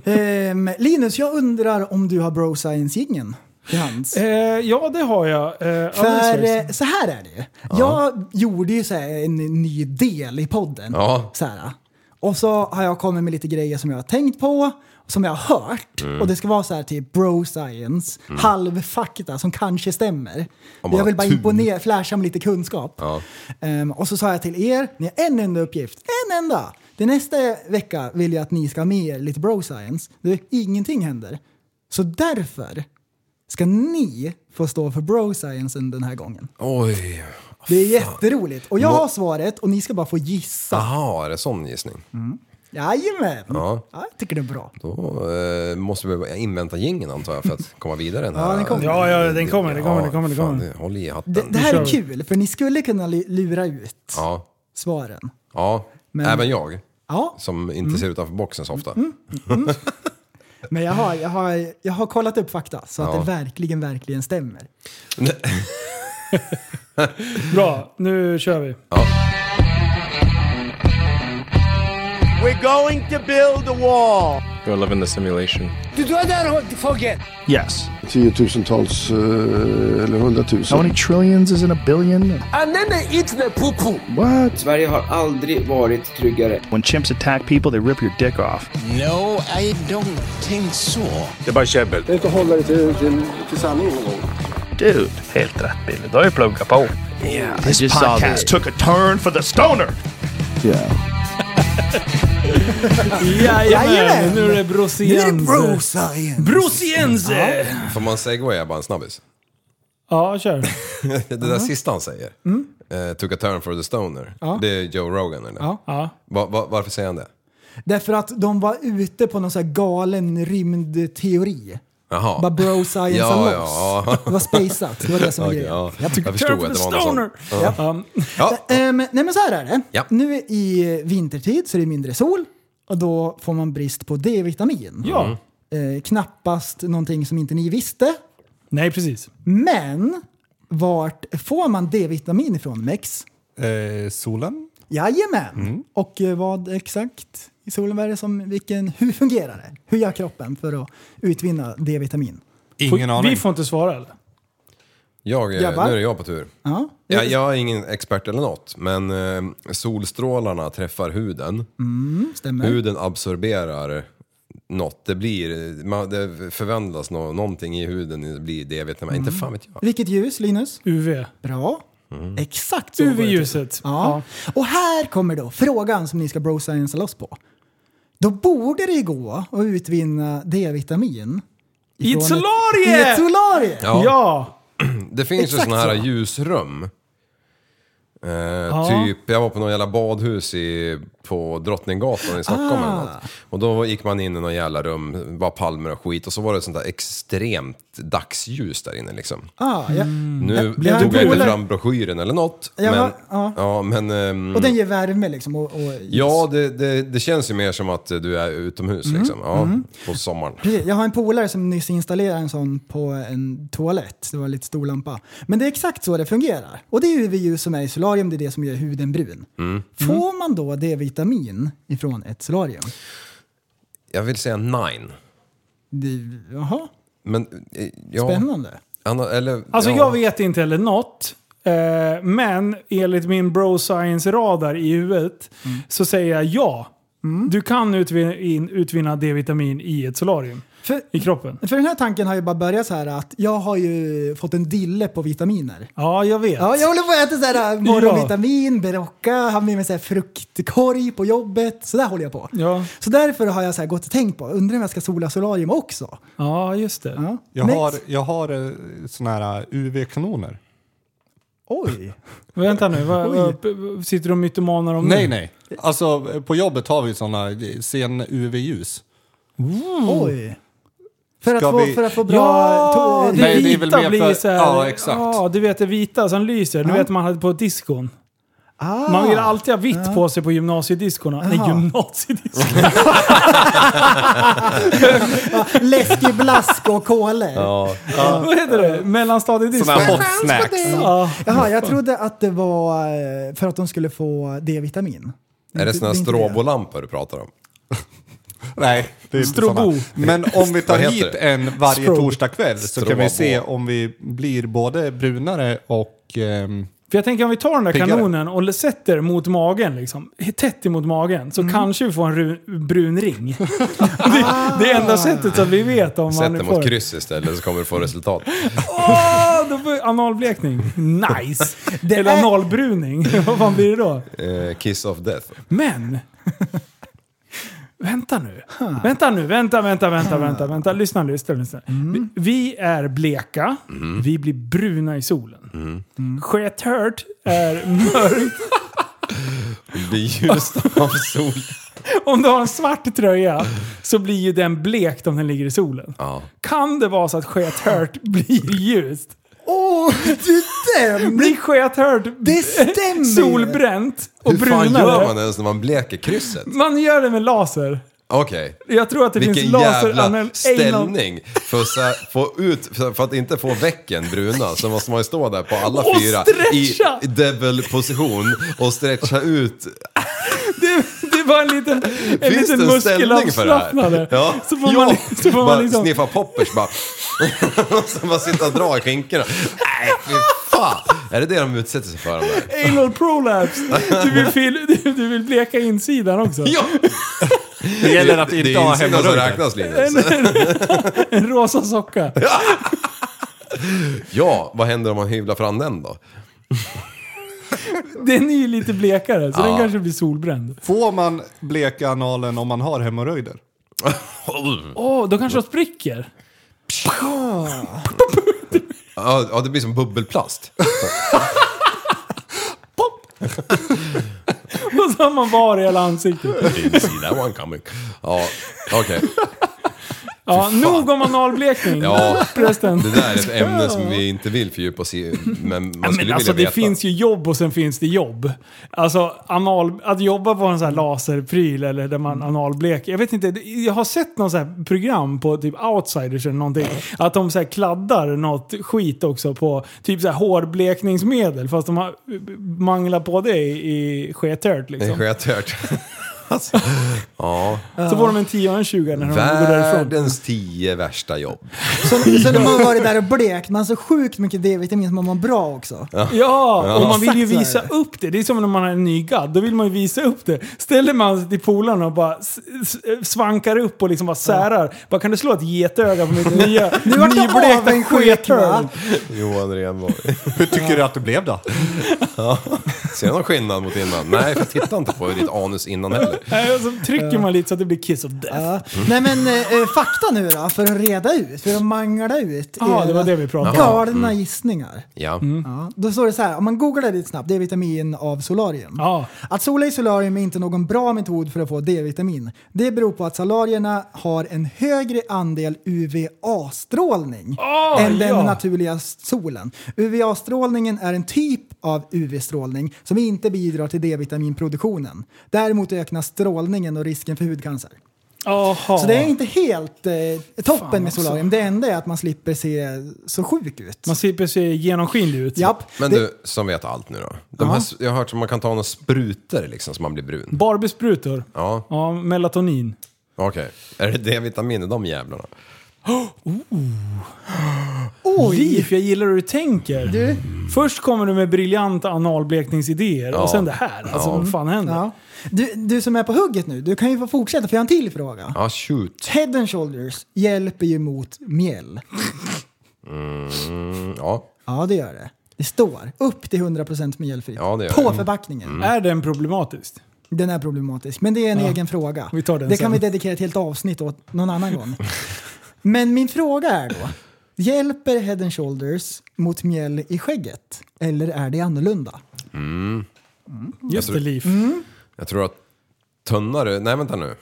F: Ehm, Linus, jag undrar om du har bro science-jingeln till hands?
E: eh, ja, det har jag. Eh,
F: För
E: alldeles
F: eh, så här är det ju. Jag gjorde ju så här en ny del i podden.
G: Ja.
F: Så här. Och så har jag kommit med lite grejer som jag har tänkt på, som jag har hört. Och det ska vara så här typ bro science, halvfakta som kanske stämmer.
G: Om man
F: Jag vill
G: har
F: bara
G: tur.
F: imponera, flasha med lite kunskap.
G: Ja.
F: Ehm, och så sa jag till er, ni har en enda uppgift, en enda! Det nästa vecka vill jag att ni ska ha med er lite bro science. Det, ingenting händer. Så därför ska ni få stå för bro sciencen den här gången.
G: Oj.
F: Det är jätteroligt. Och jag har svaret och ni ska bara få gissa.
G: Jaha, är det sån gissning?
F: Jajamän!
G: Ja.
F: Ja, jag tycker det är bra.
G: Då eh, måste vi invänta gingen antar jag för att komma vidare. Den här,
F: Ja, den kommer.
E: Ja, ja, den kommer, den kommer, den kommer, den
G: fan,
E: kommer.
G: det- Håll i hatten.
F: Det, det här
E: kör
F: är
E: vi.
F: kul, för ni skulle kunna li- lura ut
G: Ja,
F: svaren.
G: ja. även jag.
F: Ja,
G: Som inte
E: Mm.
G: ser utanför boxen så ofta.
F: men jag har, jag har, jag har kollat upp fakta så att
G: Ja.
F: det verkligen, verkligen stämmer.
E: Bra, nu kör vi.
K: We're going to build a wall.
L: You're living the simulation.
K: Yes.
M: tiotusentals eh, eller hundratusen.
K: many trillions is in a billion? And then they eat the poo poo. What?
L: Sverige har aldrig varit tryggare.
K: When chimps attack people, they rip your dick off.
C: No, I don't think so.
K: Det är bara käbbel.
M: Det är inte att hålla det till, till, till sanningen någon gång.
K: Dude, helt rätt Billy. Du har ju pluggat på. Yeah, this podcast took a turn for the stoner.
E: Jajamän,
F: Jajamän.
E: nu är det brosiense.
F: science!
E: Brosiense!
G: Får man segwaya bara en snabbis?
E: Ja, kör.
G: Det där
F: Uh-huh.
G: sista han säger,
F: Mm.
G: eh, took a turn for the stoner, det är Joe Rogan eller?
E: Ja.
G: Va, va, varför säger han det?
F: Därför att de var ute på någon så här galen rymdteori.
G: Jaha.
F: Bara bro science
G: Ja,
F: loss.
G: ja.
F: Det var spaceat, det var det som var
G: Okej,
F: grejen.
G: ja.
F: Jag tycker-
G: förstod att det var något sånt.
E: Ja. Um,
G: Ja.
F: Ehm, nej men så här är det.
G: Ja.
F: Nu i vintertid så är det mindre sol och då får man brist på D-vitamin.
E: ja.
F: Eh, knappast någonting som inte ni visste.
E: Nej, precis.
F: Men vart får man D-vitamin ifrån Mex?
I: Eh, solen?
F: Jajamän!
G: Mm.
F: Och eh, vad exakt i solen, vad är det som, vilken, hur fungerar det? Hur gör kroppen för att utvinna D-vitamin?
I: Ingen
E: Får-
I: aning.
E: Vi får inte svara eller?
G: Jag, eh,
F: Grabbar?
G: nu är det jag på tur.
F: Ja.
G: Ja, jag är ingen expert eller något, men eh, solstrålarna träffar huden.
F: Mm. Stämmer.
G: Huden absorberar något. Det, blir, man, det förvandlas nå, någonting i huden, det blir D-vitamin. Inte
F: Mm.
G: fan vet jag.
F: Vilket ljus, Linus?
E: UV.
F: Bra.
G: Mm.
F: Exakt så. går det till.
E: UV-ljuset.
F: Ja. Och här kommer då frågan som ni ska bro-science loss på. Då borde det ju gå att utvinna D-vitamin.
E: I ett
F: ifrån
E: solarie!
F: I ett solarie!
E: Ja. ja.
G: Det finns ju
F: Exakt
G: såna här
F: så.
G: ljusrum. Eh, Typ, jag var på någon jävla badhus i på Drottninggatan i Stockholm eller
N: Ah.
G: något. Och då gick man in i någon jävla rum, bara palmer och skit och så var det sånt där extremt dagsljus där inne liksom.
F: Ah, ja.
E: Mm.
G: Nu
F: Jag- jag-
G: tog jag inte
F: polare-
G: fram broschyren eller något.
F: Ja,
G: men,
F: va? Ja.
G: men, ehm,
F: Och den ger värme liksom. Och, och,
G: Ja, det, det, det känns ju mer som att du är utomhus
F: Mm.
G: liksom. Ja,
F: Mm.
G: På sommaren.
F: Precis, jag har en polare som nyss installerade en sån på en toalett. Det var en lite stor lampa. Men det är exakt så det fungerar. Och det är UV-ljus som är i solarium, det är det som gör huden brun.
G: Mm.
F: Får man då D-vitamin ifrån ett solarium?
G: Jag vill säga nine.
F: Det, jaha,
G: Men, eh, ja.
F: Spännande.
G: Han har- eller,
E: Alltså
G: ja.
E: jag vet inte heller något. Eh, men enligt min bro science-radar i huvudet så säger jag ja. Du kan utvinna, in, utvinna D-vitamin i ett solarium. I kroppen.
F: För den här tanken har ju bara börjat så här att jag har ju fått en dille på vitaminer.
E: Ja, jag vet.
F: Ja, jag håller på att äta så här äh, morgonvitamin, berocka, har med mig så här fruktkorg på jobbet. Så där håller jag på.
E: Ja.
F: Så därför har jag så här gått och tänkt på, undrar om jag ska sola solarium också?
E: Ja, just det.
I: Jag
F: Men-
I: har, jag har eh, såna här UV-kanoner.
F: Oj!
E: Vänta nu, vad,
I: Oj.
E: vad, p- p- sitter de mytomaner om
I: Nej,
E: nu?
I: nej. Alltså eh, på jobbet har vi såna eh, sen UV-ljus.
F: Oj. För att,
I: Ska
F: få,
I: vi-
F: för att få bra...
E: Ja,
F: to-
E: det
I: Nej, det är väl
E: vita
I: mer
E: blir
I: för-
E: så här,
I: ja, exakt.
E: Ja, du vet det vita som lyser. Du vet man hade på diskon.
F: Ah.
E: Man ville alltid ha vitt på sig på gymnasiediskorna. Nej,
F: Jaha.
E: gymnasiediskorna.
F: Läskig blask och kolor.
G: Ja.
E: Vad heter det? Mellanstadiedisken.
F: Såna här hot snacks. Jaha, jag trodde att det var eh, för att de skulle få D-vitamin.
G: Är det såna här
F: Det är inte det.
G: strobolampor du pratar om?
I: Nej, det är inte
G: Strobo.
I: såna. Men om vi tar
G: Vad heter
I: hit
G: det?
I: en varje
G: Strobo.
I: torsdagkväll så kan vi
G: Strobo.
I: se om vi blir både brunare och... ehm,
E: För jag tänker om vi tar den där
I: Piggare.
E: kanonen och sätter mot magen, liksom, tätt emot magen, så kanske vi får en ru- brun ring. det, det är enda sättet så att vi vet om
G: Sätt
E: man
G: den
E: får...
G: mot kryss istället så kommer du få resultat.
E: Åh, då får analblekning. Nice! Eller analbruning. Vad fan blir det då?
G: Eh, kiss of death.
E: Men! vänta nu. Vänta nu, vänta, vänta, vänta, vänta, vänta. Lyssna, lyssna, lyssna.
G: Mm.
E: Vi, vi är bleka,
N: Mm.
E: vi blir bruna i solen.
G: Mm.
E: Skethört är mörkt.
G: Bli ljust av sol.
E: Om du har en svart tröja så blir ju den blekt om den ligger i solen. Kan det vara så att skethört blir ljust?
F: Åh, du den!
E: Blir skethört
F: det stämmer.
E: solbränt och
G: Hur fan gör man
E: brunare?
G: ens när man bleker krysset?
E: Man gör det med laser.
G: Okej.
E: Jag tror att det
G: Vilken
E: finns laser...
G: jävla
E: anal- anal-
G: ställning! För, att så här, få ut, för för att inte få väcken bruna så måste man ju stå där på alla
E: Och
G: fyra
E: stretcha!
G: i devil-position och stretcha ut.
E: Det, det var en liten, en
G: Finns det
E: liten
G: en ställning för det här?
E: muskelavslappnare.
G: Ja.
E: Så får
G: ja.
E: man, så får
G: bara
E: man liksom...
G: sniffa poppers bara. och så bara sitta och dra i skinkorna. Nej, fy fan! Är det det de utsätter sig för? De där?
E: Anal prolapse! Du vill, fil, du, du vill bleka insidan också.
G: Ja.
I: Det gäller att inte ha
G: insidan som
I: hemorrojder.
G: räknas Linus.
E: En, en, en rosa socka.
G: Ja, vad händer om man hyvlar fram den då?
E: Den är ju lite blekare, så
G: Ja.
E: den kanske blir solbränd.
I: Får man bleka analen om man har hemorrojder?
E: Åh, då kanske de spricker.
G: Ja, ja, det blir som bubbelplast.
E: Och så har man var i hela ansiktet.
G: Insida one coming. Ja, okej.
E: Ja, nog om analblekning.
G: Ja,
E: Förresten.
G: det där är ett ämne som vi inte vill fördjupa oss i, men man
E: Ja,
G: skulle
E: men
G: vilja
E: alltså, det
G: veta.
E: finns ju jobb och sen finns det jobb. Alltså anal, att jobba på en sån här laserpryl eller där man
G: Mm.
E: analbleker. Jag vet inte, det- jag har sett någon sån här program på typ outsiders eller någonting. Att de så här kladdar något skit också på typ så här hårblekningsmedel fast de har manglat på det i, i skethört
G: Det är
E: liksom.
G: skethört. Alltså, ja.
E: Så får de en 10 och en 20 när de går därifrån.
G: Världens tio värsta jobb.
F: Så, så när man varit där och blekt, man har så sjukt mycket D-vitamin som man mår bra också.
G: Ja.
E: Ja, och
G: Ja.
E: man vill ju
F: Exakt så är
E: visa upp det. Det är som när man har en ny gadd, då vill man ju visa upp det. Ställer man sig till polarna och bara s- s- svankar upp och liksom bara särar. Bara, kan du slå ett getöga på mitt nya
F: Nu vart jag avundsjuk,
E: skethörn?
F: va?
G: Johan Renborg.
I: Hur tycker du att det blev då?
G: Ser du någon skillnad mot innan? Nej, för jag tittar inte på ditt anus innan heller.
E: Nej, och så trycker man lite så att det blir kiss of death.
F: Ja. Nej men eh, fakta nu då, för att reda ut, för att mangla ut
E: Ja, det var det vi pratade om.
F: galna
E: Mm.
F: gissningar.
G: Ja.
I: Mm.
F: Ja, då står det så här, om man googlar det lite snabbt, D-vitamin av solarium. Att sola i solarium är inte någon bra metod för att få D-vitamin. Det beror på att solarierna har en högre andel UVA-strålning
E: Ah,
J: Åh,
F: än den
J: ja.
F: naturliga solen. UVA-strålningen är en typ av UV-strålning som inte bidrar till D-vitaminproduktionen. Däremot ökar strålningen och risken för hudcancer.
E: Aha.
F: Så det är inte helt eh, toppen
E: Ah. Fan
F: med
E: också.
F: solarium. Det enda är att man slipper se så sjuk ut.
E: Man slipper se genomskinlig ut.
F: Japp.
G: Men
F: Det-
G: du, som vet allt nu då. De här, jag har hört att man kan ta några sprutor liksom så man blir brun.
E: Barbiesprutor.
G: Ja,
E: Ja, melatonin.
G: okej. Är det D-vitamin i de jävlarna?
E: Oj. Liv, jag gillar hur du tänker. Först kommer du med briljanta analblekningsidéer
G: Ja.
E: och sen det här. Alltså
G: Ja.
E: vad fan händer?
F: Ja. Du, du som är på hugget nu, du kan ju få fortsätta för jag har en till fråga.
G: Ja, shoot.
F: Head and shoulders hjälper ju mot mjäll.
G: Mm, ja.
F: Ja, det gör det. Det står upp till 100% mjällfritt
G: Ja, det gör
F: på
G: det.
F: förpackningen.
G: Mm. Är
E: den problematisk?
F: Den är problematisk, men det är en
E: Ja.
F: egen fråga.
E: Vi tar den
F: det
E: sen.
F: kan vi dedikera ett helt avsnitt åt någon annan gång. Men min fråga är då, hjälper head and shoulders mot mjäll i skägget? Eller är det annorlunda?
G: Mm. Jag
E: Just
G: tror-
E: det, Liv.
G: Jag tror att tunnare... Nej, vänta nu.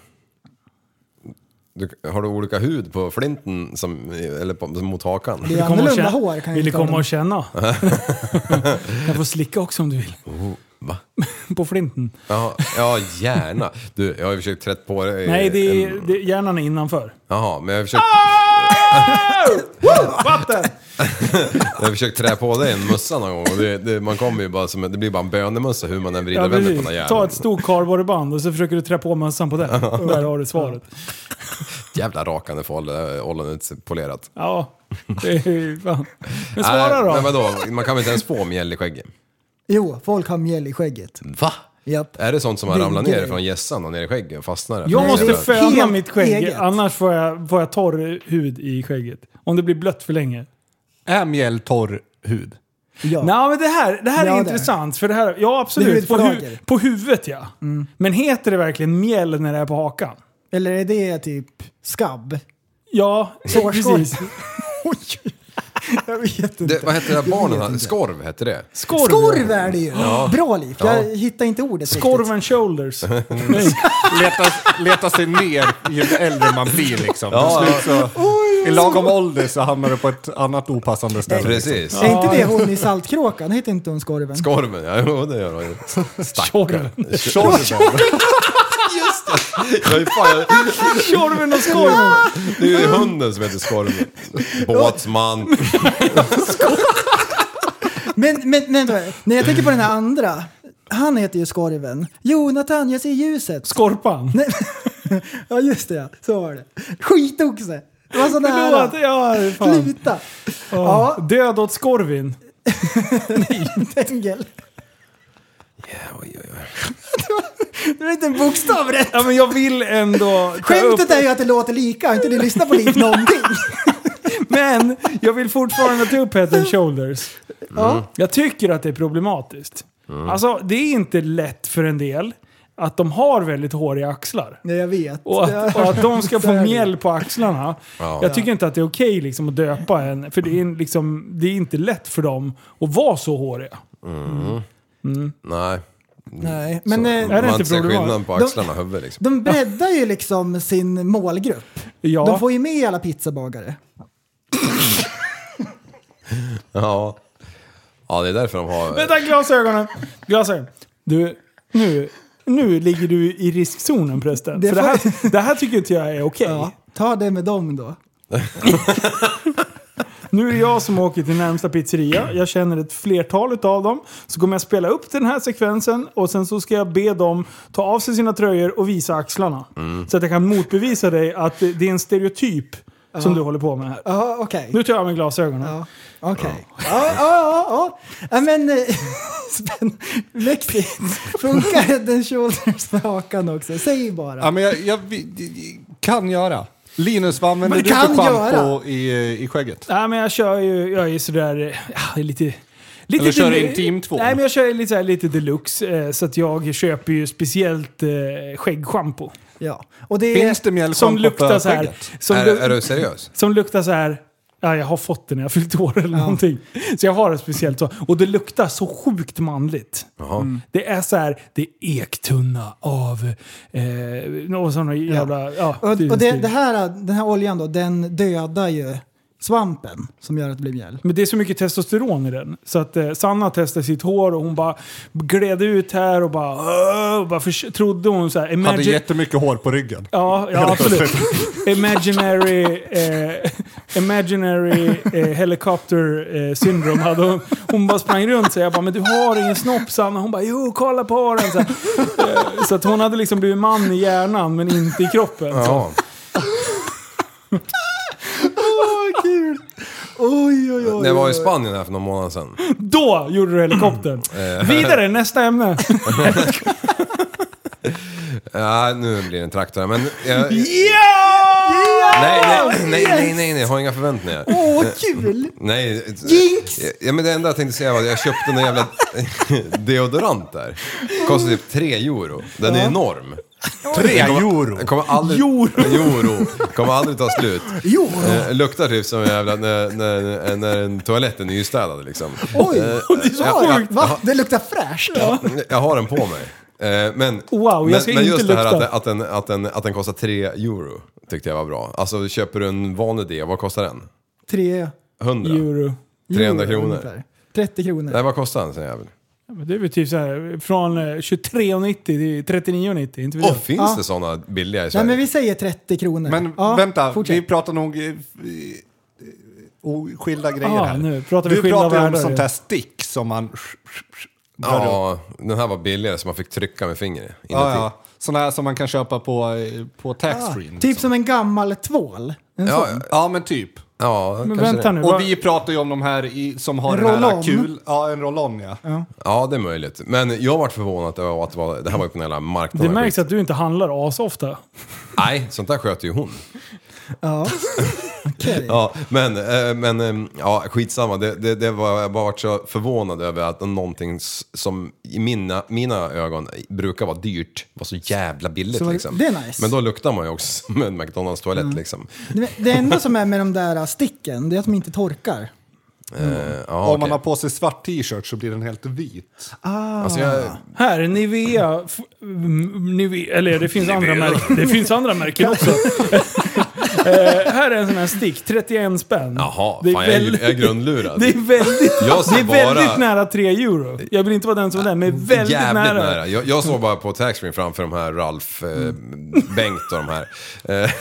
G: Du, har du olika hud på flinten som, eller på, mot hakan?
E: Vill du komma och känna- Vill du komma och känna? Jag får slicka också om du vill.
G: Oh, va?
E: På flinten.
G: Ja, ja, gärna. Du, jag har ju försökt trätt på dig...
E: Nej, det är,
G: Eh,
E: Ah!
G: en-
E: det, hjärnan är innanför.
G: Jaha, men jag har försökt...
E: Vatten!
G: Jag har försökt trä på dig en mössa någon gång och det, det, man kommer ju bara som, en- det blir bara en bönemössa hur man än vrider
E: Ja,
G: och vänder på den
E: precis.
G: här
E: Ta
G: jäveln.
E: ett stort kardborreband och så försöker du trä på mössan på det. Där har du svaret.
G: Jävla rakande för ollonet- ollonet polerat.
E: Ja, det är ju fan. Men svara
G: Nej,
E: då.
G: Men vadå, man kan väl inte ens få mjäll i skägget?
F: Jo, folk har mjäll i skägget.
G: Va?
F: Japp.
G: Är det sånt som har
F: Det är
G: ramlat
F: grej.
G: ner från gässan och ner i skägget och fastnar?
E: Jag måste
G: Eller-
E: föna
F: Helt
E: mitt skägg,
F: eget.
E: annars får jag, får jag torr hud i skägget. Om det blir blött för länge.
I: Är mjäll torr hud?
F: Ja.
E: Nej, men det här, det här
I: Ja,
E: är
I: det.
E: intressant. För det här, ja,
F: Det är
E: absolut. På, hu
F: hudflaker.
E: på huvudet, ja.
F: Mm.
E: Men heter det verkligen mjäll när det är på hakan?
F: Eller är det typ skabb?
E: Ja,
F: Sårskorv.
E: precis.
F: Jag vet
G: Det, vad hette det där barnen hade? Skorv hette det.
E: Skorv.
F: Skorv är det ju!
G: Ja.
F: Bra Liv,
G: Ja.
F: jag hittar inte ordet
E: Skorv and shoulders.
I: leta, leta sig ner ju äldre man blir liksom.
G: Ja,
I: Till slut så,
F: oj,
I: I lagom ålder så hamnar du på ett annat opassande ställe.
G: Precis.
I: Liksom.
F: Är inte det hon i Saltkråkan? Heter inte hon Skorven?
G: Skorven, ja jo, det gör hon ju. Stackarn.
I: Tjorven.
G: Just det! Jag är fan, jag,
E: Tjorven och skorven.
G: det är ju hunden som heter Skorven. Båtsman.
F: Men, men, men då, när jag tänker på den här andra. Han heter ju Skorven. Jonathan, jag ser ljuset.
E: Skorpan?
F: Nej, ja, just det ja. Så var det. Skitoxe! Det var så
E: Förlåt,
F: nära.
E: ja, fan.
F: Sluta!
E: Ja. Död åt skorvin.
F: Tengel. Det var inte en bokstav rätt.
E: Ja, men jag vill ändå ta upp...
F: Skämtet är ju att det låter lika. Har inte du lyssnat på Liv någonting?
E: Men jag vill fortfarande ta upp Head and Shoulders.
F: Ja.
E: Jag tycker att det är problematiskt. Alltså, det är inte lätt för en del att de har väldigt håriga axlar.
F: Nej, jag vet.
E: Och att, och att de ska
F: Så
E: få
F: är det.
E: mjäll på axlarna.
F: Ja.
E: Jag tycker inte att det är okej liksom, att döpa en, för det är, en liksom, det är inte lätt för dem att vara så håriga.
G: Mm.
E: Mm.
G: Nej.
F: Nej, men, eh, Är det
G: man
F: inte
G: inte ser
F: problematiskt?
G: skillnaden på
F: De-
G: axlarna och huvudet liksom.
F: De breddar ju liksom sin målgrupp.
E: Ja.
F: De får ju med alla pizzabagare.
G: Ja. ja, det är därför de har...
E: Vänta, glasögonen! Glasögon. Du, nu, nu ligger du i riskzonen prästen.
F: Det
E: för det,
F: får-
E: här, det här tycker inte jag är okej.
F: Ta det med dem då.
E: Nu är det jag som åker till närmsta pizzeria. Jag känner ett flertal av dem. Så kommer jag spela upp den här sekvensen och sen så ska jag be dem ta av sig sina tröjor och visa axlarna.
N: Mm.
E: Så att jag kan motbevisa dig att det det är en stereotyp som
F: Ja.
E: du håller på med här.
F: Ja, okej.
E: Nu tar jag av mig glasögonen.
F: Okej. Ja, ja, ja. ja. Ja, men... eh, Spänn... Mäktigt. Funkar head and shoulders med hakan också? Säg bara.
I: Ja, men jag, jag vi- kan göra. Linus, vad använder
E: Men
I: du
E: kan
I: för
E: göra.
I: schampo i, i skägget?
E: Nej men jag kör ju, jag är ju sådär, eh, ja, det är lite Lite
N: Eller kör
E: del-
N: in team två.
E: Nej, men jag kör lite, så här, lite deluxe. Eh, så att jag köper ju speciellt eh, skäggschampo.
F: Ja. Och det
I: Finns det mjällschampo
E: Som luktar
I: för
E: så här.
I: skägget?
E: Som,
G: Är-
E: lu-
G: är du seriös?
E: Som luktar så här. Ja, jag har fått det när jag fyllt år eller någonting. Så jag har det speciellt så. Och det luktar så sjukt manligt. Mm. Det är så här, det är ektunna av... Eh, någon sån jävla... Ja.
F: Och, och det,
E: stil.
F: det här, den här oljan då, den dödar ju svampen som gör att det blir mjäll.
E: Men det är så mycket testosteron i den. Så att eh, Sanna testade sitt hår och hon bara gled ut här och bara... "Åh", Och bara förs- trodde hon så här...
I: Hade
E: "Imagine-"
I: jättemycket hår på ryggen.
E: Ja, ja absolut. Imaginary, eh, imaginary eh, helicopter eh, syndrome hade hon. Hon bara sprang runt så jag bara, men du har ingen snopp Sanna. Hon bara, jo kolla på den. Så, här. eh, så att hon hade liksom blivit man i hjärnan men inte i kroppen.
G: Ja.
F: Åh, kul! Oj, oj, oj.
G: När jag var i
F: oj.
G: Spanien här för någon månad sedan.
E: Då gjorde du helikoptern.
G: Eh.
E: Vidare, nästa ämne.
G: Ja, nu blir det en traktor men... Jag,
E: Ja!
G: nej, nej, nej, nej, nej, nej, har inga förväntningar.
F: Åh,
G: Eh,
F: kul!
G: Nej.
F: Jinx!
G: Ja, men det enda jag tänkte säga var att jag köpte en jävla deodorant där. Kostar typ 3 euro. Den är enorm.
I: Tre
G: Den kommer-
I: euro.
G: den Kommer aldrig, euro! Euro! Kommer aldrig ta slut.
F: Jo!
G: Eh, luktar typ som en jävla, när, när, när en toalett är nystädad liksom.
F: Oj,
G: Eh,
F: det är så
G: jag- jag-
F: sjukt! Va? Det luktar fräscht!
G: jag har den på mig. Eh, Men,
E: Wow, jag
G: men,
E: ska
G: men
E: inte
G: just det här
E: lukta.
G: att, att, den, att, den, att den kostar 3 euro tyckte jag var bra. Alltså köper du en vanlig D, vad kostar den?
F: Tre
G: 100?
E: Euro.
G: 300 kronor?
F: ungefär. 30 kronor.
G: Nej, vad kostar den sån jävel?
E: Ja, men Det är väl typ så här, från eh, 23,90 till 39,90. inte vet
G: Åh,
E: jag.
G: finns
F: Ja.
G: det såna billiga i
F: Nej
G: Sverige?
F: men vi säger 30 kronor.
I: Men
F: Ja,
I: vänta,
F: fortsätt.
I: vi pratar nog eh, oh, skilda grejer
E: Ja,
I: här.
E: nu pratar vi
I: du
E: skilda
I: pratar ju om
E: världar
I: sånt
E: ju.
I: här stick som man... drar upp.
G: Ja, typ- den här var billigare så man fick trycka med fingret inuti.
I: Ja, ja. Sådana här som man kan köpa på, eh, på taxfree.
F: Typ som en gammal tvål. En
I: Ja,
F: sån.
I: ja. ja, men typ.
G: Ja,
E: Men kanske vänta det. nu,
I: Och
E: vad-
I: vi pratar ju om de här i, som har
F: En
I: den här
F: roll-on.
I: kul... Ja, en roll-on ja.
G: Ja, det är möjligt. Men jag vart förvånad över att det, var, det här var ju på den jävla
E: Det
G: marknaden.
E: märks att du inte handlar asofta.
G: Nej, sånt där sköter ju hon.
F: Ja. Okej.
G: Ja, men, eh, men eh, ja, skitsamma. Det, det, det var, jag bara varit så förvånad över att någonting s- som i mina, mina ögon brukar vara dyrt var så jävla billigt.
F: Så,
G: liksom.
F: det är nice.
G: Men då luktar man ju också som en McDonalds-toalett liksom.
F: Det- Det enda som är med de där sticken, det är att de inte torkar.
G: Eh, ja,
I: Om man
G: okej.
I: har på sig svart t-shirt så blir den helt vit.
G: alltså, jag,
E: Här, Nivea. F- mm, Nivea eller det finns, andra märken, det finns andra märken också. Eh, här är en sån här stick, 31 spänn.
G: Jaha,
E: Det är
G: fan, jag, är,
E: väldigt-
G: jag är grundlurad.
E: Det är väldigt,
G: Jag
E: det
G: ser
E: är väldigt
G: bara-
E: nära 3 euro. Jag vill inte vara den som är där, men väldigt
G: Jävligt nära.
E: nära.
G: Jag, jag såg bara på taxfree framför de här Ralf, eh, Bengt och de här.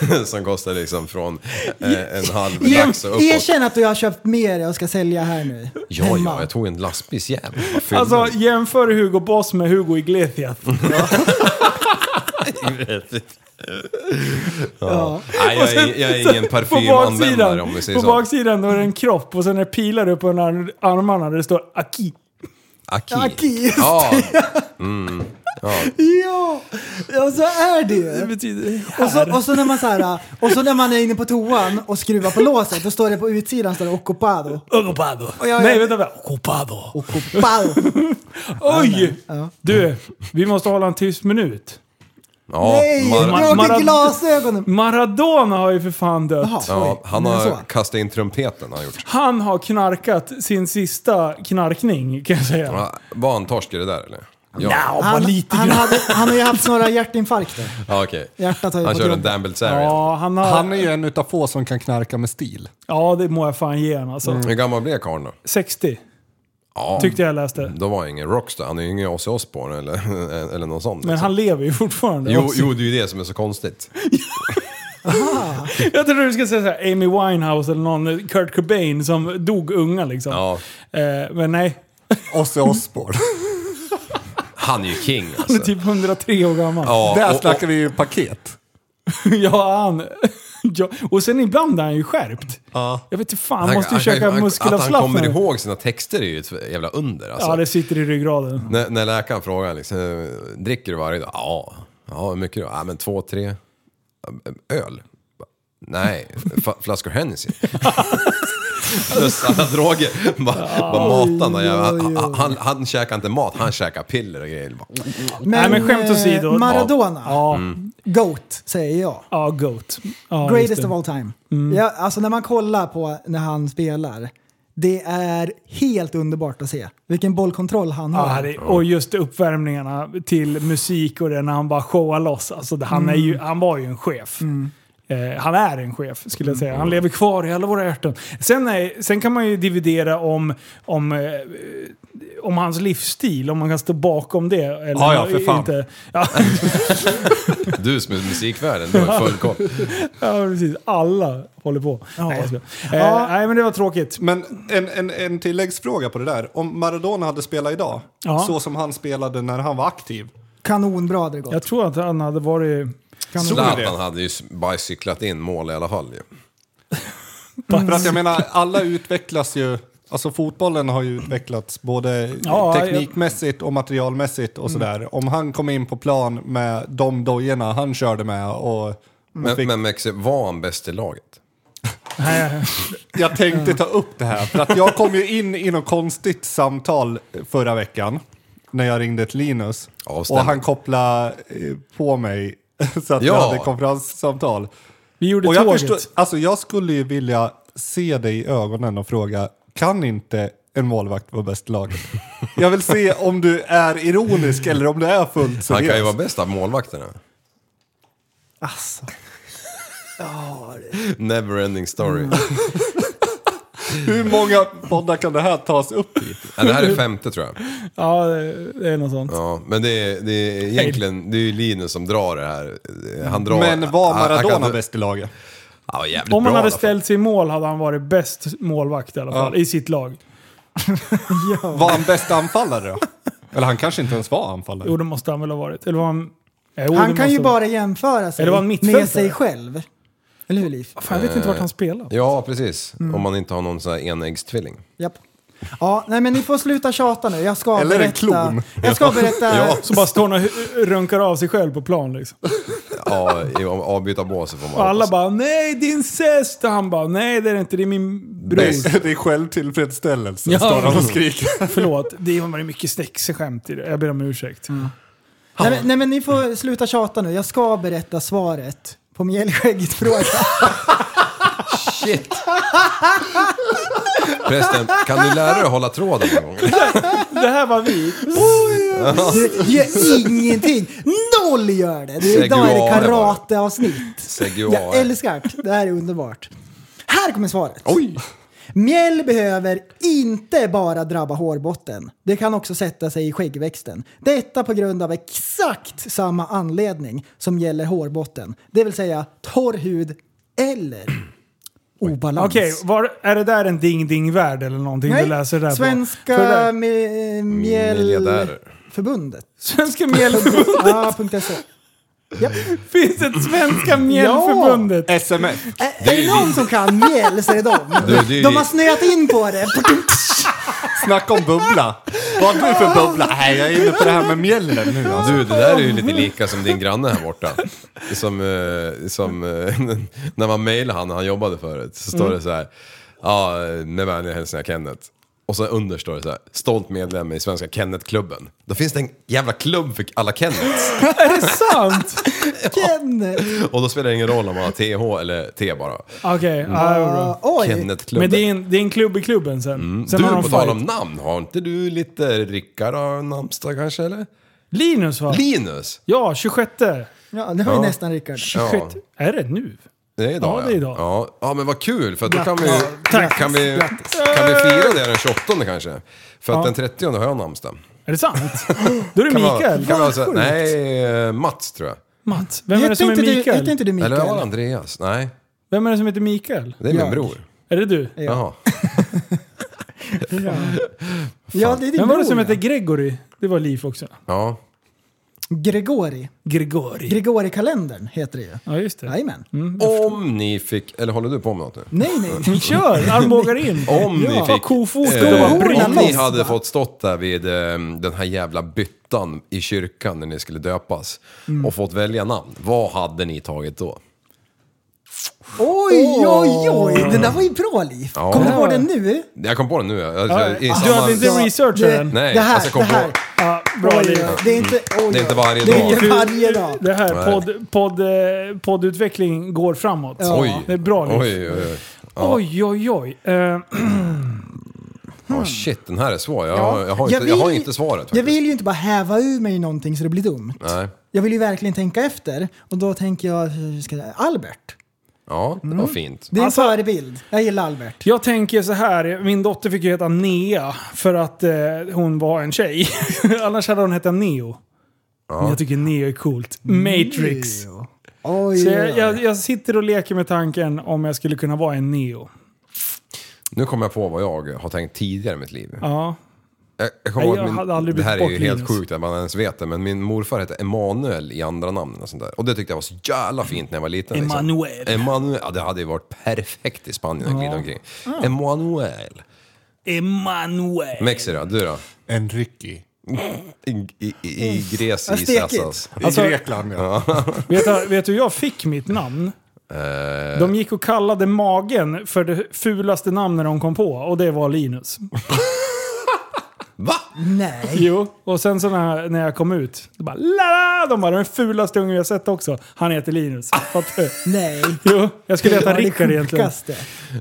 G: Eh, som kostar liksom från eh, en halv
F: Ge-
G: lax och uppåt.
F: Erkänn att du har köpt mer och ska sälja här nu.
G: Ja, ja, jag tog en lastbilsjävel. Vad fyllde
E: Alltså
G: den?
E: jämför Hugo Boss med Hugo Iglesias.
G: ja. Nej, jag, är, jag är ingen parfymanvändare om vi säger
E: på
G: så.
E: baksidan då är det en kropp och sen är det pilar upp under arm- armarna där det står Aki.
G: Aki.
F: Aki, just
G: Ja.
F: Ja, ja så är det ju. Och så, och, så när man så här, och så när man är inne på toan och skruvar på låset, då står det på utsidan står det occupado.
E: Ocupado.
F: jag-
E: Nej, vänta. vänta. Ocupado.
F: Occupado.
E: Oj! Du, vi måste hålla en tyst minut.
G: ja,
F: Nej,
G: Mar-
E: Mar-
F: dra
E: Mara-
F: till glasögonen.
E: Maradona har ju för fan dött.
F: Jaha,
G: ja,
F: oj.
G: han
F: Men
G: har
F: så.
G: kastat in trumpeten. Har han gjort.
E: Han har knarkat sin sista knarkning kan jag säga.
G: Ja, Ah, Var han torsk i det där eller? Ja,
E: bara
F: Han,
E: lite
F: han,
E: grann.
F: hade, han har ju haft några hjärtinfarkter.
G: ja Ah, okej.
F: Hjärtat har ju
G: Han
F: fått
G: körde en
F: jobb.
G: Dan Bilzerian.
E: Ja, han har...
I: Han är ju en utav få som kan knarka med stil.
E: Ja, det må jag fan ge honom alltså.
G: Hur gammal blev karln då?
E: 60,
G: Mm. Ja,
E: tyckte jag läste.
G: då var han ingen rockstar. Han är ju ingen Ozzy Osbourne eller, eller någon sån.
E: Men
G: liksom.
E: han lever ju fortfarande.
G: Jo,
E: också.
G: jo, det är ju det som är så konstigt.
E: Jag trodde du skulle säga så här, Amy Winehouse eller någon, Kurt Cobain som dog unga liksom.
G: Ja,
E: Eh, men nej,
I: Ozzy Osbourne.
G: han är ju king
E: han
G: alltså.
E: är typ 103 år gammal. Ja,
G: Ja,
I: Där
G: och, och,
I: snackar vi ju paket.
E: han... Ja. Och sen ibland är han ju skärpt. Jag vet inte fan,
G: han-
E: måste ju
G: han-
E: käka
G: han- Att han kommer
E: muskelavslappnare.
G: ihåg sina texter är ju ett jävla under alltså.
E: Ja, det sitter i ryggraden.
G: När, när läkaren frågar liksom, eh, dricker du varje dag? Ja. Ja, hur mycket då? Ja, men två, tre. Öl? Nej, fa- flaskor Hennessy. Plus alla droger. Bara, bara matan där jävla. Han, han, han, han käkar inte mat, han käkar piller och grejer. Bara,
E: Nej, men skämt
F: eh,
E: åsido.
F: Maradona.
E: Ja.
G: Mm.
F: Goat, säger jag.
E: Ja, GOAT. Ja, just
F: Greatest
E: det.
F: of all time.
E: Mm.
F: Ja, alltså när man kollar på när han spelar, det är helt underbart att se. Vilken bollkontroll han
E: Ja,
F: har.
E: det, och just uppvärmningarna till musik och det när han bara showar loss. Alltså, det, han, är ju,
F: Mm.
E: han var ju en chef. Eh, han är en chef skulle jag
G: Mm.
E: säga. Han lever kvar i alla våra hjärtan. Sen, är, sen kan man ju dividera om, om, eh, om hans livsstil, om man kan stå bakom det. Eller
G: Ja, ja, för fan.
E: Inte. Ja,
G: Du som är musikvärden, du har full koll.
E: ja, precis. Alla håller på. Nej, jag skojar. eh,
I: Ja.
E: nej, men det var tråkigt.
I: Men en, en, en tilläggsfråga på det där. Om Maradona hade spelat idag,
E: Ja.
I: så som han spelade när han var aktiv.
F: Kanonbra hade det gått.
E: Jag tror att han hade varit...
G: Zlatan hade ju bara cyklat in mål i alla fall ju.
I: För att jag menar, alla utvecklas ju. Alltså fotbollen har ju utvecklats både
E: Ja,
I: teknikmässigt och materialmässigt och sådär. Om han kom in på plan med de dojorna han körde med och... och
G: Men, men Mexi, var han bäst i laget?
I: Jag tänkte ta upp det här, för att jag kom ju in i något konstigt samtal förra veckan när jag ringde till Linus.
G: Avstämning.
I: Och han kopplade eh, på mig så att
G: Ja.
I: jag hade konferenssamtal.
E: Vi gjorde
I: och jag
E: tåget.
I: alltså jag skulle ju vilja se dig i ögonen och fråga, kan inte en målvakt vara bäst i laget? Jag vill se om du är ironisk eller om du är fullt seriös.
G: Han kan ju vara bäst av målvakterna.
F: Alltså.
G: Neverending story.
I: Mm. Hur många poddar kan det här tas upp i?
G: Ja, det här är femte tror jag.
E: Ja, det det är något sånt.
G: Ja, men det är, det är egentligen det är ju Linus som drar det här. Han drar,
I: Men var
G: han- han
I: Maradona
G: kan-
I: bäst i laget?
G: Han var jävligt
E: Om han hade
G: bra i alla fall.
E: ställt sig i mål hade han varit bäst målvakt i alla fall,
I: Ja.
E: i sitt lag.
I: Var han bästa anfallare då? Eller han kanske inte ens var anfallare.
E: Jo, det måste han väl ha varit. Eller var han... Jo, det
F: Han
E: måste
F: kan ju
E: ha-
F: bara jämföra sig
E: Eller var han mittfältare?
F: med sig själv. Eller hur Liv?
E: Fan, jag vet inte vart han spelar.
G: Ja, precis.
I: Mm.
G: Om man inte har någon sån här enäggstvilling.
F: Japp. Ja, nej men ni får sluta tjata nu. Jag ska
G: Eller en
F: berätta.
G: klon.
F: Jag ska
G: Ja.
F: berätta.
G: Ja.
E: Så bara står han och hu- runkar av sig själv på plan liksom.
G: Ja, i- om avbytarbåset får man
E: Och alla
G: hoppas.
E: bara “Nej, det är incest!” och han bara “Nej, det är det inte, det är min bror”.
I: Det, det är självtillfredsställelse,
E: Ja.
I: står han och skriker.
E: Förlåt, det var mycket snäckskämt i det. Jag ber om ursäkt.
F: Mm. Nej, men, nej men ni får sluta tjata nu. Jag ska berätta svaret på mjällskägget-frågan.
G: Shit! Prästen, kan du lära dig att hålla tråden någon gång?
E: Det här var vi.
F: Det gör ingenting. Noll gör det. det är- idag är det
G: Seguare var det.
F: karateavsnitt. Jag
G: Seguare.
F: älskar det. Det här är underbart. Här kommer svaret. Mjäll behöver inte bara drabba hårbotten. Det kan också sätta sig i skäggväxten. Detta på grund av exakt samma anledning som gäller hårbotten. Det vill säga torr hud eller obalans.
E: Okej, var- är det där en ding-ding-värld eller någonting du läser där på? För det
F: Svenska
E: där-
F: mi-
G: Miljardärer.
F: mjällförbundet.
E: Svenska mjällförbundet.
F: Ja, punkt .se.
E: Finns ett Svenska mjällförbundet?
I: SMF.
F: Är, är det någon som kan mjäll så är det de.
G: Du, det är
F: De
G: ju-
F: har snöat in på det.
I: Snacka om bubbla. Vad har du för bubbla? Nej, jag är inne på det här med mjällen nu. Alltså.
G: Du, det där är ju lite lika som din granne här borta. Som, eh, som eh, när man mejlade han när han jobbade förut, så
E: Mm.
G: står det så här. Ja, med vänliga hälsningar Kenneth. Och så under står det så här, stolt medlem i Svenska Kennetklubben. Då finns det en jävla klubb för alla Kennets.
E: Är det sant?
F: Kenneth.
G: Och då spelar det ingen roll om man har TH eller T bara.
E: Okej, ja, det var bra.
F: Oj.
G: Kennetklubben.
E: Men det är, en, det är en klubb i klubben sen. sen har
G: Mm. Du,
E: de
G: på tal
E: fight.
G: om namn, har inte du lite Rickard och namnsdag kanske eller?
E: Linus va?
G: Linus!
E: ja, 26.
F: Ja, det var ju
G: Ja.
F: nästan Rickard.
E: 26. Är det nu?
G: Det är idag
E: Ja, det är idag.
G: Ja, ja men vad kul för att då kan vi,
E: Tack.
G: kan, vi, kan vi fira det den 28 kanske. För att den 30 har jag namnsdag.
E: Är det sant? Då är det
G: Kan vara-
E: Mikael.
G: Kan vara så, nej, eh, Mats tror jag.
E: Mats, vem är det
F: Hette
E: som är
F: inte du- Hette
E: Mikael?
F: inte du
G: Eller var det
F: Mikael?
G: Andreas? Nej,
E: Vem är det som heter Mikael?
G: det är min
F: Jag.
G: bror.
E: Är det du?
G: Jaha.
F: Ja, det är din
E: Vem var det som
F: bror,
E: hette Gregory? Det var Liv också.
G: Ja.
F: ja. Gregori.
E: Gregori.
F: Gregorikalendern heter det ju.
E: Ja, just det.
F: Jajamän.
G: Om ni fick, eller håller du på med något nu?
F: Nej, nej.
E: Kör! Armbågar in.
G: Om
E: ja.
G: ni
E: Ta
G: fick...
E: kofoten
G: eh,
E: och bara
F: Skohornen
E: bryta
G: om ni
F: loss,
G: hade
F: va?
G: fått stått där vid eh, den här jävla byttan i kyrkan när ni skulle döpas och fått välja namn, vad hade ni tagit då?
F: Oj, oj, oj! Den där var ju bra, Liv.
G: Ja.
F: Kommer du på den nu?
G: Jag kom på den nu. Jag, jag,
F: Ja,
G: i
E: Ah,
F: ja.
G: samband-
F: Du hade inte researchat
G: Det-
F: den?
G: Nej,
F: Det här,
G: alltså jag kom
F: det här.
G: på.
E: Ja, Ah, bra
F: Oj,
E: liv.
F: oj, det är inte- oj,
G: Det är inte varje
F: Det är
G: dag.
F: inte varje dag.
E: Det här,
G: Nej.
E: podd, podd, eh, poddutveckling går framåt.
G: Ja. Oj.
E: Det är bra liv.
G: Oj, oj, oj. Ja.
E: Oj, oj, oj. Eh, Hmm.
G: Ja, shit, den här är svår. Jag,
F: Ja.
G: har- jag, har,
F: Jag
G: inte, jag har
F: vill-
G: inte svaret.
F: Jag vill ju inte bara häva ur mig någonting så det blir dumt.
G: Nej.
F: Jag vill ju verkligen tänka efter. Och då tänker jag, hur ska jag Albert.
G: Ja, det
E: Mm.
G: var fint.
F: Det är en
E: Alltså-
F: förebild. Jag gillar Albert.
E: Jag tänker så här, min dotter fick ju heta Nea för att eh, hon var en tjej. Annars hade hon hetat Neo. Men jag tycker Neo är coolt. Matrix.
F: Oj,
E: Så
F: oj,
E: jag,
F: oj.
E: jag, jag sitter och leker med tanken om jag skulle kunna vara en Neo.
G: Nu kommer jag på vad jag har tänkt tidigare i mitt liv.
E: Ja.
G: Jag, jag kommer
E: Nej,
G: ihåg
E: jag
G: min,
E: hade aldrig
G: det
E: blivit
G: här är ju
E: bort,
G: helt
E: Linus.
G: sjukt att man ens vet det, men min morfar hette Emanuel i andra namn och sånt där. Och det tyckte jag var så jävla fint när jag var liten.
E: Emanuel.
G: Liksom. Emanuel. Ja, det hade ju varit perfekt i Spanien att
E: Ja. Ah.
G: glida omkring.
E: Ja.
G: Emanuel.
E: Emanuel.
G: Mexira, du då?
I: Enrique.
G: I, i, i, i Gres
E: Vad
G: i
E: stekigt.
G: Sassas.
E: Alltså- I
I: Grekland,
G: ja.
E: Vet du, vet du hur jag fick mitt namn?
G: Eh,
E: De gick och kallade magen för det fulaste namnet de kom på och det var Linus.
G: Va?
F: Nej.
E: Jo, och sen så när, när jag kom ut, då bara la De bara den fulaste ungen jag sett också. Han heter Linus. Fattar du?
F: Nej.
E: Jo, jag skulle
F: Ja,
E: heta
F: det
E: Rickard egentligen.
F: sjukaste.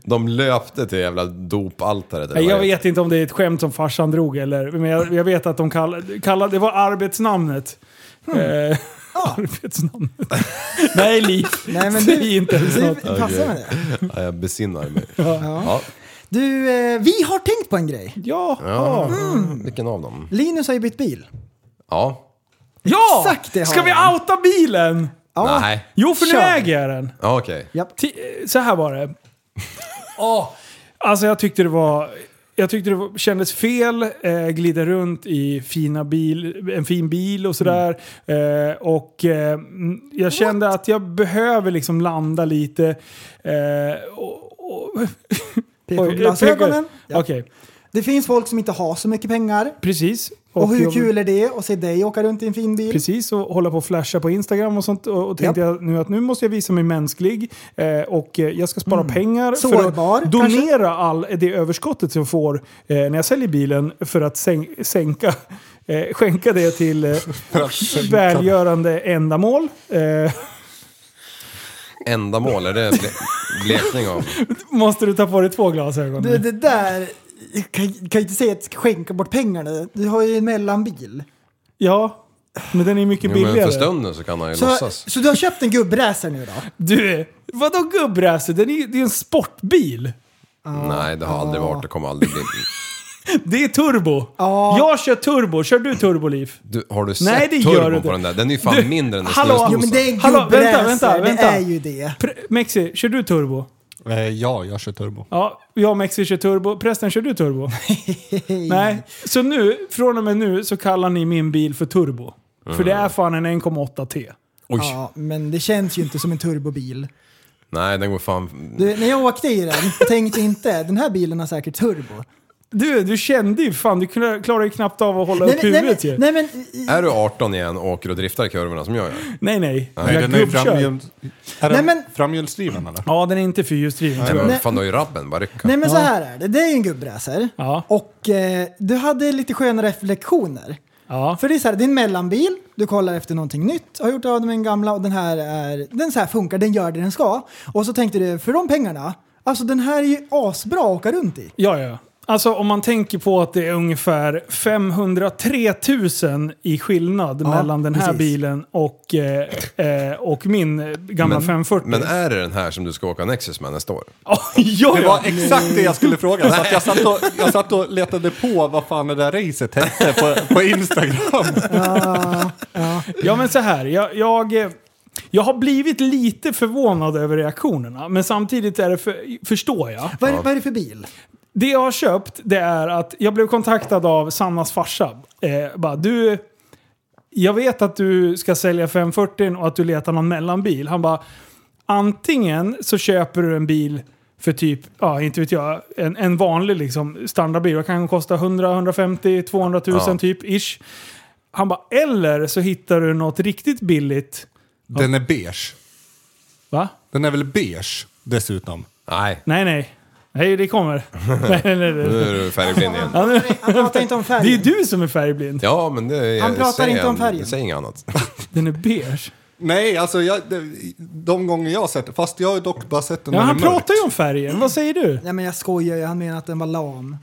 G: De löpte till jävla dopaltaret. eller
E: Nej,
G: vad
E: Jag
G: det
E: vet inte om det är ett skämt som farsan drog eller, men jag, jag vet att de kallade, kallade, det var arbetsnamnet.
F: Hmm.
E: Eh, Arbetsnamnet. Nej, Liv.
F: Nej, men
E: Säg
F: du-
E: inte ens
F: du-
E: något.
F: Det passar med
G: det. Ja, jag besinnar mig.
F: Ja.
G: Ja.
F: Du, eh, vi har tänkt på en grej.
E: Ja.
G: Ja. Vilken av dem?
F: Linus har ju bytt bil.
G: Ja.
E: Ja!
F: Exakt det har
E: Ska vi
F: han.
E: outa bilen?
F: Ja.
G: Nej.
E: Jo, för nu
F: Kör.
E: äger jag den.
G: Ja, okej.
E: Ti- Så här var det. Åh, alltså jag tyckte det var... Jag tyckte det var, kändes fel, eh, glida runt i fina bil, en fin bil och sådär. Eh, och eh, mm, jag kände att jag behöver liksom landa lite. Eh, och, och,
F: Peka
E: Oj,
F: på glasögonen.
E: pekar-
F: Ja.
E: Okej,
F: Det finns folk som inte har så mycket pengar.
E: precis.
F: Och, hur
E: jag-
F: kul är det att se dig åka runt i en fin bil?
E: Precis, och hålla på och flasha på Instagram och sånt. Och, och tänkte jag nu att nu måste jag visa mig mänsklig eh, och eh, jag ska spara pengar
F: Mm. Sårbar,
E: för att
F: kanske?
E: donera all det överskottet som jag får eh, när jag säljer bilen för att sänk, sänka, eh, skänka det till eh, välgörande ändamål. Eh,
G: Ändamål, är det ble blekning av?
E: måste du ta på dig två glasögon?
F: Du, det där kan, kan ju inte säga att skänka bort pengarna. Du har ju en mellanbil.
E: Ja, men den är mycket
G: Jo, men
E: billigare.
G: för stunden så kan han ju
F: Så,
G: låtsas.
F: så du har köpt en gubbräser nu då?
E: Du, vadå gubbräse? Den är ju- Det är ju en sportbil.
G: Nej, det har aldrig varit och kommer aldrig bli.
E: Det är turbo. Jag kör turbo. Kör du turboliv?
G: Du, har du sett
E: Nej, det gör
G: turbon
E: det.
G: på den där? Den är ju fan
E: Du,
G: mindre än en
E: hallå.
G: snusdosa.
E: Jo, men
F: Det är en
E: Hallå, vänta,
F: gubbräser,
E: vänta,
F: det
E: vänta.
F: är ju det.
E: Pre- Mexi, kör du turbo?
I: Eh, ja, jag kör turbo.
E: Ja, jag och Mexi kör turbo. Prästen, kör du turbo? Nej. Så nu, från och med nu så kallar ni min bil för turbo. För det
F: Mm.
E: är fan en 1,8T.
F: Ja, men det känns ju inte som en turbobil.
G: Nej, den går fan...
F: Du, när jag åkte i den tänkte jag inte den här bilen har säkert turbo.
E: Du, du kände ju fan, du kla- klarade ju knappt av att hålla upp
F: men, nej,
E: huvudet
F: men,
E: ju.
F: nej, men,
G: Är du 18 igen och åker och driftar i kurvorna som jag gör?
E: Nej, nej.
I: Nej,
E: Jag
I: den är ju
E: gubbkör.
I: framhjul...
F: Nej,
I: Är den
F: men-
I: framhjulsdriven eller?
E: Ja, den är inte fyrhjulsdriven.
G: Nej, men
F: Nej.
G: fan, du har ju rabben. Bara rycka.
F: nej men så här är det, det är ju en gubbräser.
E: Ja.
F: Och eh, du hade lite sköna reflektioner.
E: Ja.
F: För det är så här, det är en mellanbil, du kollar efter någonting nytt, har gjort av med en gamla och den här, är, den så här funkar, den gör det den ska. Och så tänkte du, för de pengarna, alltså den här är ju asbra att åka runt i.
E: Ja, ja. Alltså om man tänker på att det är ungefär 503 000 i skillnad
F: Ja,
E: mellan den här
F: precis.
E: bilen och, eh, eh, och min eh, gamla 540.
G: Men är det den här som du ska åka Nexus med nästa år?
E: ja,
I: Det
E: ja.
I: var exakt det jag skulle fråga. Så att jag, satt och, jag satt och letade på vad fan det där racet hette på, på Instagram.
E: ja, men så här. Jag, jag, eh, jag har blivit lite förvånad över reaktionerna, men samtidigt är det för, förstår jag.
F: Vad är, vad är det för bil?
E: Det jag har köpt det är att jag blev kontaktad av Sannas farsa. Eh, bara, du, jag vet att du ska sälja 540 och att du letar någon mellanbil. Han bara, antingen så köper du en bil för typ, ja inte vet jag, en, en vanlig liksom standardbil. Det kan kosta 100, 150, 200 000
G: Ja.
E: typ ish. Han bara, eller så hittar du något riktigt billigt.
I: Den är beige.
E: Va?
I: Den är väl beige? dessutom.
G: Nej.
E: Nej, nej. Nej, det kommer. Nej, nej, nej.
G: Nu är du färgblind igen.
E: Ja, nu-
F: Han pratar inte om
E: Det är
F: färgen.
E: ju du som är färgblind.
G: Ja, men det
F: Han pratar
G: säger
F: inte om
G: han-
F: färgen.
G: Säg inget annat.
E: Den är beige.
I: Nej, alltså jag, de, de gånger jag har sett den, fast jag har dock bara sett den
E: Ja,
I: när
E: han
I: det är mörkt.
E: pratar ju om färgen. Vad säger du?
F: Nej men jag skojar ju, han menar att den var lam.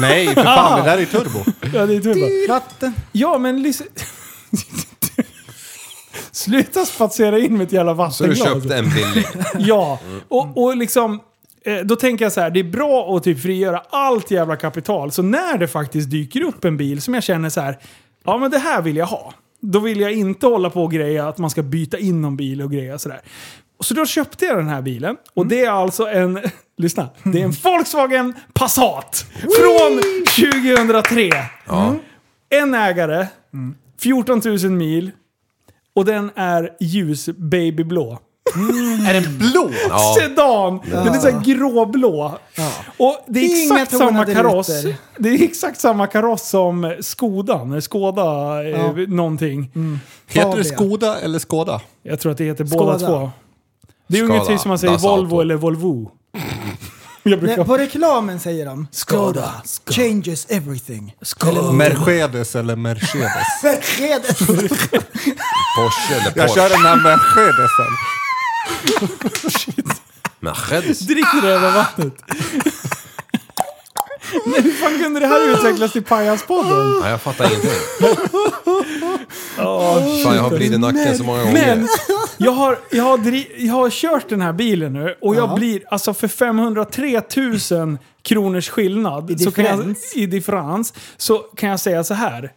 I: Nej, för fan, det där är turbo.
E: Ja, det är turbo.
F: Vatten.
E: Ja, men lyssna... Sluta spatsera in med ett jävla
G: Så du
E: vattenglas.
G: köpte en billig.
E: Ja, och, och liksom... eh, Då tänker jag så här, det är bra att typ frigöra allt jävla kapital. Så när det faktiskt dyker upp en bil som jag känner så här, ja men det här vill jag ha. Då vill jag inte hålla på och greja att man ska byta in någon bil och greja sådär. Så då köpte jag den här bilen och det är alltså en, lyssna, det är en Volkswagen Passat från 2003.
G: Ja.
E: En ägare, 14 000 mil och den är ljus babyblå.
K: Är den blå?
G: Ja.
E: Sedan! Den är så här gråblå. Och det är
F: Inga
E: exakt samma
F: tonade
E: kaross.
F: rutor.
E: Det är exakt samma kaross som Skodan, Skoda eh, någonting.
F: Mm.
I: Heter det
F: Fabia.
I: Skoda eller Skoda?
E: Jag tror att det heter båda
F: Skoda.
E: två. Det är
G: Skoda,
E: ungefär som man säger
G: Das Auto.
E: Volvo eller Volvo. Jag brukar...
F: Nej, på reklamen säger de Skoda, changes everything.
I: Mercedes eller Mercedes?
F: Mercedes.
G: Porsche eller Porsche.
I: Jag kör den här Mercedesen.
G: Mercedes.
E: Dricker det över vattnet. Nej, hur fan kunde det här utvecklas till Pajaspodden?
G: Nej, jag fattar ingenting. Fan, jag har vridit nacken så många gånger.
E: Men jag har, jag, har dri- jag har kört den här bilen nu och jag blir alltså för 503 000 kronors skillnad
F: I
E: så kan jag,
F: differens.
E: i differens så kan jag säga så här.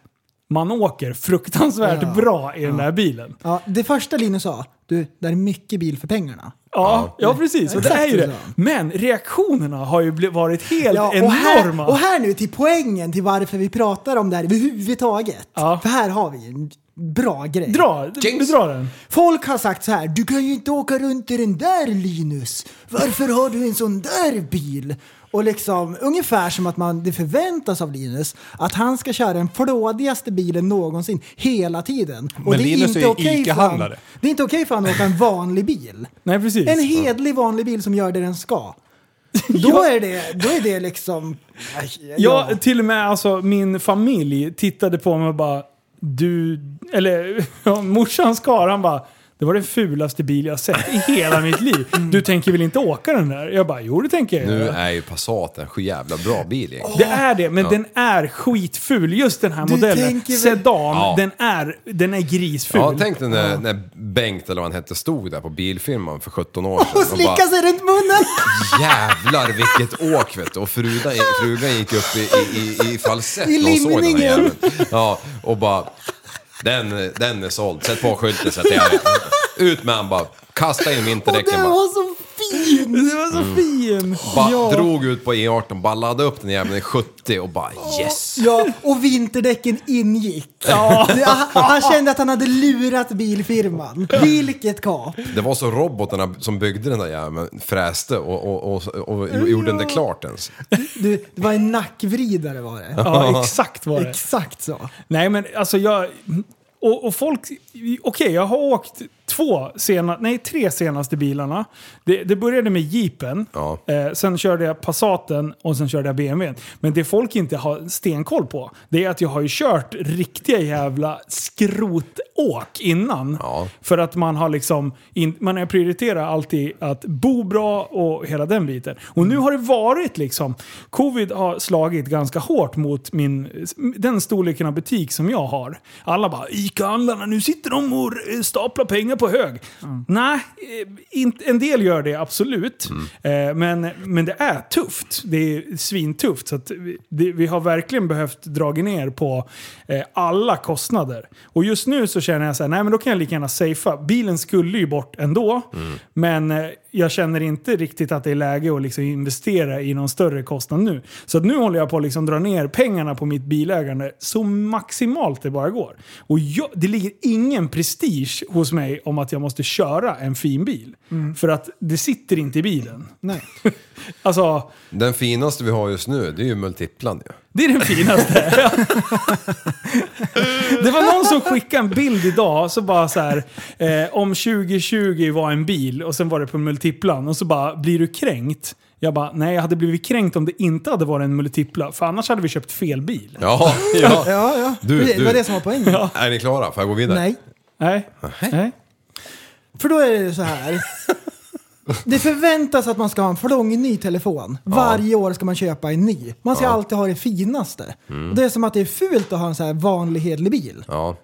E: Man åker fruktansvärt
F: Ja.
E: bra i den där bilen.
F: Ja, det första Linus sa, du, där är mycket bil för pengarna.
E: Ja, ja precis. Och det
F: Exakt
E: är ju det.
F: så.
E: Men reaktionerna har ju bli- varit helt
F: Ja, och,
E: enorma.
F: här, och här nu till poängen till varför vi pratar om det här överhuvudtaget.
E: Ja.
F: För här har vi en bra grej.
E: Dra, du drar den.
F: Folk har sagt så här, du kan ju inte åka runt i den där Linus. Varför har du en sån där bil? Och liksom ungefär som att man, det förväntas av Linus att han ska köra den flådigaste bilen någonsin hela tiden. Och
I: Men
F: det
I: Linus är ju
F: okej för han-
I: ICA-handlare.
F: Det är inte okej för han att åka en vanlig bil.
E: Nej, precis.
F: En hedlig vanlig bil som gör det den ska. Då är det, då är det liksom... Aj,
E: Ja, till och med alltså, min familj tittade på mig och bara du, eller ja, morsan skar, han bara det var den fulaste bil jag sett i hela mitt liv.
F: Mm.
E: Du tänker väl inte åka den där? Jag bara, jo det tänker jag
G: Nu
E: göra."
G: är ju Passat en jävla bra bil egentligen.
E: Det är det, men den är skitful. Just den här
F: Du
E: modellen.
F: tänker väl-
E: Sedan,
G: Ja.
E: den, är, den är grisful.
G: Ja, tänk dig när, när Bengt, eller vad han hette, stod där på bilfirman för 17 år sedan.
F: Och slicka sig runt munnen!
G: jävlar vilket åk vet du. Och fruga, frugan gick upp i, i, i, i falsett
F: I
G: när hon såg den här
F: limningen.
G: jäveln. Ja, och bara... Den, den är såld, sätt på skylten så att jag vet. Ut med han bara, kasta in
F: Och
G: vinterdäcken
F: den
G: bara. Mm.
F: var så fin!
E: Den var så fin!
G: bara Drog ut på E18, bara laddade upp den jäveln i 70 och bara yes!
F: Ja, och vinterdäcken ingick. Det- Han, han kände att han hade lurat bilfirman. Vilket kap!
G: Det var så robotarna som byggde den där jäveln fräste och, och, och, och gjorde inte klart ens.
F: Du, det var en nackvridare var det.
E: Ja, exakt var det.
F: Exakt så.
E: Nej men alltså jag... Och, och folk... Okej, jag har åkt två sena, nej, tre senaste bilarna. Det, det började med jeepen,
G: Ja.
E: eh, sen körde jag Passaten och sen körde jag BMWn. Men det folk inte har stenkoll på, det är att jag har ju kört riktiga jävla skrotåk innan.
G: Ja.
E: För att man har liksom, in, man har prioriterat alltid att bo bra och hela den biten. Och nu har det varit liksom, covid har slagit ganska hårt mot min, den storleken av butik som jag har. Alla bara ICA-handlarna, nu sitter de och eh, staplar pengar på hög. Nej, eh, inte- en del gör det absolut. Eh, Men, men det är tufft. Det är svintufft. Så att vi, det, vi har verkligen behövt dra ner på eh, alla kostnader. Och just nu så känner jag så här, nej men då kan jag lika gärna safea. Bilen skulle ju bort ändå. Men eh, jag känner inte riktigt att det är läge att liksom investera i någon större kostnad nu. Så att nu håller jag på att liksom dra ner pengarna på mitt bilägande så maximalt det bara går. Och jag, det ligger ingen prestige hos mig om att jag måste köra en fin bil. För att det sitter inte i bilen.
F: Nej.
E: Alltså,
G: Den finaste vi har just nu, det är ju multiplan ju.
E: det är den finaste. Det var någon som skickade en bild idag, så bara så här, eh, om 2020 var en bil och sen var det på multiplan och så bara, blir du kränkt? Jag bara, nej jag hade blivit kränkt om det inte hade varit en multipla, för annars hade vi köpt fel bil.
G: Ja, ja.
E: Ja, ja.
G: Du,
E: Det- det
G: du.
E: var det som var poängen.
G: Ja. Är ni klara? Får jag gå vidare?
F: Nej.
E: Nej. Nej.
F: För då är det så här. Det förväntas att man ska ha en flångny telefon. Varje år ska man köpa en ny. Man ska
G: Ja.
F: alltid ha det finaste.
G: Mm.
F: Och det är som att det är fult att ha en så här vanlig hederlig bil.
G: Ja.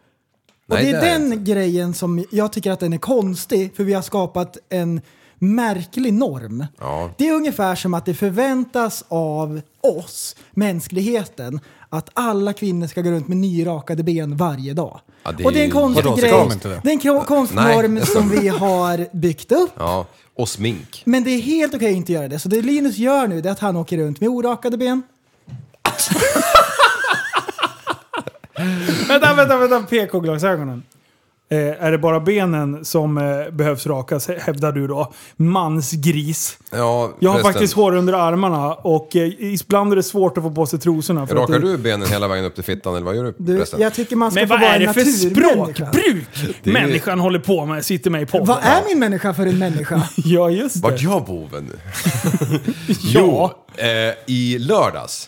F: Och
G: Nej,
F: det är
G: där.
F: den grejen som jag tycker att den är konstig för vi har skapat en märklig norm.
G: Ja.
F: Det är ungefär som att det förväntas av oss, mänskligheten, att alla kvinnor ska gå runt med nyrakade ben varje dag.
G: Ja, det är
F: och det är en
G: ju-
F: konstig
G: Vadå, ska
F: grej.
G: de inte det?
F: Det är en kro- konstig
G: Nej,
F: norm
G: jag
F: som
G: skojar.
F: vi har byggt upp.
G: Ja. Och smink.
F: Men det är helt okej att inte göra det. Så det Linus gör nu det är att han åker runt med orakade ben.
E: vänta, vänta, vänta. PK-glasögonen. Eh, är det bara benen som eh, behövs rakas, hävdar du då? Mansgris.
G: Ja,
E: Jag har
G: förresten,
E: faktiskt hår under armarna och eh, ibland är det svårt att få på sig trosorna. För
G: Rakar
E: att det-
G: du benen hela vägen upp till fittan eller vad gör du?
F: Du,
G: förresten?
F: jag tycker man ska
E: Men
F: få
E: vad
F: vara
E: är det
F: en
E: för
F: naturmänniska.
E: språkbruk
G: Det är ju-
E: människan håller på med? Sitter med i podden.
F: Vad är min människa för en människa?
E: Ja, just det.
G: Vart jag boven nu? Jo, eh, i lördags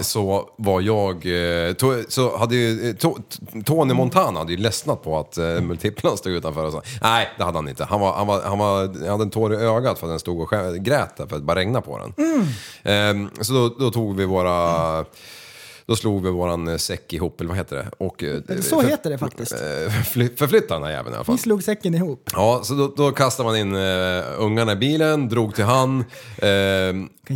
G: så var jag... Eh, to- så hade ju, eh, to- t- Tony Montana hade ju ledsnat på att eh, multiplan stod utanför och så. Nej, det hade han inte. Han, var, han, var, han, var, han hade en tår i ögat för att den stod och skä- grät där för att det bara regnade på den.
F: Mm.
G: Ehm, så då, då tog vi våra... Då slog vi våran eh, säck ihop, eller vad heter det? Och, eh,
F: Så heter det faktiskt.
G: eh, förfly- Förflytta den här jäveln i alla fall.
F: Vi slog säcken ihop.
G: Ja, så då, då kastade man in eh, ungarna i bilen, drog till han. Eh,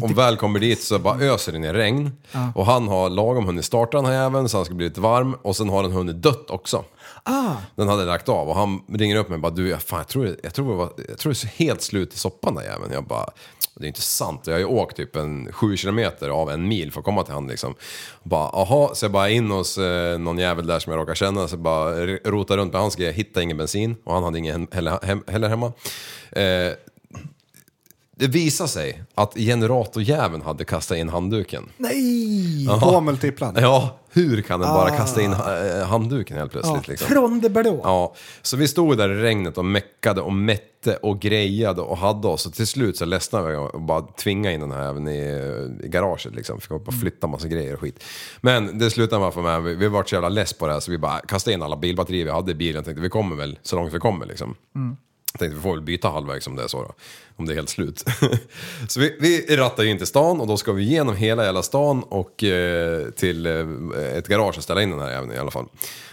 G: om väl kommer dit så bara öser det ner regn.
F: Ja.
G: Och han har lagom hunnit starta den här jäveln så han ska bli lite varm. Och sen har den hunnit dött också.
F: Ah,
G: Den hade lagt av och han ringer upp mig och bara du, jag, fan, jag tror, jag tror, jag var, jag tror det är helt slut i soppan där jäveln. Jag bara, det är inte sant. Jag har ju åkt typ en sju kilometer av en mil för att komma till han liksom. Och bara, aha, så jag bara in hos eh, någon jävel där som jag råkar känna. Så jag bara r- rotar runt med hans grejer, hittar ingen bensin och han hade ingen hem- heller, hem, heller hemma. Eh, det visar sig att generatorjäveln hade kastat in handduken.
F: nej!
G: Jaha.
I: På multiplan.
G: Ja, hur kan den bara
F: Ah.
G: kasta in eh, handduken helt plötsligt?
F: Ja,
G: liksom?
F: Från det blå.
G: Ja, så vi stod där i regnet och meckade och mätte och grejade och hade oss. Och till slut så ledsnade vi och bara tvingade in den här även i, i garaget liksom. Fick bara flytta massa grejer och skit. Men det slutade bara för mig, vi, vi var så jävla less på det här så vi bara kastade in alla bilbatterier vi hade i bilen. Tänkte vi kommer väl så långt vi kommer liksom. Tänkte vi får väl byta halvvägs om det är så då. Om det är helt slut. så vi, vi rattar ju in till stan och då ska vi igenom hela jävla stan och eh, till eh, ett garage och ställa in den här jäveln i alla fall.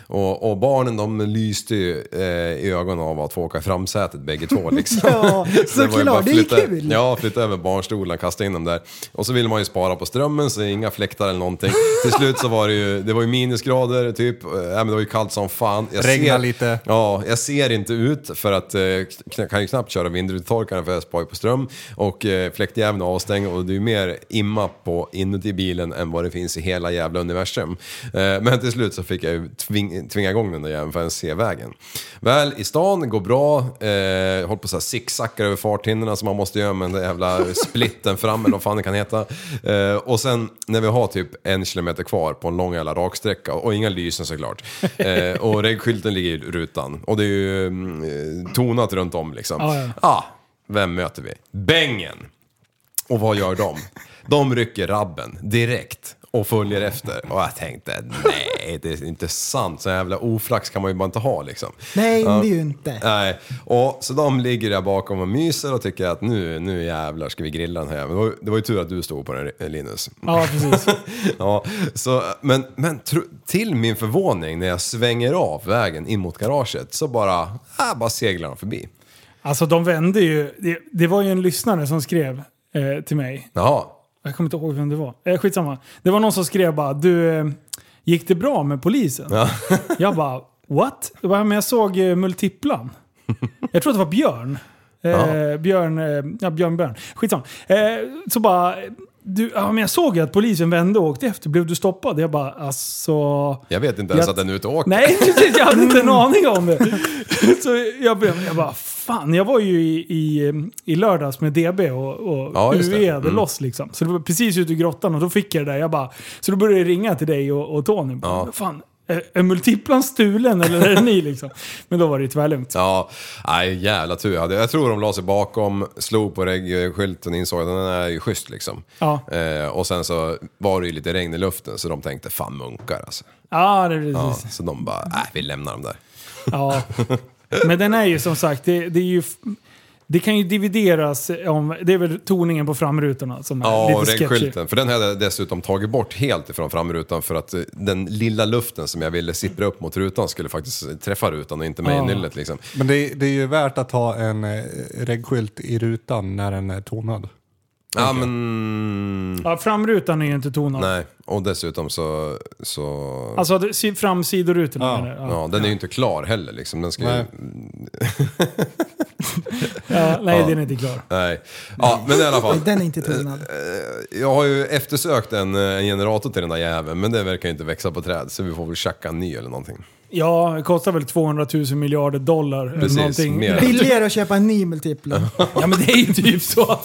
G: Och, och barnen de lyste ju eh, i ögonen av att få åka i framsätet bägge två liksom.
F: Ja,
G: Så var ju bara
F: såklart. Det är ju
G: flytta-
F: kul.
G: Ja, flytta över barnstolarna, kasta in dem där. Och så vill man ju spara på strömmen så inga fläktar eller någonting. Till slut så var det ju, det var ju minusgrader typ. Äh, men det var ju kallt som fan.
I: Regna lite.
G: Ja, jag ser inte ut för att eh, kn- kan ju knappt köra vindrutetorkaren för jag spar ju på ström. Och eh, fläktjäveln är avstängd och det är ju mer imma på inuti bilen än vad det finns i hela jävla universum. Eh, men till slut så fick jag ju tving, tvinga igång den där jäveln för att ens se vägen. Väl i stan, går bra. Eh, håller på så här zigzacka över farthinderna som man måste göra med den där jävla splitten fram eller vad fan det kan heta. Eh, och sen när vi har typ en kilometer kvar på en lång jävla raksträcka och inga lysen såklart. Eh, och regskylten ligger i rutan och det är ju mm, eh, tonat runt om liksom.
N: Ja, ja.
G: Ah, vem möter vi? Bängen! Och vad gör de? De rycker rabben direkt och följer efter. Och jag tänkte, nej det är inte sant. Så jävla oflax kan man ju bara inte ha liksom.
F: Nej,
G: Ja.
F: det är ju inte.
G: Nej, och så de ligger där bakom och myser och tycker att nu, nu jävlar ska vi grilla den här jäveln. Det var ju- Det var ju tur att du stod på den eh, Linus.
E: Ja, precis.
G: ja, så, men men tro, till min förvåning när jag svänger av vägen in mot garaget så bara, ah, bara seglar de förbi.
E: Alltså de vände ju. Det, det var ju en lyssnare som skrev eh, till mig.
G: Jaha.
E: Jag kommer inte ihåg vem det var. Eh, skitsamma. Det var någon som skrev bara du, eh, gick det bra med polisen? jag bara what? Jag, bara, men jag såg eh, multiplan. Jag tror att det var Björn. Eh,
O: Ja.
E: Björn, eh, ja Björn Björn. Skitsamma. Eh, så bara, du, ja, men jag såg ju att polisen vände och åkte efter. Blev du stoppad? Jag bara alltså...
G: Jag vet inte ens
E: Jag-
G: att den är ute och åker.
E: Nej, precis. Jag hade inte en aning om det. Så jag, började, jag bara, fan. Jag var ju i, i, i lördags med DB och, och
G: Ja, just det.
E: UE hade
G: Mm.
E: loss liksom. Så det var precis ute i grottan och då fick jag det där. Jag bara, så då började jag ringa till dig och, och Tony. Bara,
G: Ja.
E: Fan, Är, är multiplan stulen eller är det ni liksom? Men då var det ju tvärlugnt.
G: Ja, nej jävla tur jag hade. Jag tror de la sig bakom, slog på reggskylten och insåg att den är ju schysst liksom.
E: Ja,
G: Eh, och sen så var det ju lite regn i luften så de tänkte fan munkar alltså.
E: ja det är precis.
G: Ja, så de bara, äh, vi lämnar dem där.
E: Ja. Men den är ju som sagt, det, det är ju... Det kan ju divideras om, det är väl toningen på framrutorna som är
G: Ja, och
E: lite sketchy.
G: reggskylten. För den hade jag dessutom tagit bort helt ifrån framrutan för att eh, den lilla luften som jag ville sippra upp mot rutan skulle faktiskt eh, träffa rutan och inte mig
I: Ja.
G: i nyllet liksom.
I: Men det, är- det är ju värt att ha en eh, reggskylt i rutan när den är tonad.
G: Ja, men...
E: Ja, framrutan är ju inte tonad.
G: Nej, och dessutom så... så...
E: Alltså det- si- framsidorutorna
G: Ja.
E: menar jag.
G: Ja, den är ju inte klar heller liksom. Den ska ju...
E: Nej. Ja, nej,
G: Ja.
E: den är inte klar.
G: Nej. Ja, men i alla fall.
F: Den är inte tonad.
G: Eh, Jag har ju eftersökt en, eh, en generator till den där jäveln, men det verkar ju inte växa på träd. Så vi får väl tjacka en ny eller någonting.
E: Ja, det kostar väl 200 000 miljarder dollar. eller
G: Precis,
E: någonting.
G: mer.
F: Billigare att köpa en ny multipla.
E: Ja men det är ju typ så.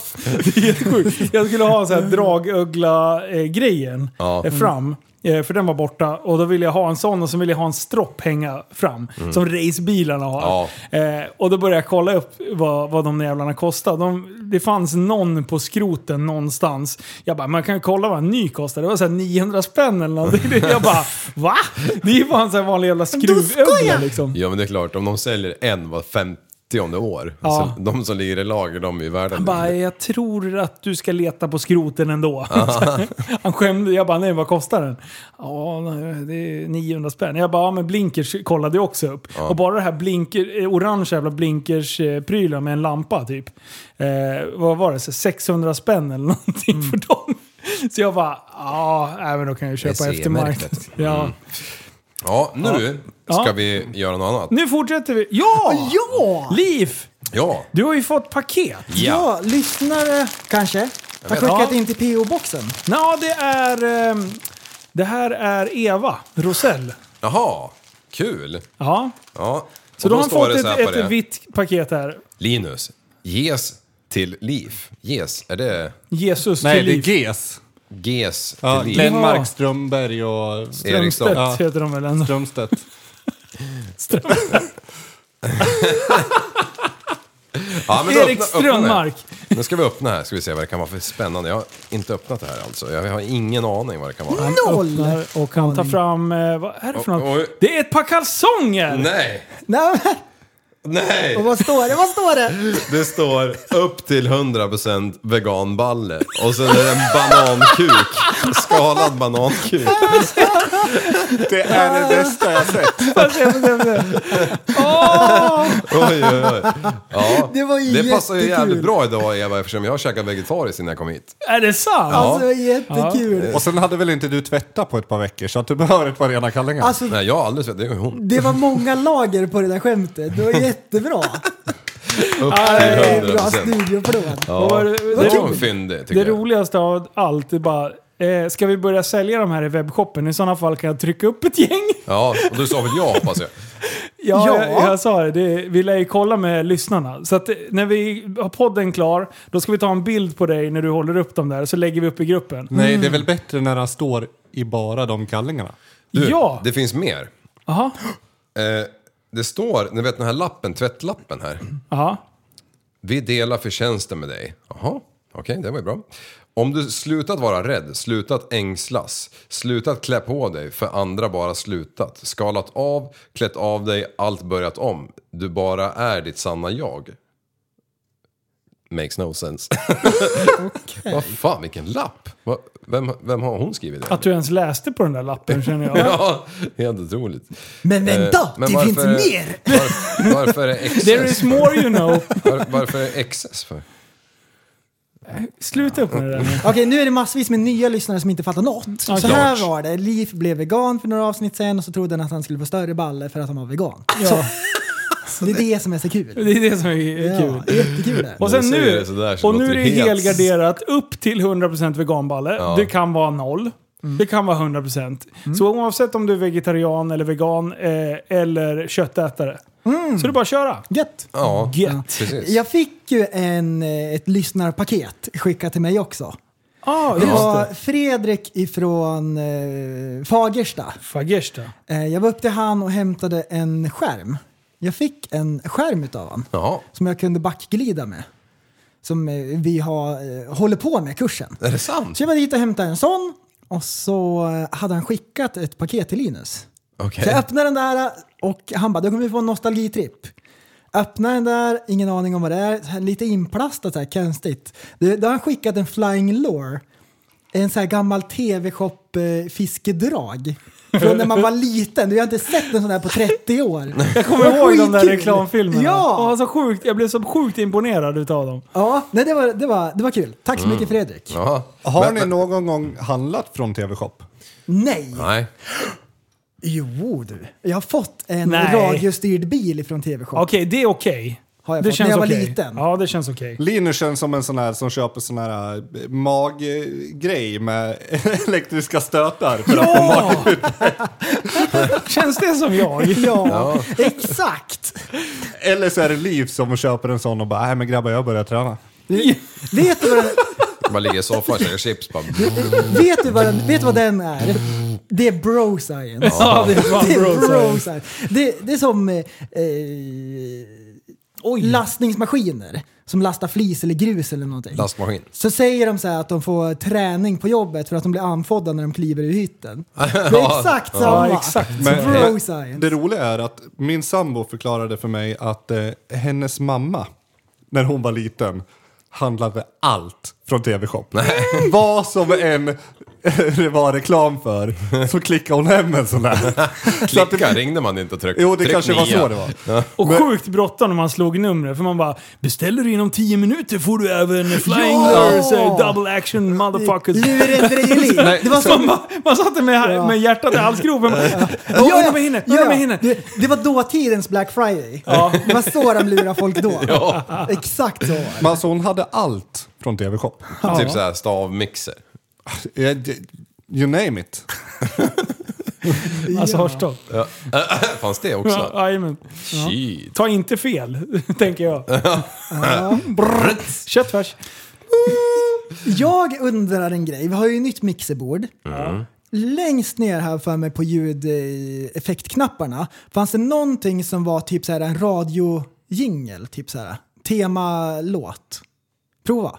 E: Det är helt sjukt. Jag skulle ha en sån här dragögla-grejen
B: Ja.
E: eh, fram. eh, För den var borta och då ville jag ha en sån och så ville jag ha en stropp hänga fram.
B: Mm.
E: Som racebilarna har.
B: Ja.
E: Eh, och då började jag kolla upp vad, vad de jävlarna kostade. De, det fanns någon på skroten någonstans. Jag bara, man kan kolla vad en ny kostar. Det var såhär 900 spänn eller någonting. Jag bara, va? Det är ju fan såhär vanlig jävla skruvögla liksom.
G: Ja, men det är klart. Om de säljer en var femtionde år,
E: Ja.
G: så de som ligger i lager, de är ju värda
E: Han bara, jag tror att du ska leta på skroten ändå.
G: Aha.
E: Han skämde, jag bara, nej vad kostar den? Ja, nej, det är 900 spänn. Jag bara, ja, men blinkers kollade jag också upp.
B: Ja.
E: Och bara det här blinker, eh, orange jävla blinkers-prylar med en lampa typ. Eh, vad var det, så 600 spänn eller någonting
G: Mm.
E: för dem. Så jag bara, ja, nej, men då kan jag ju
G: Det
E: köpa
G: ser
E: efter marknaden.
G: märkligt.
E: Ja.
G: Mm. Ja, nu
E: Ja.
G: ska vi göra något annat.
E: Nu fortsätter vi. Ja! ja! Liv!
G: Ja,
E: Du har ju fått paket.
G: Ja. Ja,
E: lyssnare kanske
F: Jag har vet. skickat in till
E: PO-boxen. Ja, det är... ehm, Det här är Eva Rosell.
G: jaha, kul.
E: Ja.
G: ja.
E: Så
G: Och
E: då har han
G: står
E: fått
G: det så här
E: ett,
G: på det.
E: ett vitt paket här.
G: Linus, ges till liv. Ges, är det...
E: Jesus till liv.
G: ges. Ges till
I: Ja,
G: liv.
I: Glenmark, Strömberg och...
G: Eriksson.
E: Strömstedt heter de väl ändå?
I: Strömstedt.
G: Ja, men då öppna-
E: Erik
G: öppna
E: Strömmark.
G: det. Nu ska vi öppna här, ska vi se vad det kan vara för spännande. Jag har inte öppnat det här alltså. Jag har ingen aning vad det kan vara.
E: Noll! Och han tar fram... eh, Vad är det för något?
G: Oj.
E: Det är ett par kalsonger!
G: Nej!
E: Nej.
G: Nej!
F: Vad står det? Vad står det?
G: Det står upp till 100% veganballe och sen är det en banankuk. Skalad banankuk.
I: Det är det bästa jag sett.
G: Oj, oj, oj. Ja.
F: Det var ju
G: det passar ju
F: jättekul.
G: jävligt bra idag Eva eftersom jag har käkat vegetariskt innan jag kom hit.
E: Är det sant?
G: Ja. Alltså,
F: jättekul.
I: Och sen hade väl inte du tvättat på ett par veckor så att du behöver ett par rena kallingar.
F: Alltså-
G: Nej, jag har aldrig sett det. är ju hon.
F: Det var många lager på det där skämtet. Det var jättebra.
G: Upp
F: Ja,
G: till
F: det är Bra
G: 100%.
F: studioapplåd.
G: Ja, det var
E: kul.
G: fyndig tycker
E: Det
G: jag.
E: roligaste av allt är bara... Eh, ska vi börja sälja de här i webbshoppen? I sådana fall kan jag trycka upp ett gäng.
G: Ja, och du sa väl ja hoppas jag.
E: Ja,
G: Ja.
E: Jag, jag sa det. det. Vi lär ju kolla med lyssnarna. Så att eh, när vi har podden klar, då ska vi ta en bild på dig när du håller upp dem där, så lägger vi upp i gruppen.
G: Mm.
I: Nej, det är väl bättre när han står i bara de kallingarna.
G: Du,
E: Ja.
G: det finns mer.
E: Aha.
G: Eh, det står, ni vet den här lappen, tvättlappen här.
E: Aha.
G: Vi delar förtjänsten med dig. Jaha, okej, det var ju bra. Om du slutat vara rädd, slutat ängslas, slutat klä på dig för andra bara slutat, skalat av, klätt av dig, allt börjat om. Du bara är ditt sanna jag. Makes no sense. Vad fan, vilken lapp! Vad- Vem, vem har hon skrivit det?
E: Att du ens läste på den där lappen känner jag.
G: Ja, helt otroligt.
F: Men vänta,
G: Eh, men
F: det
G: varför-
F: finns mer!
G: Var, varför är det excess?
E: There is more you know.
G: Var, varför är det excess för?
E: Sluta upp med det där nu.
F: Okej, nu är det massvis med nya lyssnare som inte fattar något. Så
E: Okej.
F: här
E: Klart.
F: var det. Liv blev vegan för några avsnitt sen och så trodde han att han skulle få större balle för att han var vegan.
E: Ja.
F: Så. Det är det som är så kul.
E: Det är det som är kul.
F: Ja, jättekul det.
E: Och,
G: När
E: sen
G: du säger
E: nu,
G: det sådär så
E: och nu
G: låter
E: är det
G: det helt-
E: helgarderat upp till 100% veganballe.
G: Ja.
E: Det kan vara noll.
G: Mm.
E: Det kan vara 100%. Så oavsett om du är vegetarian eller vegan eh, eller köttätare. Så det är bara att köra.
F: Gött!
G: Mm. Ja,
E: Gött.
G: precis.
F: Jag fick ju en, eh, ett lyssnarpaket skickat till mig också.
E: Ah,
F: det
E: just
F: var
E: det.
F: Fredrik ifrån eh, Fagersta.
E: Fagersta.
F: Eh, jag var upp till han och hämtade en skärm. Jag fick en skärm utav han
G: Ja.
F: som jag kunde backglida med. Som eh, vi har, eh, håller på med kursen.
G: Är det sant?
F: Så jag var dit och hämtade en sån och så eh, hade han skickat ett paket till Linus.
G: Okej.
F: Så jag öppnade den där och han bara, då kommer vi få en nostalgitripp. Öppnar den där, ingen aning om vad det är, så här lite inplastat så här, konstigt. Det- Då har han skickat en flying lore, en så här gammal tv-shop-fiskedrag. Från när man var liten, du har inte sett en sån här på 30 år.
E: Jag kommer
F: Vad
E: ihåg de där
F: skitkul.
E: reklamfilmerna.
F: Ja!
E: Åh, så sjukt, jag blev så sjukt imponerad utav dem.
F: Ja, nej, det, var, det, var, det var kul. Tack
E: Mm.
F: så mycket Fredrik.
I: Har
F: Men-
I: ni
F: men-
I: någon gång handlat från TV-shop?
F: Nej!
G: Nej.
F: Jo du, jag har fått en
E: Nej.
F: radiostyrd bil från TV-shop.
E: Okej, det är okej.
F: Har jag
E: Det
F: fått när
E: känns
F: jag var
E: okej.
F: liten.
E: Ja, det känns okej.
I: Linus känns som en sån här som köper sån här eh, maggrej med elektriska stötar. För att få mag ut.
E: Känns det som jag?
F: ja, exakt!
I: Eller så är det Liv som köper en sån och bara, nej men grabbar jag börjar träna.
F: Vet du vad den,
G: Bara ligger i soffan och käkar chips. Bara...
F: vet du vad den, vet du vad den är? Det är bro science.
G: Ja, det är fan bro science.
F: Det, det är som eh, eh, lastningsmaskiner som lastar flis eller grus eller någonting.
G: Lastmaskin.
F: Så säger de så här att de får träning på jobbet för att de blir andfådda när de kliver ur hytten. Det är
I: Ja.
F: exakt
I: Ja,
F: samma.
I: exakt. Men-
F: Bro science.
I: Det roliga är att min sambo förklarade för mig att eh, hennes mamma, när hon var liten, handlade allt från TV-shop. Vad som än eh, det var reklam för så klickade hon hem en sån där.
G: Klicka, ringde man inte och tryck,
I: Jo, det
G: tryck
I: kanske var
G: nia.
I: så det var.
G: Ja.
E: Och sjukt bråttom när man slog numret, för man bara “Beställer du inom 10 minuter får du även Flying
B: Ja!
E: Lures, eh, Double Action Motherfuckers”.
F: Lurendrejeri. Det var som-
E: man, bara- man satte med, med hjärtat i halsgropen. bara, "Åh,
F: Ja,
E: undrar om jag hinner, undrar om jag hinner.
F: Det, det var dåtidens Black Friday.
I: Ja.
F: Det var så de lurade folk då.
I: Ja.
F: Exakt så.
I: Men alltså hon hade allt från TV-shop.
F: Ja. Typ så
G: här stavmixer.
I: You name it.
E: Alltså Harstad.
G: Ja. Fanns det också?
E: Ja, jajamän. ja.
G: Shit.
E: Ta inte fel, tänker jag. Brrrt. Köttfärs.
F: Jag undrar en grej. Vi har ju nytt mixerbord. Längst ner här för mig på ljudeffektknapparna fanns det någonting som var typ så här en radiojingel, typ så här temalåt. Prova.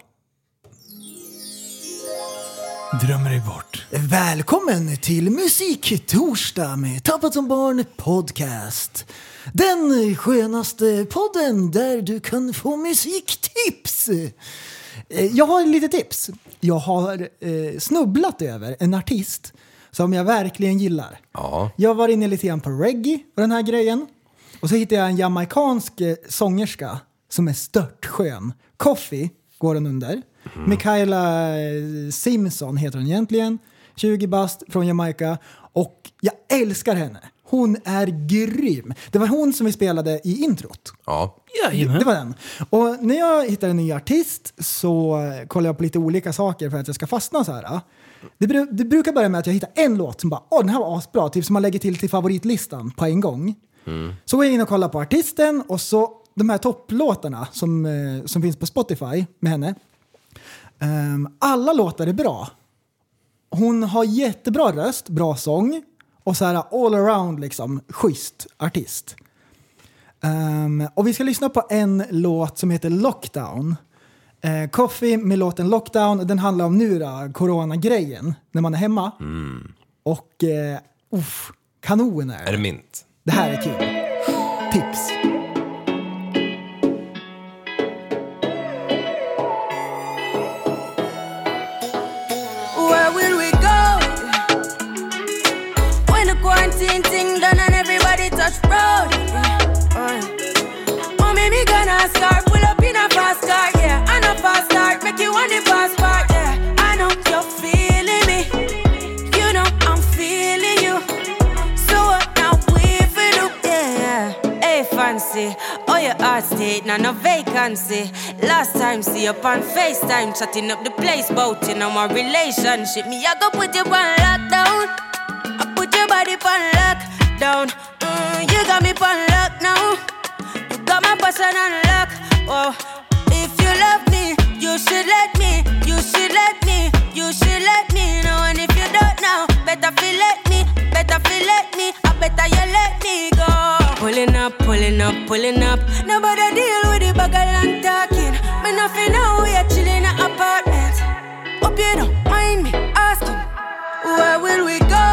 E: Drömmer dig bort.
F: Välkommen till Musiktorsdag med Tappat som barn podcast. Den skönaste podden där du kan få musiktips. Eh, Jag har lite tips. Jag har eh, snubblat över en artist som jag verkligen gillar.
G: Ja.
F: Jag var inne lite grann på reggae och den här grejen. Och så hittade jag en jamaikansk eh, sångerska som är störtskön. Coffee går hon under. Mikaela eh, Simpson heter hon egentligen. 20 bast från Jamaica. Och jag älskar henne. Hon är grym. Det var hon som vi spelade i introt.
G: Ja.
F: Det var den. Och när jag hittar en ny artist så eh, kollar jag på lite olika saker för att jag ska fastna så här. eh. Det, bru- det brukar börja med att jag hittar en låt som bara, åh den här var asbra, typ som man lägger till till favoritlistan på en gång. Så går jag in och kollar på artisten och så de här topplåtarna som, eh, som finns på Spotify med henne. Ehm, alla låtar är bra. Hon har jättebra röst, bra sång och så här all around liksom schysst artist. Ehm, och vi ska lyssna på en låt som heter Lockdown. Eh, Coffee med låten Lockdown, den handlar om nu då, coronagrejen, när man är hemma.
G: Mm.
F: Och eh, uff, kanon är
G: Är det mint?
F: det här är kul. Tips.
D: Where will we go? When the quarantine thing done and everybody touch road. Uh, Oh, maybe gonna start. Pull up in a fast car, yeah. I know fast start. Make you want the fast part, yeah. I know you're feeling me. You know I'm feeling you. So what now we for do? Yeah. Hey, fancy. Oh, your heart state, now no vacancy. Last time, see you on FaceTime, chatting up the place, bout you know my relationship. Me, I go put you on lockdown. I put your body on lockdown. Mm, you got me on lock now. You got my person on lock. Oh, if you love me, you should let me. You should let me. You pulling up. Nobody deal with the bagel and talking. Me nothing now, we are chilling in an apartment. Hope you don't mind me asking, where will we go?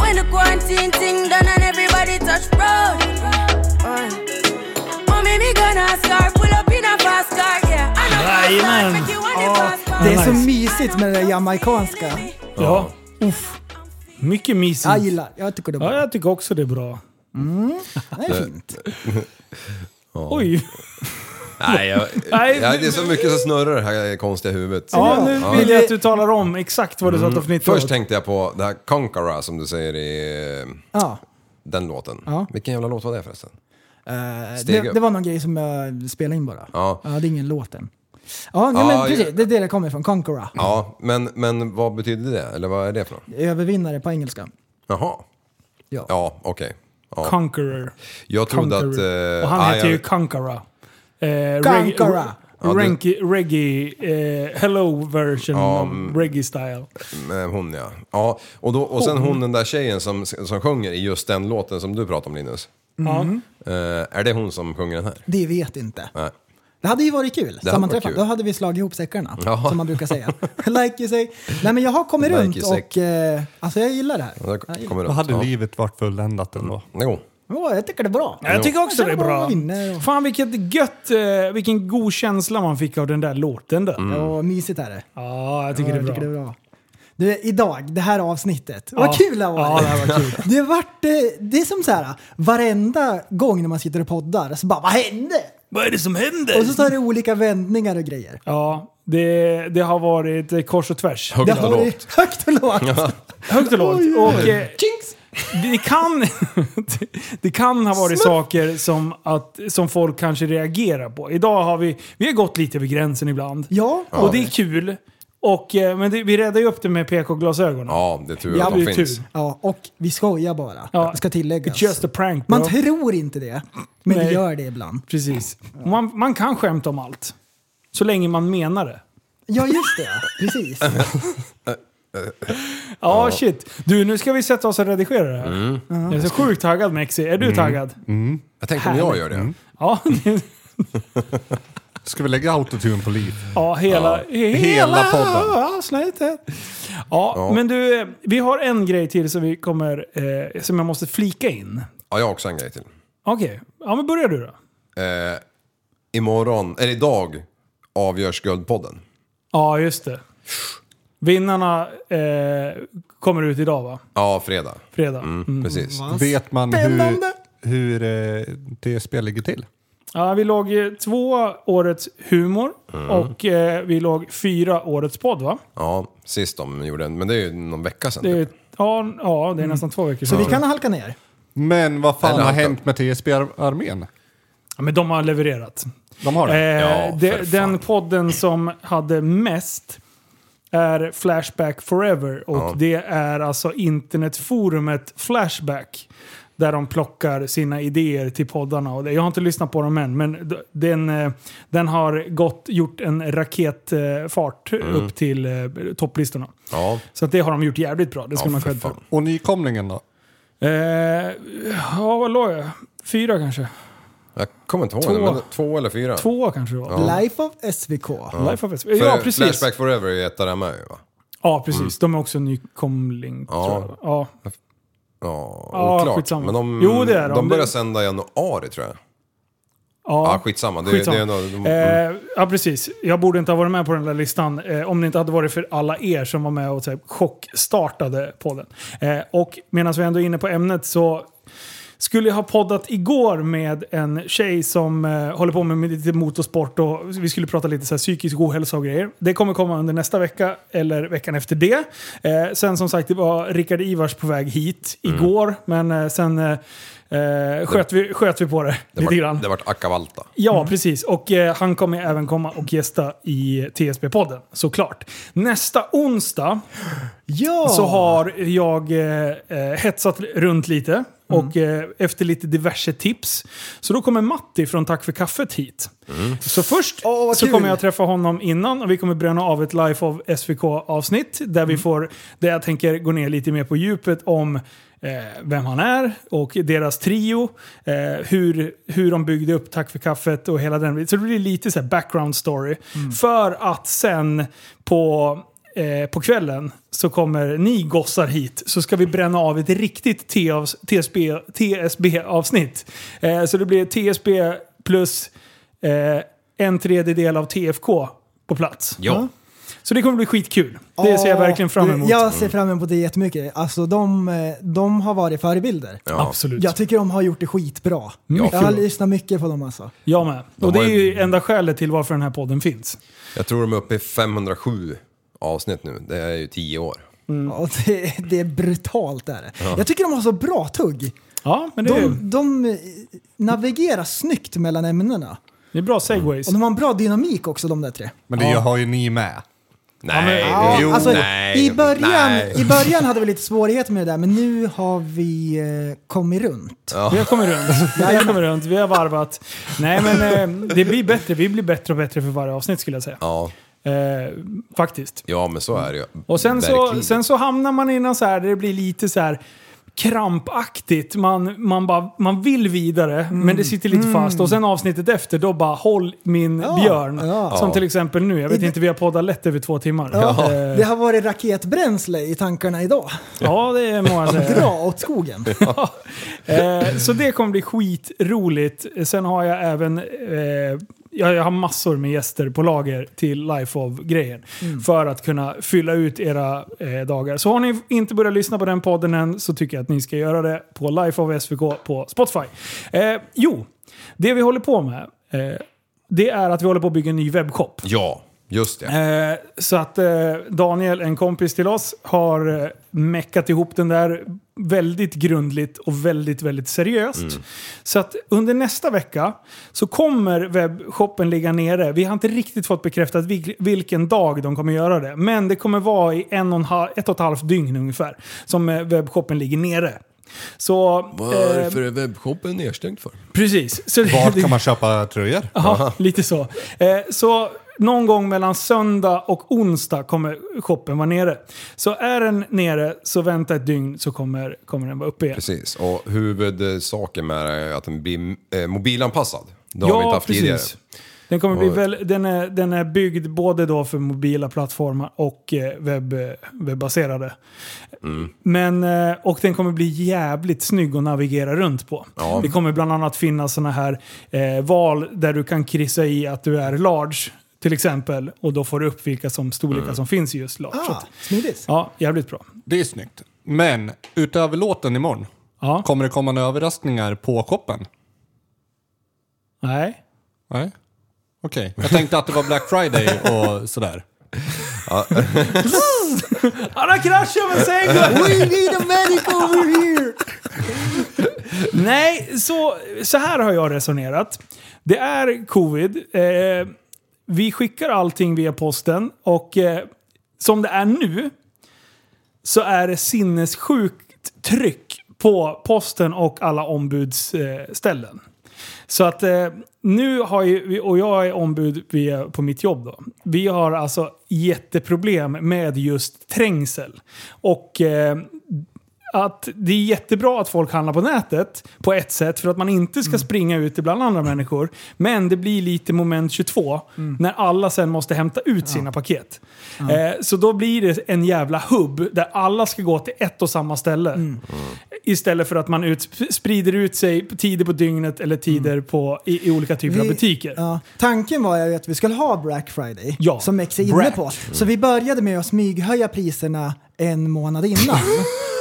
D: When the quarantine thing done and everybody touch road. Uh, Mommy, me gonna scar, pull up in a fast car, yeah. I know fast car,
F: Jajamän.
D: make you want it fast car.
F: Det är så mysigt med det där jamaicanska.
E: Ja. Uff. Mycket mysigt.
F: Jag gillar. Jag tycker det är
E: Ja,
F: bra.
E: jag tycker också det är bra.
F: Mm. Det är fint.
G: Ja.
E: Oj.
G: Nej, jag,
E: Nej,
G: ja, det är så mycket som snurrar i det här konstiga huvudet.
E: Ja, nu vill jag att du talar om exakt vad du satt och
G: Mm.
E: fnittrade
G: Först
E: åt.
G: tänkte jag på det här Concara som du säger i eh, den låten. Vilken jävla låt var det förresten?
F: Eh,
G: Steg
F: det,
G: upp.
F: det var någon grej som jag spelade in bara.
G: Ja.
F: Ja, det är ingen låt än. Ja, nej,
G: Ja,
F: men
G: ja.
F: precis. Det är det det kommer ifrån. Conqueror.
G: Ja, men, men vad betyder det? Eller vad är det för något?
F: Övervinnare på engelska.
G: Jaha.
F: Ja,
G: okej. Ja.
E: Conqueror.
G: Jag trodde att... eh,
E: Och han
G: ah,
E: heter
G: jag-
E: ju Kankara. Eh,
F: Kankara.
G: Ja, det-
E: Reggae, reggae eh, hello version
G: Ja,
E: av
G: mm.
E: reggae style.
G: Eh, Hon ja. ja och, då, och sen
E: Hon.
G: hon. den där tjejen som, som sjunger i just den låten som du pratar om Linus.
F: Mm.
G: Eh, är det hon som sjunger den här?
F: Det vet inte.
G: Nej.
F: Det hade ju varit kul,
G: varit
F: sammanträffat.
G: kul.
F: Då hade vi slagit ihop säckarna,
G: Ja.
F: som man brukar säga. like you say. Nej, men jag har kommit
G: Like
F: runt
G: you say.
F: och... Eh, alltså, jag gillar det här.
G: Ja, där
F: Jag gillar
G: kommer
F: det.
I: Då hade
G: Ja.
I: livet varit fulländat ändå.
G: Jo.
F: Ja, jag tycker det är bra.
E: Ja, jag tycker också det är bra.
F: vinner och-
E: Fan vilket gött, eh, vilken god känsla man fick av den där låten där.
G: Mm.
F: Ja, mysigt är det.
E: Ja, jag tycker
F: Ja,
E: det är bra.
F: jag tycker det är bra. Du, idag, det här avsnittet.
E: Ja.
F: Vad kul det har
E: Ja,
F: varit!
E: det här var kul.
F: Det, har varit, eh, det är som så här, varenda gång när man sitter och poddar så bara vad hände?
E: Vad är det som händer?
F: Och så tar det olika vändningar och grejer.
E: Ja, det, det har varit eh, kors och tvärs.
G: Högt
E: Det har
G: och
E: varit-
G: lågt.
F: Högt och lågt!
E: Högt och lågt.
F: Oj, oj,
E: Och,
F: oj.
E: eh, det, kan, det kan ha varit saker som, att, som folk kanske reagerar på. Idag har vi, vi har gått lite över gränsen ibland.
F: Ja,
E: Och det är kul. Och, eh, men det, vi räddar ju upp det med PK-glasögonen.
G: Ja, det är tur
E: Ja,
G: att
E: det
G: de
E: är tur.
G: finns.
F: Ja, och vi skojar bara.
E: Ja.
F: Det ska tilläggas.
E: It's just a prank bro.
F: Man tror inte det, men
E: Nej.
F: det gör det ibland.
E: Precis. Man, man kan skämta om allt. Så länge man menar det.
F: Ja, just det. Precis.
E: Ja, shit. Du, nu ska vi sätta oss och redigera det här.
G: Mm.
E: Jag är så sjukt taggad Mexi. Är du taggad?
I: Mm.
G: Jag tänkte om jag
E: Härligt.
G: gör det.
E: Ja,
I: Ska vi lägga autotune på liv?
E: ja, hela,
I: Ja. Hela podden.
E: Avsnittet. Ja,
G: Ja.
E: men du, eh, vi har en grej till som vi kommer, eh, som jag måste flika in.
G: Ja, jag har också en grej till.
E: Okej, ja men börjar du då.
G: Eh, imorgon, eller idag, avgörs Guldpodden.
E: Ja, just det. Vinnarna eh, kommer ut idag va?
G: Ja, fredag.
E: Fredag.
G: Mm,
E: Mm.
G: Precis.
I: Vet man hur, hur eh, det spel ligger till?
E: Ja, vi låg eh, två årets humor
G: Mm.
E: och eh, vi låg fyra årets podd va?
G: Ja, sist de gjorde en, men det är ju någon vecka sedan. typ.
E: Det är, ja, ja, det är nästan två veckor
F: Så vi
E: sedan.
F: kan halka ner.
I: Men vad fan
G: Eller
I: har
G: allt
I: hänt med TSB-armén?
E: Ja, men de har levererat.
I: De har det?
E: Eh,
I: Ja,
E: de-
I: för fan.
E: den podden som hade mest är Flashback Forever och
G: Ja.
E: det är alltså internetforumet Flashback. Där de plockar sina idéer till poddarna. Och det- Jag har inte lyssnat på dem än, men d- den, eh, den har gått, gjort en raketfart
G: Mm.
E: upp till eh, topplistorna.
G: Ja,
E: Så att det har de gjort jävligt bra, det ska
G: Ja,
E: man
G: för
E: cred för.
G: fan.
I: Och nykomlingen då?
E: Eh, ja, vad låg jag? Fyra kanske?
G: jag kommer inte ihåg.
E: Två.
G: Två, men, två eller fyra?
E: Två kanske det var.
G: Ja.
F: Life of SVK.
E: Life of
G: För
E: Ja, precis.
G: Flashback Forever är ju ett av dem med ju va?
E: Ja, precis. De är också nykomling,
G: Mm. Ja.
E: tror jag. Ja.
G: Ja,
E: Ja,
G: oklart.
E: skitsamma.
G: Men de,
E: Jo, det är de.
G: de börjar
E: Det-
G: sända i januari tror jag. Ja,
E: Ja.
G: skitsamma. Det,
E: Skitsamma.
G: Det är nog, mm.
E: Eh, ja, precis. Jag borde inte ha varit med på den där listan eh, om det inte hade varit för alla er som var med och så här, chockstartade podden. Eh, och medan vi ändå är inne på ämnet så skulle jag ha poddat igår med en tjej som eh, håller på med lite motorsport och vi skulle prata lite så här psykisk ohälsa och grejer. Det kommer komma under nästa vecka eller veckan efter det. Eh, sen som sagt, det var Rickard Ivars på väg hit
G: Mm.
E: igår, men eh, sen eh, eh, sköt, vi, sköt vi på det,
G: det,
E: lite
G: var,
E: grann.
G: det vart Akavalta.
E: Ja, precis. Och eh, han kommer även komma och gästa i TSB-podden, såklart. Nästa onsdag
F: Ja!
E: så har jag eh, eh, hetsat runt lite. och eh, efter lite diverse tips. Så då kommer Matti från Tack för kaffet hit. Så först så
F: kul.
E: kommer jag träffa honom innan och vi kommer bränna av ett Life of SVK-avsnitt där vi får, där jag tänker gå ner lite mer på djupet om eh, vem han är och deras trio, eh, hur, hur de byggde upp Tack för kaffet och hela den biten. Så det blir lite så här background story. För att sen på, eh, på kvällen så kommer ni gossar hit så ska vi bränna av ett riktigt TAS TSB TSB-avsnitt. Eh, så det blir TSB plus eh, en tredjedel av TFK på plats.
F: Ja.
E: Så det kommer bli skitkul. Det ser jag
F: Ja,
E: verkligen fram
F: du,
E: emot.
F: Jag ser fram emot det jättemycket. Alltså de, eh, de har varit förebilder.
E: Ja. Absolut.
F: Jag tycker de har gjort det skitbra.
E: Ja.
F: Jag har lyssnat mycket på dem alltså.
E: Jag med.
G: De
E: och det
G: har
E: är
G: ju-
E: ju enda skälet till varför den här podden finns.
G: Jag tror de är uppe i 507 avsnitt nu. Det är ju 10 år.
E: Mm.
F: Ja, det, det är brutalt det är det.
G: Ja.
F: Jag tycker de har så bra tugg.
E: Ja, men det är ju-
F: de, de eh, navigerar snyggt mellan ämnena.
E: Det är bra segways.
F: Och de har en bra dynamik också de där tre.
I: Men det har ju ni med.
G: Nej,
F: Ja,
I: jo,
F: alltså,
I: nej.
F: I, början,
I: nej.
F: I början hade vi lite svårigheter med det där, men nu har vi eh, kommit runt.
E: Vi har kommit runt. Vi har kommit runt. Vi har varvat. Nej, men eh, det blir bättre. Vi blir bättre och bättre för varje avsnitt skulle jag säga.
G: Ja,
E: Eh, faktiskt.
G: ja men så är det ju.
E: Och sen så,
G: Verkligen.
E: sen så hamnar man innan så här, där det blir lite så här krampaktigt. Man, man, bara, man vill vidare,
F: Mm.
E: men det sitter lite fast. Och sen avsnittet efter, då bara håll min björn.
F: ja.
E: Som
F: Ja.
E: till exempel nu. Jag vet
F: I-
E: inte, vi har poddat lätt över två timmar.
F: Ja,
E: Eh,
F: Det har varit raketbränsle i tankarna idag.
E: ja det är många som säger.
F: Dra åt skogen.
E: Eh, så det kommer bli skitroligt. Sen har jag även... Eh, jag, jag har massor med gäster på lager till Life of-grejen. För att kunna fylla ut era eh, dagar. Så har ni inte börjat lyssna på den podden än så tycker jag att ni ska göra det på Life of SVK på Spotify. Eh, jo, det vi håller på med eh, det är att vi håller på att bygga en ny webbshop.
G: Ja, just det.
E: Eh, så att eh, Daniel, en kompis till oss, har eh, meckat ihop den där väldigt grundligt och väldigt, väldigt seriöst.
N: Mm.
E: Så att under nästa vecka så kommer webbshoppen ligga nere. Vi har inte riktigt fått bekräftat vil- vilken dag de kommer göra det. Men det kommer vara i en och en halv, ett och ett halvt dygn ungefär som eh, webbshoppen ligger nere. Så... eh,
G: Varför är webbshoppen nedstängd för?
E: Precis. Så
I: Vart kan man köpa tröjor?
E: Ja, lite så. Eh, så någon gång mellan söndag och onsdag kommer shoppen vara nere. Så är den nere så vänta ett dygn så kommer, kommer den vara uppe igen.
G: Precis, och huvudsaken med det är att den blir eh, mobilanpassad. Det har
E: Ja,
G: vi inte haft
E: precis.
G: tidigare.
E: Den, kommer bli
G: Och-
E: väl, den, är, den är byggd både då för mobila plattformar och eh, webb, webbaserade.
G: Mm.
E: Men, eh, och den kommer bli jävligt snygg att navigera runt på.
G: Ja.
E: Det kommer bland annat finnas sådana här eh, val där du kan kryssa i att du är large. Till exempel. Och då får du upp vilka som, storlekar
I: Mm.
E: som finns i just large.
F: Ah,
E: Så
G: Ah.
E: att- Ja, jävligt bra.
I: Det är snyggt. Men utöver låten imorgon, kommer det komma några överraskningar på shoppen?
E: Nej.
I: Nej. Okej. Jag tänkte att det var Black Friday och sådär.
E: Han kraschar med segway!
F: We need a medic over here!
E: Nej, så, så här har jag resonerat. Det är covid. Eh, vi skickar allting via posten och eh, som det är nu så är det sinnessjukt tryck på posten och alla ombudsställen. Eh, ställen. så att eh, nu har ju, vi- och jag är ombud via, på mitt jobb då. Vi har alltså jätteproblem med just trängsel. Och eh, att det är jättebra att folk handlar på nätet på ett sätt för att man inte
F: Mm.
E: ska springa ut bland andra människor. Men det blir lite moment 22
F: Mm.
E: när alla sen måste hämta ut sina paket.
N: Ja.
E: Eh, så då blir det en jävla hubb där alla ska gå till ett och samma ställe.
F: Mm.
E: Istället för att man ut, sprider ut sig på tider på dygnet eller tider på, i, i olika typer av
F: Mm. Vi-
E: butiker.
F: Ja, tanken var ju att vi skulle ha Black Friday,
E: Ja,
F: som X är inne
E: Black.
F: på. Så vi började med att smyghöja priserna en månad innan.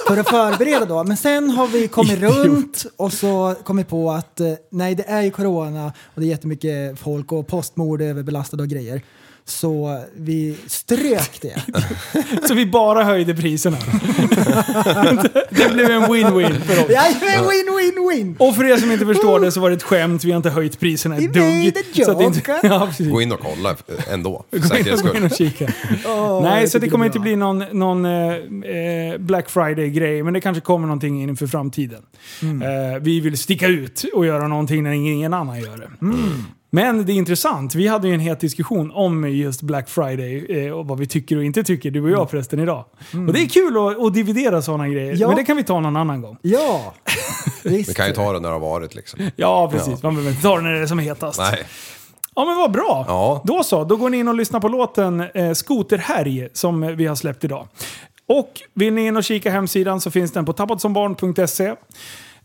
F: För att förbereda då. Men sen har vi kommit runt och så kommit på att eh, nej, det är ju corona och det är jättemycket folk och postmord är överbelastade och grejer. Så vi strök det.
E: Så vi bara höjde priserna. det blev en win-win för oss.
F: Jajamän, win-win-win!
E: Och för er som inte förstår det så var det ett skämt. Vi har inte höjt priserna ett
F: Vi made
E: dugg.
F: a joke.
E: Så att det inte, ja, precis.
G: Gå in och kolla eh, ändå. för
E: Gå in
G: säkerhets
E: och, gå in
G: skull.
E: och kika.
F: Åh,
E: Nej,
F: jag
E: så det
F: tycker
E: kommer
F: är
E: inte
F: bra.
E: bli någon, någon eh, eh, Black Friday-grej, men det kanske kommer någonting inför framtiden.
F: Mm.
E: Eh, vi vill sticka ut och göra någonting när ingen annan gör det.
F: Mm.
E: Men det är intressant, vi hade ju en het diskussion om just Black Friday eh, och vad vi tycker och inte tycker, du och jag förresten idag. Och det är kul att, att dividera sådana grejer,
F: Mm. Ja.
E: men det kan vi ta någon annan gång.
F: Ja,
G: Vi
F: visst.
G: kan ju ta det när det har varit liksom.
E: Ja, precis. Man behöver inte ta det när det är som hetast.
G: Nej.
E: Ja men vad bra!
G: Ja.
E: Då så, då går ni in och lyssnar på låten eh, Skoterhärj som eh, vi har släppt idag. Och vill ni in och kika hemsidan så finns den på tappatsombarn.se.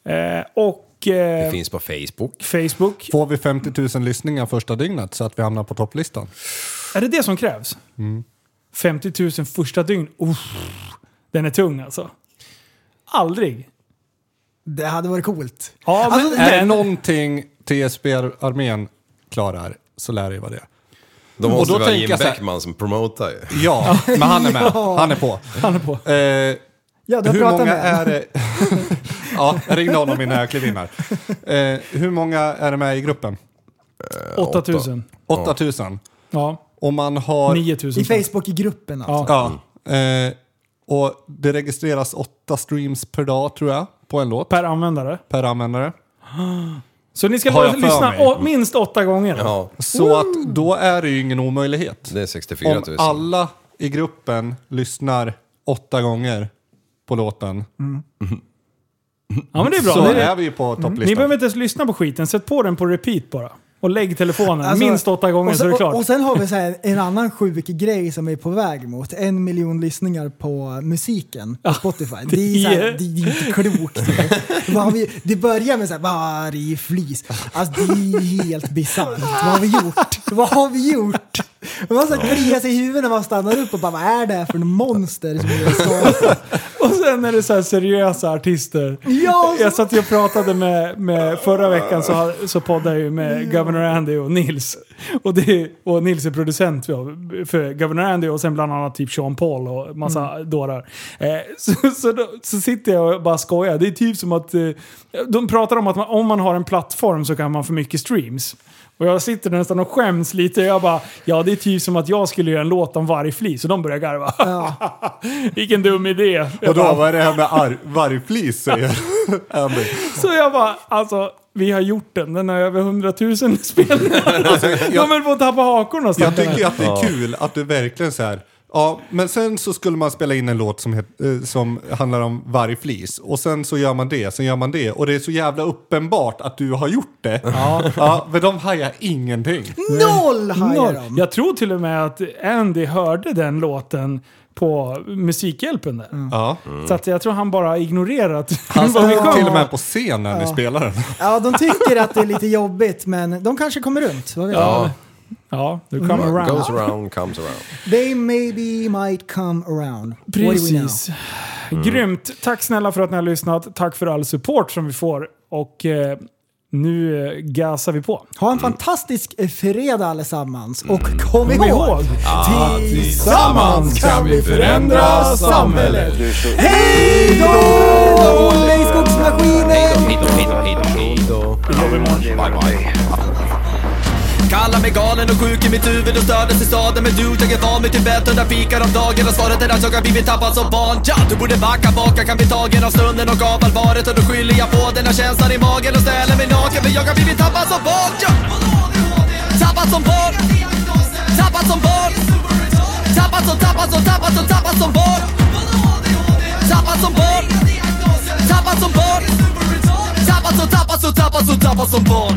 E: Eh, och
G: Det
E: eh,
G: finns på Facebook.
E: Facebook.
I: Får vi 50 000 lyssningar första dygnet så att vi hamnar på topplistan?
E: Är det det som krävs?
I: Mm.
E: 50 000 första dygn. Uff, den är tung alltså. Aldrig.
F: Det hade varit coolt.
E: Ja, men,
F: Alltså,
I: Är
E: nej,
I: det någonting TSB-armén klarar så lär det ju vara det.
G: Då
I: Och
G: måste
I: då
G: det vara
I: tänker
G: Jim
I: jag så här-
G: Beckman som promotar ju.
I: Ja, men han är med.
F: Ja.
I: Han är på.
E: han är på.
I: Eh,
F: Ja, du har
I: hur
F: pratat
I: många
F: med
I: är det... ja, jag ringde honom innan jag klev in här. Eh, hur många är det med i gruppen? Alltså-
E: 8 000.
I: 8000.
E: Ja,
I: Och man har...
E: 9 000.
F: I Facebook-gruppen alltså.
E: Ja.
I: Ja.
G: Mm.
I: Eh, och det registreras åtta streams per dag tror jag på en låt. Per,
E: Per användare.
I: användare.
E: Så ni ska
I: Har jag
E: bara
I: för
E: lyssna
I: mig?
E: å, minst åtta gånger.
G: Ja,
I: Så att då är det ju ingen omöjlighet.
G: det är 64
I: Om
G: 000.
I: alla i gruppen lyssnar åtta gånger på låten
E: Ja, men det är Mm. bra.
I: så
E: Det är- Mm.
I: är vi ju på
E: Ni
I: topplistan.
E: behöver inte ens lyssna på skiten, sätt på den på repeat bara. Och lägg telefonen
F: Alltså,
E: minst åtta gånger
F: och,
E: så är
F: sen,
E: det klart.
F: och, och sen har vi så här en annan sjuk grej som är på väg mot en miljon lyssningar på musiken på Spotify. Det är, så här,
E: det-
F: det är inte klokt. Vad har vi- Det börjar med så här varg, flis. Alltså det är helt bisarrt. Vad har vi gjort? Vad har vi gjort? Man så här kliar sig i huvudet när man stannar upp och bara vad är det här för en monster som är skadad?
E: Och sen är det så här seriösa artister.
F: Ja,
E: Jag satt ju och pratade med, med förra veckan så, så poddade jag ju med Governor Andy och Nils. Och, det, och Nils är producent för för Governor Andy och sen bland annat typ Sean Paul och massa dårar. Eh, så, så, då, så sitter jag och bara skojar. Det är typ som att eh, de pratar om att man, om man har en plattform så kan man få mycket streams. Och jag sitter där nästan och skäms lite. Jag bara, ja det är typ som att jag skulle göra en låt om vargflis och de börjar garva. Vilken dum idé.
I: Och då, vad är det här med ar- vargflis säger Andy?
E: Så jag bara, alltså vi har gjort den. Den har över 100 000 spelningar.
I: Alltså,
E: De
I: jag,
E: höll på att tappa hakorna
I: jag
E: stackarna.
I: tycker att det är kul att du verkligen så här. Ja, men sen så skulle man spela in en låt som, het, eh, som handlar om vargflis. Och sen så gör man det, sen gör man det. Och det är så jävla uppenbart att du har gjort det. Ja. men de hajar ingenting.
F: Noll hajar
E: Noll.
F: de!
E: Jag tror till och med att Andy hörde den låten på Musikhjälpen där.
I: Ja.
E: Så att jag tror han bara ignorerat
I: Mm. Han
E: vad vi
I: står
E: sjöng.
I: till och med på scen när ni spelar den.
F: Ja, de tycker att det är lite jobbigt men de kanske kommer runt. Vad vet jag?
G: Ja,
E: Ja, du come
I: Mm.
G: What
E: around.
G: goes around comes around.
F: They maybe might come around. What do we know?
E: Precis.
I: Mm.
E: Grymt. Tack snälla för att ni har lyssnat. Tack för all support som vi får. Och eh, nu eh, gasar vi på.
F: Ha en fantastisk eh, fredag allesammans och Mm. kom ihåg!
E: ihåg.
F: Tillsammans kan vi förändra samhället!
A: Du är så
F: Hej då! Hej skogsmaskiner!
B: Kallar mig galen och sjuk i mitt huvud och stördes i staden Men du, jag är van vid Tibet under fikar om dagen Och svaret är att jag har blivit tappad som barn ja, Du borde backa bak, jag kan bli tagen av stunden och av allvaret Och då skyller jag på den här känslan i magen och ställer mig naken För jag har blivit tappad som barn ja. Tappad som barn Tappad som barn Tappad som, tappad som, tappad som, tappad som barn Tappad som barn Tappad som barn Tappad som, tappad som, tappad som, tappad som barn